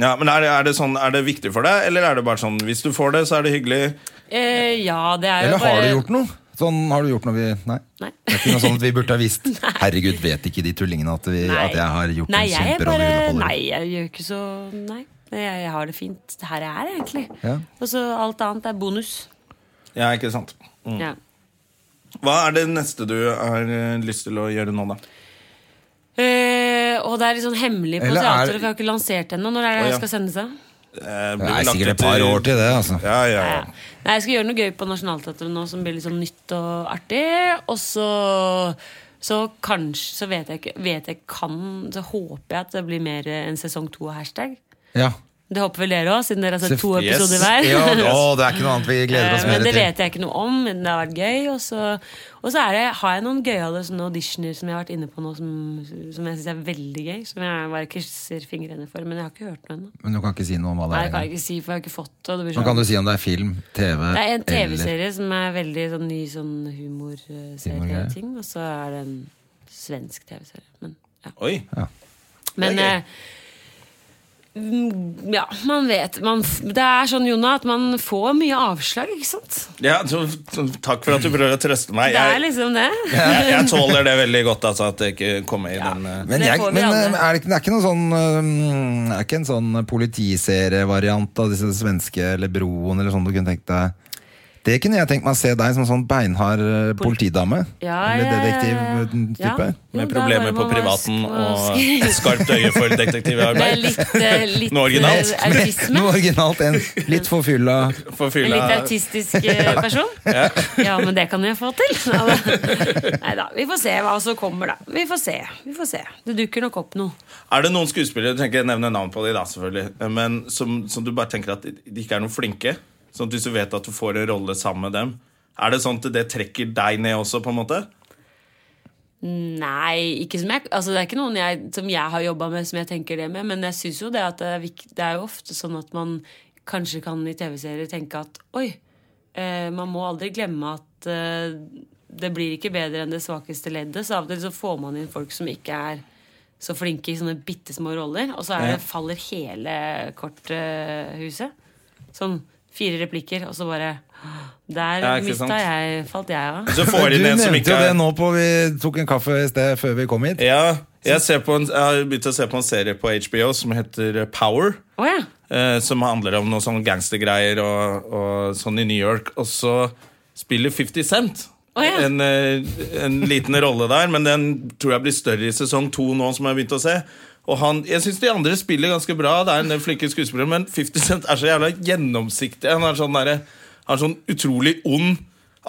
[SPEAKER 1] Ja, men er det, er, det sånn, er det viktig for deg, eller er det bare sånn hvis du får det, så er det hyggelig?
[SPEAKER 3] Eh, ja, det er jo
[SPEAKER 2] Eller
[SPEAKER 3] bare
[SPEAKER 2] har du gjort noe? Sånn har du gjort noe vi Nei.
[SPEAKER 3] Nei.
[SPEAKER 2] Det er ikke noe sånn at vi burde ha visst. Herregud, vet ikke de tullingene at, vi, at jeg har gjort
[SPEAKER 3] nei,
[SPEAKER 2] en
[SPEAKER 3] jeg er
[SPEAKER 2] kjemperolle i
[SPEAKER 3] bare-
[SPEAKER 2] Underholder?
[SPEAKER 3] Nei, jeg gjør ikke så Nei. Jeg, jeg har det fint her jeg er, egentlig.
[SPEAKER 2] Ja.
[SPEAKER 3] Og så alt annet er bonus.
[SPEAKER 1] Ja, ikke sant?
[SPEAKER 3] Ja.
[SPEAKER 1] Hva er det neste du har eh, lyst til å gjøre nå, da?
[SPEAKER 3] Eh, og det er litt sånn hemmelig på
[SPEAKER 2] Eller er-
[SPEAKER 3] teateret, for jeg har ikke lansert ennå. Når er det
[SPEAKER 1] Å,
[SPEAKER 3] jeg
[SPEAKER 1] ja.
[SPEAKER 3] skal sende seg?
[SPEAKER 1] Eh, blir
[SPEAKER 2] Det er
[SPEAKER 1] lagt
[SPEAKER 2] sikkert
[SPEAKER 1] ut
[SPEAKER 2] et par år til det, altså.
[SPEAKER 1] Ja, ja,
[SPEAKER 3] Ja.
[SPEAKER 1] ja.
[SPEAKER 3] Nei, jeg skal gjøre noe gøy på Nationaltheatret nå som blir litt sånn nytt og artig. Og så, så kanskje Så vet jeg ikke vet jeg kan, Så håper jeg at det blir mer enn sesong to av hashtag.
[SPEAKER 2] Ja.
[SPEAKER 3] Det håper vel dere òg, siden dere har sett to
[SPEAKER 2] Sef-
[SPEAKER 1] yes.
[SPEAKER 3] episoder hver.
[SPEAKER 2] Ja, å, det er ikke noe annet vi gleder
[SPEAKER 3] Eh,
[SPEAKER 2] oss
[SPEAKER 3] Men
[SPEAKER 2] mer
[SPEAKER 3] det
[SPEAKER 2] til.
[SPEAKER 3] vet jeg ikke noe om, men det har vært gøy. Og så, og så er det, har jeg noen gøyale sånne auditioner som jeg har vært inne på nå, som, som jeg syns er veldig gøy. Som jeg bare krysser fingrene for. Men jeg har ikke hørt noe ennå.
[SPEAKER 2] Men du kan ikke si noe om hva
[SPEAKER 3] Nei,
[SPEAKER 2] det
[SPEAKER 3] det kan
[SPEAKER 2] er.
[SPEAKER 3] jeg ikke si, for jeg har ikke fått det. og det blir
[SPEAKER 2] Nå
[SPEAKER 3] sånn-
[SPEAKER 2] kan du si om det er film, TV
[SPEAKER 3] det er en
[SPEAKER 2] eller
[SPEAKER 3] TV-serie som er veldig sånn ny sånn
[SPEAKER 2] Humorgreier.
[SPEAKER 3] humorserieting, og så er det en svensk TV-serie. Men, ja.
[SPEAKER 1] Oi.
[SPEAKER 3] Men
[SPEAKER 1] Det er gøy.
[SPEAKER 3] eh, mm, ja, man vet man, f- Det er sånn, Jonna, at man får mye avslag, ikke sant?
[SPEAKER 1] Ja, så, så, takk for at du prøver å trøste meg.
[SPEAKER 3] Det er
[SPEAKER 1] Jeg,
[SPEAKER 3] liksom det.
[SPEAKER 1] jeg, jeg tåler det veldig godt, altså, at jeg ikke kommer i den eh,
[SPEAKER 2] Men,
[SPEAKER 3] Det
[SPEAKER 2] jeg,
[SPEAKER 3] får vi
[SPEAKER 2] men eh,
[SPEAKER 3] alle.
[SPEAKER 2] er det, ikke- det er ikke noen sånn eh, Det er ikke en sånn politiserievariant av disse svenske eller Broen eller sånn du kunne tenkt deg? Det kunne jeg tenkt meg å se deg som en sånn beinhard eh, politidame.
[SPEAKER 3] Ja,
[SPEAKER 2] eller eh,
[SPEAKER 3] ja, ja, ja.
[SPEAKER 2] detektiv-type.
[SPEAKER 3] Ja. Jo,
[SPEAKER 1] med
[SPEAKER 3] da
[SPEAKER 1] problemer
[SPEAKER 3] bare
[SPEAKER 1] på
[SPEAKER 3] må man
[SPEAKER 1] privaten
[SPEAKER 3] sk-
[SPEAKER 1] og skarpt øye for
[SPEAKER 3] Det er
[SPEAKER 1] detektivarbeid.
[SPEAKER 3] litt, eh, litt
[SPEAKER 1] Noe originalt.
[SPEAKER 3] eh, autisme.
[SPEAKER 2] Noe originalt enn litt forfylla
[SPEAKER 1] For
[SPEAKER 3] En litt
[SPEAKER 1] fylla
[SPEAKER 3] autistisk eh, person? Ja. men det kan jeg få til. Nei da. Vi får se hva som kommer, da. Vi får se. Vi får se. Det dukker nok opp noe.
[SPEAKER 1] Er det noen skuespillere du tenker nevne navn på de da, selvfølgelig Men som, som du bare tenker at de ikke er noe flinke? Sånn at hvis du vet at du får en rolle sammen med dem Er det sånn at det trekker deg ned også, på en måte?
[SPEAKER 3] Nei, ikke som jeg, altså det er ikke noen jeg, som jeg har jobba med, som jeg tenker det med. Men jeg syns jo det at det er, vik- det er jo ofte sånn at man kanskje kan i TV-serier tenke at oi, eh, man må aldri glemme at eh, det blir ikke bedre enn det svakeste leddet. Så av og til så får man inn folk som ikke er så flinke i sånne bitte små roller. Og så er det, faller hele korthuset. sånn fire replikker, og så bare Der
[SPEAKER 1] Ja,
[SPEAKER 3] ja,
[SPEAKER 1] ikke sant.
[SPEAKER 3] mista jeg Falt jeg av.
[SPEAKER 1] Så
[SPEAKER 2] Du
[SPEAKER 1] får de en som
[SPEAKER 2] nevnte
[SPEAKER 1] ikke
[SPEAKER 2] jo det
[SPEAKER 1] er
[SPEAKER 2] nå på vi tok en kaffe i sted før vi kom hit.
[SPEAKER 1] ja, jeg, ser på en, jeg har begynt å se på en serie på HBO som heter Power.
[SPEAKER 3] Å ja.
[SPEAKER 1] eh, som handler om noen sånne gangstergreier og, og sånn i New York. Og så spiller 50 Cent
[SPEAKER 3] Å, ja.
[SPEAKER 1] en, eh, en liten rolle der, men den tror jeg blir større i sesong to nå, som jeg har begynt å se. Og han, jeg syns de andre spiller ganske bra, det er en del flinke skuespillere, men 50 Cent er så jævla gjennomsiktig. Han er sånn, derre- han er sånn utrolig ond.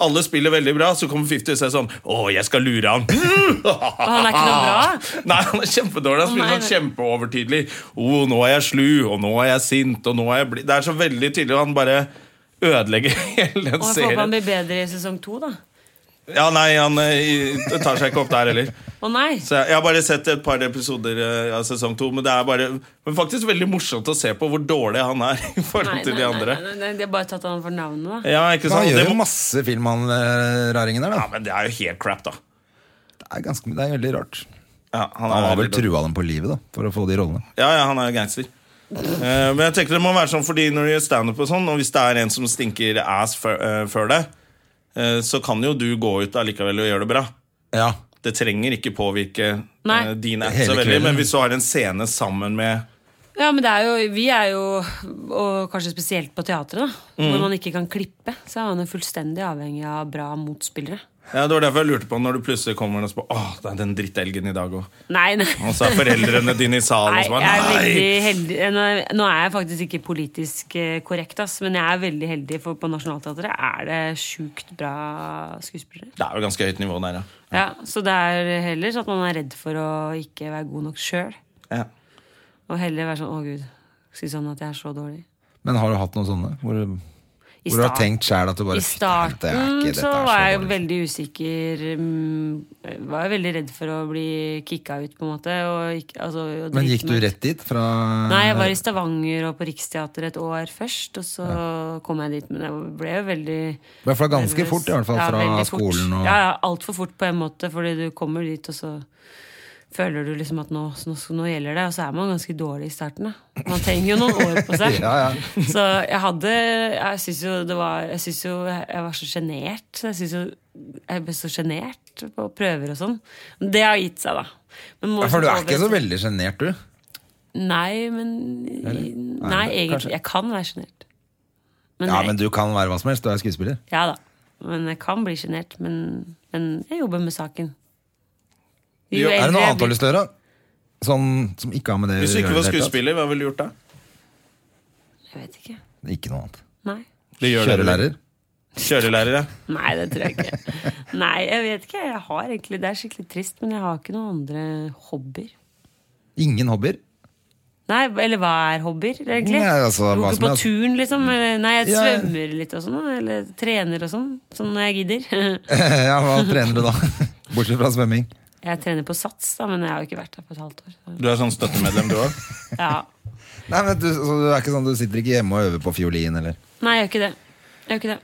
[SPEAKER 1] Alle spiller veldig bra, så kommer 50 Cent sånn Å, jeg skal lure han!
[SPEAKER 3] Og han er ikke noe bra.
[SPEAKER 1] Nei, han er kjempedårlig. Han spiller
[SPEAKER 3] nei,
[SPEAKER 1] sånn
[SPEAKER 3] nei.
[SPEAKER 1] kjempeovertydelig. oh, nå er jeg slu, og nå er jeg sint, og nå er jeg bli Det er så veldig tydelig, og han bare ødelegger hele den
[SPEAKER 3] Og jeg håper han
[SPEAKER 1] serien.
[SPEAKER 3] blir bedre i sesong to, da.
[SPEAKER 1] Ja, nei, han eh, i- tar seg ikke opp der heller.
[SPEAKER 3] Å nei!
[SPEAKER 1] Så jeg, jeg har bare sett et par episoder eh, av sesong to, men det er bare Men faktisk veldig morsomt å se på hvor dårlig han er i forhold
[SPEAKER 3] Nei,
[SPEAKER 1] til de
[SPEAKER 3] nei,
[SPEAKER 1] andre.
[SPEAKER 3] Nei, nei, nei, de har bare tatt han for navnet, da.
[SPEAKER 1] Ja, ikke
[SPEAKER 2] Han
[SPEAKER 1] sant?
[SPEAKER 2] gjør
[SPEAKER 1] Det
[SPEAKER 2] jo
[SPEAKER 1] må,
[SPEAKER 2] masse film, han eh, raringen der.
[SPEAKER 1] ja,
[SPEAKER 2] da
[SPEAKER 1] men det er jo helt crap, da.
[SPEAKER 2] Det er, ganske, det er veldig rart.
[SPEAKER 1] Ja, han
[SPEAKER 2] Han
[SPEAKER 1] er
[SPEAKER 2] har vel
[SPEAKER 1] veldig dårlig.
[SPEAKER 2] trua dem på livet da for å få de rollene.
[SPEAKER 1] Ja, ja, han er jo gangster. Eh, men jeg tenker det må være sånn fordi når du gjør standup og sånn, og hvis det er en som stinker ass før, eh, før det, eh, så kan jo du gå ut allikevel og gjøre det bra.
[SPEAKER 2] Ja,
[SPEAKER 1] Det trenger ikke påvirke
[SPEAKER 3] Nei.
[SPEAKER 1] eh, din app
[SPEAKER 2] Hele
[SPEAKER 1] så veldig,
[SPEAKER 2] kvelden.
[SPEAKER 1] men hvis du har en scene sammen med
[SPEAKER 3] Ja, men det er jo, vi er jo, og kanskje spesielt på teatret, da,
[SPEAKER 1] Mm.
[SPEAKER 3] hvor man ikke kan klippe, så er man jo fullstendig avhengig av bra motspillere.
[SPEAKER 1] ja, Det var derfor jeg lurte på når du plutselig kommer og spør Åh, det er den drittelgen i dag òg.
[SPEAKER 3] Nei, nei.
[SPEAKER 1] Og så er foreldrene dine i salen
[SPEAKER 3] Nei,
[SPEAKER 1] og så
[SPEAKER 3] jeg er
[SPEAKER 1] bare Nei!
[SPEAKER 3] veldig heldig Nå er- Nå er jeg faktisk ikke politisk eh, korrekt, ass, men jeg er veldig heldig, for på Nationaltheatret er det sjukt bra skuespillere.
[SPEAKER 1] Det er jo ganske høyt nivå der, ja.
[SPEAKER 3] Ja, Så det er heller sånn at man er redd for å ikke være god nok sjøl,
[SPEAKER 1] ja.
[SPEAKER 3] og heller være sånn 'Å, gud', si sånn at jeg er så dårlig.
[SPEAKER 2] Men har du hatt noen sånne? Hvor,
[SPEAKER 3] I
[SPEAKER 2] hvor du har
[SPEAKER 3] start-
[SPEAKER 2] tenkt sjæl at du bare
[SPEAKER 3] I
[SPEAKER 2] "Fy, dette er ikke-
[SPEAKER 3] starten
[SPEAKER 2] dette
[SPEAKER 3] så
[SPEAKER 2] er
[SPEAKER 3] var jeg jo
[SPEAKER 2] dårlig."
[SPEAKER 3] veldig usikker. mm, Var jeg veldig redd for å bli kicka ut, på en måte. Og ikke, altså, og
[SPEAKER 2] Men
[SPEAKER 3] drite
[SPEAKER 2] gikk du
[SPEAKER 3] meg ut.
[SPEAKER 2] rett dit fra
[SPEAKER 3] Nei, jeg var i Stavanger og på Riksteatret et år først, og så kom jeg dit. Men jeg ble jo veldig
[SPEAKER 2] I hvert fall ganske
[SPEAKER 3] nervøs.
[SPEAKER 2] fort, i hvert fall
[SPEAKER 3] Ja,
[SPEAKER 2] fra
[SPEAKER 3] veldig fort.
[SPEAKER 2] skolen og
[SPEAKER 3] Ja, ja, altfor fort på en måte, fordi du kommer dit, og så føler du liksom at nå, nå, nå gjelder det. Og så er man ganske dårlig i starten, da. Man trenger jo noen år på seg.
[SPEAKER 2] Ja, ja.
[SPEAKER 3] Så jeg hadde Jeg syns jo det var Jeg synes jo jeg var så sjenert. så Jeg synes jo jeg ble så sjenert på prøver og sånn. Men det har gitt seg, da. Men må- liksom
[SPEAKER 2] Ja, For du er ikke så veldig sjenert, du?
[SPEAKER 3] Nei, men Nei, egentlig. Jeg kan være sjenert. Men,
[SPEAKER 2] Ja,
[SPEAKER 3] jeg-
[SPEAKER 2] men du kan være hva som helst, du er skuespiller.
[SPEAKER 3] ja da. Men jeg kan bli sjenert. Men, men jeg jobber med saken. Jo,
[SPEAKER 2] Er det
[SPEAKER 3] eldre
[SPEAKER 2] noe
[SPEAKER 3] jeg
[SPEAKER 2] annet du har
[SPEAKER 3] blir-
[SPEAKER 2] lyst til å gjøre? Sånn som ikke har med det
[SPEAKER 1] Hvis du
[SPEAKER 2] å
[SPEAKER 1] ikke
[SPEAKER 2] gjøre
[SPEAKER 1] var
[SPEAKER 2] i det hele tatt?
[SPEAKER 1] skuespiller, hva ville du gjort da?
[SPEAKER 3] Jeg vet ikke.
[SPEAKER 2] Ikke noe annet.
[SPEAKER 3] Nei.
[SPEAKER 1] Det gjør dere.
[SPEAKER 2] Kjørelærer?
[SPEAKER 1] Kjørelærer, ja.
[SPEAKER 3] Nei, det tror jeg ikke. Nei, jeg vet ikke. Jeg har egentlig, det er skikkelig trist, men jeg har ikke noen andre hobbyer.
[SPEAKER 2] Ingen hobbyer?
[SPEAKER 3] Nei, eller hva er hobbyer, egentlig?
[SPEAKER 2] Nei, altså, hva som
[SPEAKER 3] Går ikke på
[SPEAKER 2] helst.
[SPEAKER 3] turen, liksom? eller- Nei, jeg
[SPEAKER 2] Ja.
[SPEAKER 3] svømmer litt og sånn, da, eller trener og sånn. Sånn når jeg gidder.
[SPEAKER 2] ja, hva trener du da? Bortsett fra svømming.
[SPEAKER 3] Jeg trener på sats, da, men jeg har jo ikke vært der på et halvt år. så-
[SPEAKER 1] Du er sånn støttemedlem, du òg?
[SPEAKER 3] Ja.
[SPEAKER 2] Nei, men du, så du er ikke sånn, du sitter ikke hjemme og øver på fiolin, eller?
[SPEAKER 3] Nei, jeg gjør ikke det. Jeg gjør ikke det.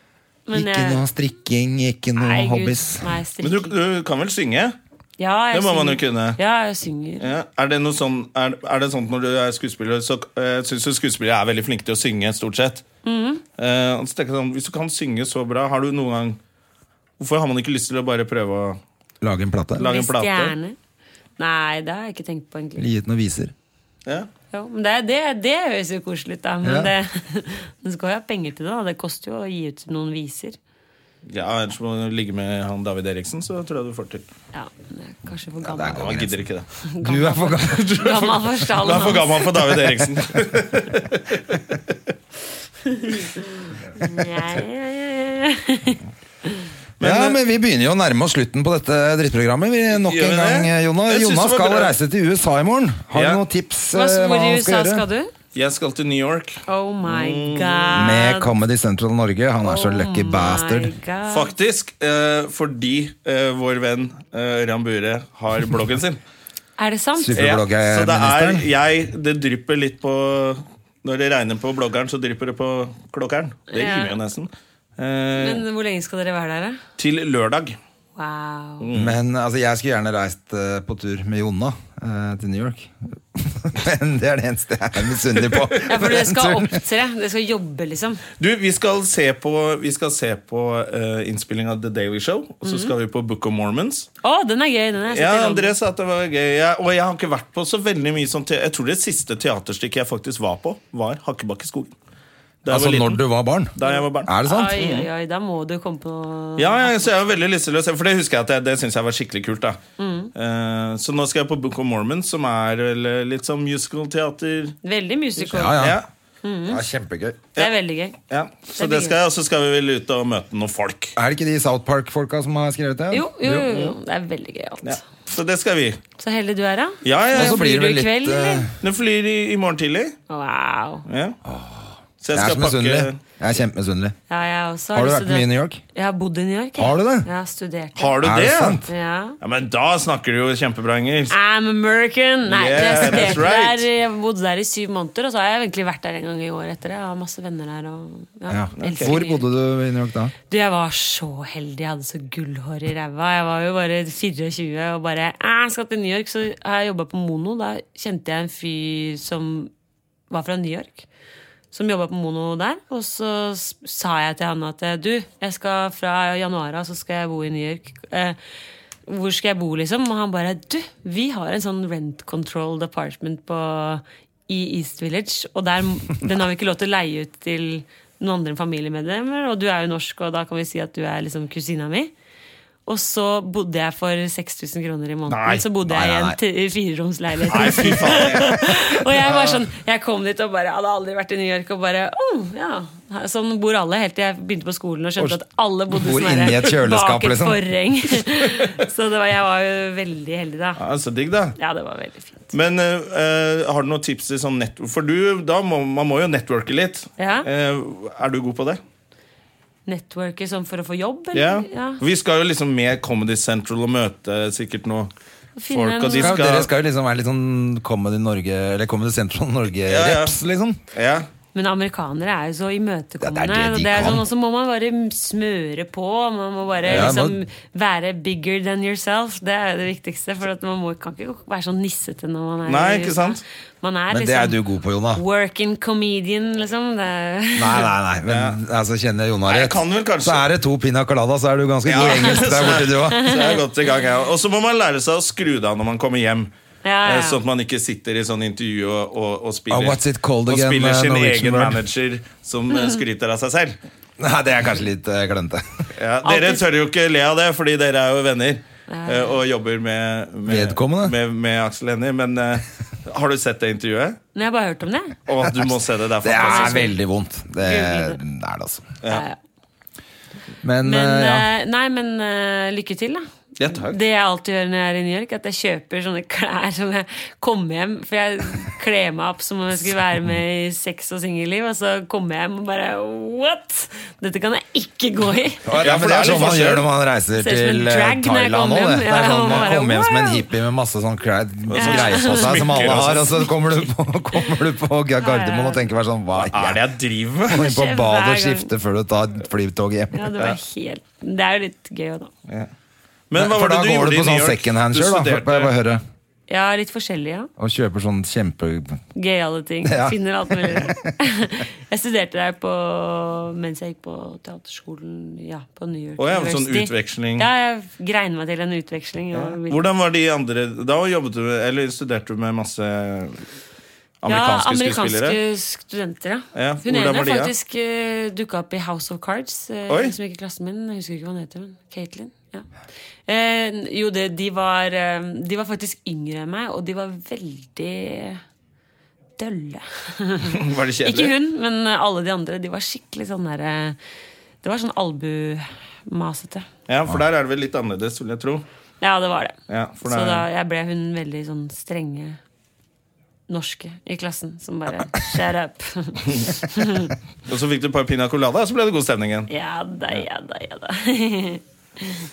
[SPEAKER 3] Men
[SPEAKER 2] ikke
[SPEAKER 3] jeg,
[SPEAKER 2] noe strikking, ikke noe
[SPEAKER 3] nei, Gud,
[SPEAKER 2] hobbies.
[SPEAKER 3] Nei,
[SPEAKER 1] Men du,
[SPEAKER 3] strikking.
[SPEAKER 1] du kan vel synge?
[SPEAKER 3] Ja, jeg
[SPEAKER 1] Det må man jo
[SPEAKER 3] synger.
[SPEAKER 1] kunne. Eh,
[SPEAKER 3] Ja, jeg synger.
[SPEAKER 1] Ja. Er, det noe sånn, er, er det sånn at når du er skuespiller, så uh, syns du skuespillere er veldig flinke til å synge, stort sett? Eh, og så tenker jeg sånn, hvis du kan synge så bra, har du noen gang Hvorfor har man ikke lyst til å bare prøve å
[SPEAKER 2] Lage en plate?
[SPEAKER 1] Lage en
[SPEAKER 3] Hvis
[SPEAKER 1] plate.
[SPEAKER 3] gjerne. Nei, det har jeg ikke tenkt på, egentlig.
[SPEAKER 2] Eller gi ut noen viser?
[SPEAKER 1] ja.
[SPEAKER 3] Jo, men det, det, det høres jo koselig ut, da. Men
[SPEAKER 2] Ja.
[SPEAKER 3] det, du skal jo ha penger til det, da. Det koster jo å gi ut noen viser.
[SPEAKER 1] ja, ellers må du ligge med han David Eriksen, så tror jeg du får til.
[SPEAKER 3] Ja, men jeg er kanskje for
[SPEAKER 2] det
[SPEAKER 3] gammel.
[SPEAKER 2] er
[SPEAKER 1] Han gidder ikke det.
[SPEAKER 2] Du er for gammel.
[SPEAKER 3] Gammel for
[SPEAKER 1] Du
[SPEAKER 3] stallen
[SPEAKER 1] er for
[SPEAKER 3] hans.
[SPEAKER 1] gammel for David Eriksen.
[SPEAKER 3] Ja, ja, ja, ja.
[SPEAKER 2] ja,
[SPEAKER 1] eh,
[SPEAKER 2] men vi begynner jo å nærme oss slutten på dette drittprogrammet. Vi, nok
[SPEAKER 1] Gjør vi
[SPEAKER 2] en gang,
[SPEAKER 1] det?
[SPEAKER 2] Jonas.
[SPEAKER 1] Jeg synes
[SPEAKER 2] Jonas
[SPEAKER 1] det var
[SPEAKER 2] skal
[SPEAKER 1] bra.
[SPEAKER 2] reise til USA i morgen. Har du
[SPEAKER 1] Ja.
[SPEAKER 2] noen tips?
[SPEAKER 3] Hva
[SPEAKER 2] eh,
[SPEAKER 3] hvor i
[SPEAKER 2] han
[SPEAKER 3] USA skal
[SPEAKER 2] gjøre?
[SPEAKER 3] du?
[SPEAKER 1] Jeg skal til New York.
[SPEAKER 3] Oh
[SPEAKER 1] Mm.
[SPEAKER 3] my god.
[SPEAKER 2] Med Comedy Central Norge. Han er så
[SPEAKER 3] Oh
[SPEAKER 2] lucky
[SPEAKER 3] my
[SPEAKER 2] bastard.
[SPEAKER 3] god.
[SPEAKER 1] Faktisk eh, fordi eh, vår venn eh, Ram Bure har bloggen sin.
[SPEAKER 3] Er det sant?
[SPEAKER 2] Super.
[SPEAKER 1] så det er
[SPEAKER 2] Bloggerministeren.
[SPEAKER 1] jeg Det drypper litt på Når det regner på bloggeren, så drypper det på klokkeren. Det
[SPEAKER 3] Ja.
[SPEAKER 1] rimer jo nesten. Eh,
[SPEAKER 3] Men hvor lenge skal dere være der, da?
[SPEAKER 1] til lørdag.
[SPEAKER 3] Wow.
[SPEAKER 1] Mm.
[SPEAKER 2] Men altså, jeg skulle gjerne reist eh, på tur med Jonna eh, til New York. Men det er det eneste jeg er misunnelig på.
[SPEAKER 3] Ja, for dere
[SPEAKER 2] den
[SPEAKER 3] skal
[SPEAKER 2] turen.
[SPEAKER 3] opptre. Dere skal jobbe, liksom.
[SPEAKER 1] Du, vi skal se på, vi skal se på eh, innspilling av The Daily Show. Og så skal vi på Book of Mormons.
[SPEAKER 3] Å, den er gøy! Den er
[SPEAKER 1] Ja, André sa at det var gøy. Jeg, og jeg har ikke vært på så veldig mye sånn te- Jeg tror det siste teaterstykket jeg faktisk var på, var Hakkebakkeskogen. Da jeg
[SPEAKER 2] altså
[SPEAKER 1] var liten.
[SPEAKER 2] når du var barn.
[SPEAKER 1] Da jeg var barn.
[SPEAKER 2] Er det sant?
[SPEAKER 3] Oi, oi, oi, da må du komme på noe
[SPEAKER 1] Ja, ja, så jeg var veldig listeløs, for det husker jeg at jeg, det synes jeg var skikkelig kult. da Eh, Så nå skal jeg på Book of Mormon, som er vel, litt sånn musical-teater.
[SPEAKER 3] Veldig musical.
[SPEAKER 2] Ja, ja.
[SPEAKER 1] Ja,
[SPEAKER 3] Mm.
[SPEAKER 2] Det er kjempegøy.
[SPEAKER 3] Det er veldig gøy.
[SPEAKER 1] ja. Så
[SPEAKER 3] Det er
[SPEAKER 1] det skal jeg, og så skal vi vel ut og møte noen folk.
[SPEAKER 2] Er det ikke de South Park-folka som har skrevet det?
[SPEAKER 3] Jo, jo, jo, jo. Det er veldig gøy alt.
[SPEAKER 1] Ja. Så det skal vi.
[SPEAKER 3] Så heldig du er, da.
[SPEAKER 1] Ja, ja.
[SPEAKER 2] Og så
[SPEAKER 1] jeg-
[SPEAKER 2] blir det vel
[SPEAKER 3] Flyr du i
[SPEAKER 2] litt
[SPEAKER 3] kveld, eller?
[SPEAKER 2] eh,
[SPEAKER 1] Den flyr i, i morgen tidlig.
[SPEAKER 3] Wow.
[SPEAKER 1] Ja. Så jeg
[SPEAKER 2] Jeg er
[SPEAKER 1] skal
[SPEAKER 2] så misunnelig.
[SPEAKER 1] pakke
[SPEAKER 2] Jeg er kjempemisunnelig.
[SPEAKER 3] Ja, jeg også.
[SPEAKER 2] Har du
[SPEAKER 3] lyst
[SPEAKER 2] vært
[SPEAKER 3] til
[SPEAKER 2] mye i
[SPEAKER 3] å dra-
[SPEAKER 2] New York?
[SPEAKER 3] Jeg har bodd i New York. jeg.
[SPEAKER 2] Har du det?
[SPEAKER 3] Jeg har studert.
[SPEAKER 1] Har du
[SPEAKER 2] Er
[SPEAKER 1] det?
[SPEAKER 2] det sant?
[SPEAKER 3] Ja.
[SPEAKER 1] Ja, men da snakker du jo kjempebra engelsk.
[SPEAKER 3] I'm American! Nei,
[SPEAKER 1] Yeah,
[SPEAKER 3] jeg
[SPEAKER 1] that's
[SPEAKER 3] studerte
[SPEAKER 1] right.
[SPEAKER 3] der, jeg bodde der i syv måneder, og så har jeg egentlig vært der en gang i år etter det. Jeg har masse venner der og ja,
[SPEAKER 2] Ja.
[SPEAKER 3] elsker
[SPEAKER 2] Hvor
[SPEAKER 3] New York.
[SPEAKER 2] bodde du i New York da?
[SPEAKER 3] Du, jeg var så heldig. Jeg hadde så gullhår i ræva. Jeg var jo bare 24 og bare «Æ, Jeg skal til New York, så har jeg jobba på Mono. Da kjente jeg en fyr som var fra New York. Som jobba på Mono der. Og så s- sa jeg til han at du, jeg skal fra januar av så skal jeg bo i New York. Eh, hvor skal jeg bo, liksom? Og han bare Du, vi har en sånn rent controlled apartment på, i East Village, og der, den har vi ikke lov til å leie ut til noen andre enn familiemedlemmer, og du er jo norsk, og da kan vi si at du er liksom kusina mi. Og så bodde jeg for 6000 kroner i måneden.
[SPEAKER 1] Nei,
[SPEAKER 3] så bodde
[SPEAKER 2] nei,
[SPEAKER 3] jeg i
[SPEAKER 2] nei,
[SPEAKER 3] en t- fireromsleilighet.
[SPEAKER 1] Nei, fy faen.
[SPEAKER 3] Og jeg var sånn, jeg kom dit og bare hadde aldri vært i New York. Og bare, oh, ja Sånn bor alle, helt til jeg begynte på skolen og skjønte at alle bodde
[SPEAKER 2] Bor
[SPEAKER 3] sånn
[SPEAKER 2] inni et
[SPEAKER 3] her
[SPEAKER 2] kjøleskap,
[SPEAKER 3] bak et
[SPEAKER 2] liksom.
[SPEAKER 3] forheng. Så det var, jeg var jo veldig heldig, da.
[SPEAKER 1] Ja, så digg, da.
[SPEAKER 3] Ja, det var veldig fint.
[SPEAKER 1] Men eh, eh, har du noen tips til sånn network? For du, da må, man må jo networke litt.
[SPEAKER 3] Ja.
[SPEAKER 1] Eh, er du god på det?
[SPEAKER 3] Nettworket sånn for å få jobb,
[SPEAKER 1] Ja.
[SPEAKER 3] eller? Ja.
[SPEAKER 1] Vi skal jo liksom med Comedy Central og møte sikkert noe
[SPEAKER 3] Finne
[SPEAKER 1] folk. Og de
[SPEAKER 3] noe-
[SPEAKER 2] Skal, dere
[SPEAKER 1] skal
[SPEAKER 2] skal jo liksom være litt sånn Comedy Norge Eller Comedy
[SPEAKER 1] Ja,
[SPEAKER 2] Central
[SPEAKER 1] ja.
[SPEAKER 2] Norge-reps, liksom.
[SPEAKER 1] ja.
[SPEAKER 3] Men amerikanere er jo så imøtekommende.
[SPEAKER 2] Ja, det er det de
[SPEAKER 3] og det er
[SPEAKER 2] kan.
[SPEAKER 3] sånn, og så må man bare smøre på. Man må bare
[SPEAKER 2] Ja,
[SPEAKER 3] liksom
[SPEAKER 2] man-
[SPEAKER 3] være bigger than yourself. Det er jo det viktigste. For at man må, kan ikke være sånn nissete når man er
[SPEAKER 1] Nei,
[SPEAKER 3] i
[SPEAKER 1] ikke
[SPEAKER 3] USA.
[SPEAKER 1] sant?
[SPEAKER 3] Man er
[SPEAKER 2] Men det er
[SPEAKER 3] liksom
[SPEAKER 2] du god på, Jona.
[SPEAKER 3] working comedian, liksom. Det er
[SPEAKER 2] Nei, nei, nei. Men altså, kjenner jeg Jona
[SPEAKER 1] Nei, jeg
[SPEAKER 2] rett,
[SPEAKER 1] kan vel kanskje-
[SPEAKER 2] så er det to pina colada, så er du ganske
[SPEAKER 1] Ja.
[SPEAKER 2] god i engelsk der borte, du òg.
[SPEAKER 1] Så jeg er godt i gang, jeg også. Og så må man lære seg å skru det av når man kommer hjem.
[SPEAKER 3] Ja, ja.
[SPEAKER 1] Eh, Sånn at man ikke sitter i sånn intervju og, og, og spiller,
[SPEAKER 2] Oh, what's it called
[SPEAKER 1] og
[SPEAKER 2] again,
[SPEAKER 1] spiller
[SPEAKER 2] eh,
[SPEAKER 1] sin
[SPEAKER 2] Norwegian
[SPEAKER 1] egen
[SPEAKER 2] word?
[SPEAKER 1] manager som eh, skryter av seg selv.
[SPEAKER 2] Nei, det er kanskje litt eh, klønete.
[SPEAKER 1] Ja, dere
[SPEAKER 3] Alltid-
[SPEAKER 1] tør jo ikke le av det, fordi dere er jo venner. eh, Og jobber med, med,
[SPEAKER 2] Vedkommende.
[SPEAKER 1] med, med Aksel Hennie. Men eh, har du sett det intervjuet?
[SPEAKER 3] Men jeg har bare hørt om det.
[SPEAKER 1] Å, du må se det. Det er
[SPEAKER 2] Det er
[SPEAKER 1] fantastisk.
[SPEAKER 2] veldig vondt. Det er
[SPEAKER 3] Google
[SPEAKER 2] det, altså.
[SPEAKER 3] Ja. ja.
[SPEAKER 2] Men,
[SPEAKER 3] Men,
[SPEAKER 2] eh, ja.
[SPEAKER 3] eh, nei, men eh, lykke til, da.
[SPEAKER 1] Ja, takk.
[SPEAKER 3] Det jeg alltid gjør når jeg er i New York, er at jeg kjøper sånne klær som jeg kommer hjem For jeg kler meg opp som om jeg skulle være med i sex og singelliv, og så kommer jeg hjem og bare What?! Dette kan jeg ikke gå i!
[SPEAKER 2] Ja,
[SPEAKER 1] Ja, for det er
[SPEAKER 2] men Det er
[SPEAKER 1] litt
[SPEAKER 2] sånn man
[SPEAKER 1] forskjell.
[SPEAKER 2] gjør når man reiser
[SPEAKER 3] Ser ut som en
[SPEAKER 2] til eh,
[SPEAKER 3] drag når jeg
[SPEAKER 2] Thailand òg.
[SPEAKER 3] kommer hjem.
[SPEAKER 2] Det er
[SPEAKER 3] Ja,
[SPEAKER 2] sånn
[SPEAKER 3] man
[SPEAKER 2] Man
[SPEAKER 3] bare,
[SPEAKER 2] kommer hjem som en
[SPEAKER 3] wow.
[SPEAKER 2] hippie med masse sånn klær,
[SPEAKER 1] sånn
[SPEAKER 2] greier på seg som
[SPEAKER 1] smykker
[SPEAKER 2] alle
[SPEAKER 1] og
[SPEAKER 2] har,
[SPEAKER 1] sånn.
[SPEAKER 2] og så kommer du på, kommer du på gardermoen og tenker bare sånn
[SPEAKER 1] Hva
[SPEAKER 2] Hva
[SPEAKER 1] er
[SPEAKER 2] er
[SPEAKER 1] det
[SPEAKER 2] det?
[SPEAKER 1] jeg driver med?
[SPEAKER 2] Gå inn på
[SPEAKER 3] Skjer
[SPEAKER 2] badet og
[SPEAKER 3] hver gang.
[SPEAKER 2] skifte før du tar flytoget hjem.
[SPEAKER 3] Ja, det, var helt, det er jo litt gøy òg, da.
[SPEAKER 1] Men hva var
[SPEAKER 2] For da
[SPEAKER 1] det du
[SPEAKER 2] går
[SPEAKER 1] gjorde
[SPEAKER 2] du
[SPEAKER 1] i New
[SPEAKER 2] på sånn
[SPEAKER 1] York?
[SPEAKER 2] secondhand
[SPEAKER 1] Du
[SPEAKER 2] sjøl, da.
[SPEAKER 1] studerte-
[SPEAKER 2] for- Bare høre.
[SPEAKER 3] Ja, litt forskjellig, ja.
[SPEAKER 2] Og kjøper sånn kjempe...
[SPEAKER 3] Gøyale ting.
[SPEAKER 2] Ja.
[SPEAKER 3] Finner alt mulig. jeg studerte der på, mens jeg gikk på teaterskolen ja, på New York
[SPEAKER 1] Å ja, sånn utveksling.
[SPEAKER 3] Ja, jeg grein meg til en utveksling. og ville-
[SPEAKER 1] Hvordan var de andre Da jobbet du, eller studerte du med masse amerikanske,
[SPEAKER 3] ja, amerikanske
[SPEAKER 1] skuespillere?
[SPEAKER 3] studenter, ja.
[SPEAKER 1] Ja,
[SPEAKER 3] Hun
[SPEAKER 1] hvordan
[SPEAKER 3] ene
[SPEAKER 1] var de, ja?
[SPEAKER 3] faktisk uh, dukka opp i House of Cards. eh,
[SPEAKER 1] Oi.
[SPEAKER 3] hun som gikk i klassen min. Jeg husker ikke hva hun heter. Men Caitlin. Ja. Eh, jo, det, de, var, eh, de var faktisk yngre enn meg, og de var veldig dølle.
[SPEAKER 1] Var det
[SPEAKER 3] ikke
[SPEAKER 1] kjedelig?
[SPEAKER 3] hun, men alle de andre. De var skikkelig sånn derre Det var sånn albumasete.
[SPEAKER 1] Ja, for der er det vel litt annerledes, vil jeg tro.
[SPEAKER 3] Ja, det var det.
[SPEAKER 1] Ja, for
[SPEAKER 3] Så
[SPEAKER 1] det er-
[SPEAKER 3] da jeg ble hun veldig sånn strenge norske i klassen som bare Shut up.
[SPEAKER 1] Og så fikk du et par pina colada, og så ble det god stemning igjen.
[SPEAKER 3] Ja da, ja da, ja da.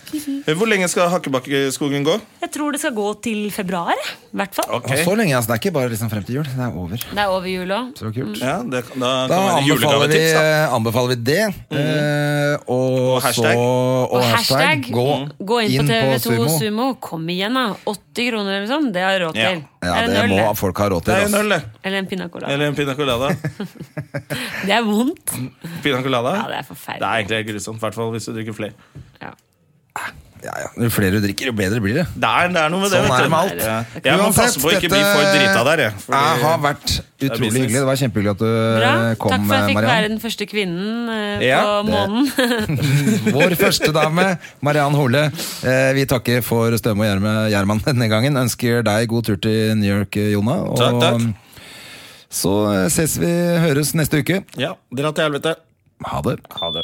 [SPEAKER 1] Hvor lenge skal Hakkebakkeskogen gå?
[SPEAKER 3] Jeg tror det skal gå til februar, jeg, i hvert fall.
[SPEAKER 1] Ok.
[SPEAKER 2] Og så lenge jeg snakker, bare liksom frem til jul. Det er over.
[SPEAKER 3] Det er over jul òg.
[SPEAKER 2] Så kult.
[SPEAKER 1] Ja, det, da kan
[SPEAKER 2] Da
[SPEAKER 1] være
[SPEAKER 2] anbefaler vi,
[SPEAKER 1] julegavetips, da. Mhm.
[SPEAKER 2] eh, anbefaler vi det. eh, og,
[SPEAKER 1] Og hashtag. Mhm.
[SPEAKER 2] Så, og,
[SPEAKER 3] Og
[SPEAKER 2] hashtag.
[SPEAKER 3] hashtag
[SPEAKER 2] Gå,
[SPEAKER 3] gå inn, på TV2 Sumo.
[SPEAKER 2] Sumo.
[SPEAKER 3] Kom igjen, da. 80 kroner eller sånn, det har jeg råd
[SPEAKER 1] Ja.
[SPEAKER 3] til.
[SPEAKER 2] Ja,
[SPEAKER 3] Eller
[SPEAKER 2] det
[SPEAKER 3] en øl,
[SPEAKER 2] må
[SPEAKER 3] det.
[SPEAKER 2] folk ha råd til.
[SPEAKER 1] Det er en
[SPEAKER 2] altså.
[SPEAKER 1] øl, det.
[SPEAKER 3] Eller en pina colada.
[SPEAKER 1] Eller en pina colada.
[SPEAKER 3] Det er vondt.
[SPEAKER 1] Pina colada?
[SPEAKER 3] Ja, det er
[SPEAKER 1] Det er
[SPEAKER 3] forferdelig.
[SPEAKER 1] egentlig grusomt, i hvert fall hvis du drikker flere.
[SPEAKER 3] Ja.
[SPEAKER 2] Ja, ja. Jo flere du drikker, jo bedre blir det.
[SPEAKER 1] Det er, det er noe med det.
[SPEAKER 2] Sånn
[SPEAKER 1] vet
[SPEAKER 2] er
[SPEAKER 1] du.
[SPEAKER 2] det med alt.
[SPEAKER 1] Ja. Jeg må
[SPEAKER 2] Uansett,
[SPEAKER 1] passe på å ikke bli
[SPEAKER 2] dette-
[SPEAKER 1] for drita der, jeg. Fordi-
[SPEAKER 2] Jeg har vært
[SPEAKER 1] er
[SPEAKER 2] utrolig
[SPEAKER 1] business.
[SPEAKER 2] hyggelig. Det var kjempehyggelig at du
[SPEAKER 3] Bra.
[SPEAKER 2] eh, kom,
[SPEAKER 3] Takk for at jeg fikk være
[SPEAKER 2] Mariann.
[SPEAKER 3] den første kvinnen eh,
[SPEAKER 1] Ja,
[SPEAKER 3] på månen.
[SPEAKER 2] Vår første dame, Mariann Hole. Eh, Vi takker for Støme og Gjerme- Gjerman denne gangen. Ønsker deg god tur til New York, eh, Jonna. Og
[SPEAKER 1] Takk, takk.
[SPEAKER 2] så eh, ses vi, høres neste uke.
[SPEAKER 1] Ja, dra til helvete.
[SPEAKER 2] Ha det.
[SPEAKER 1] Ha det.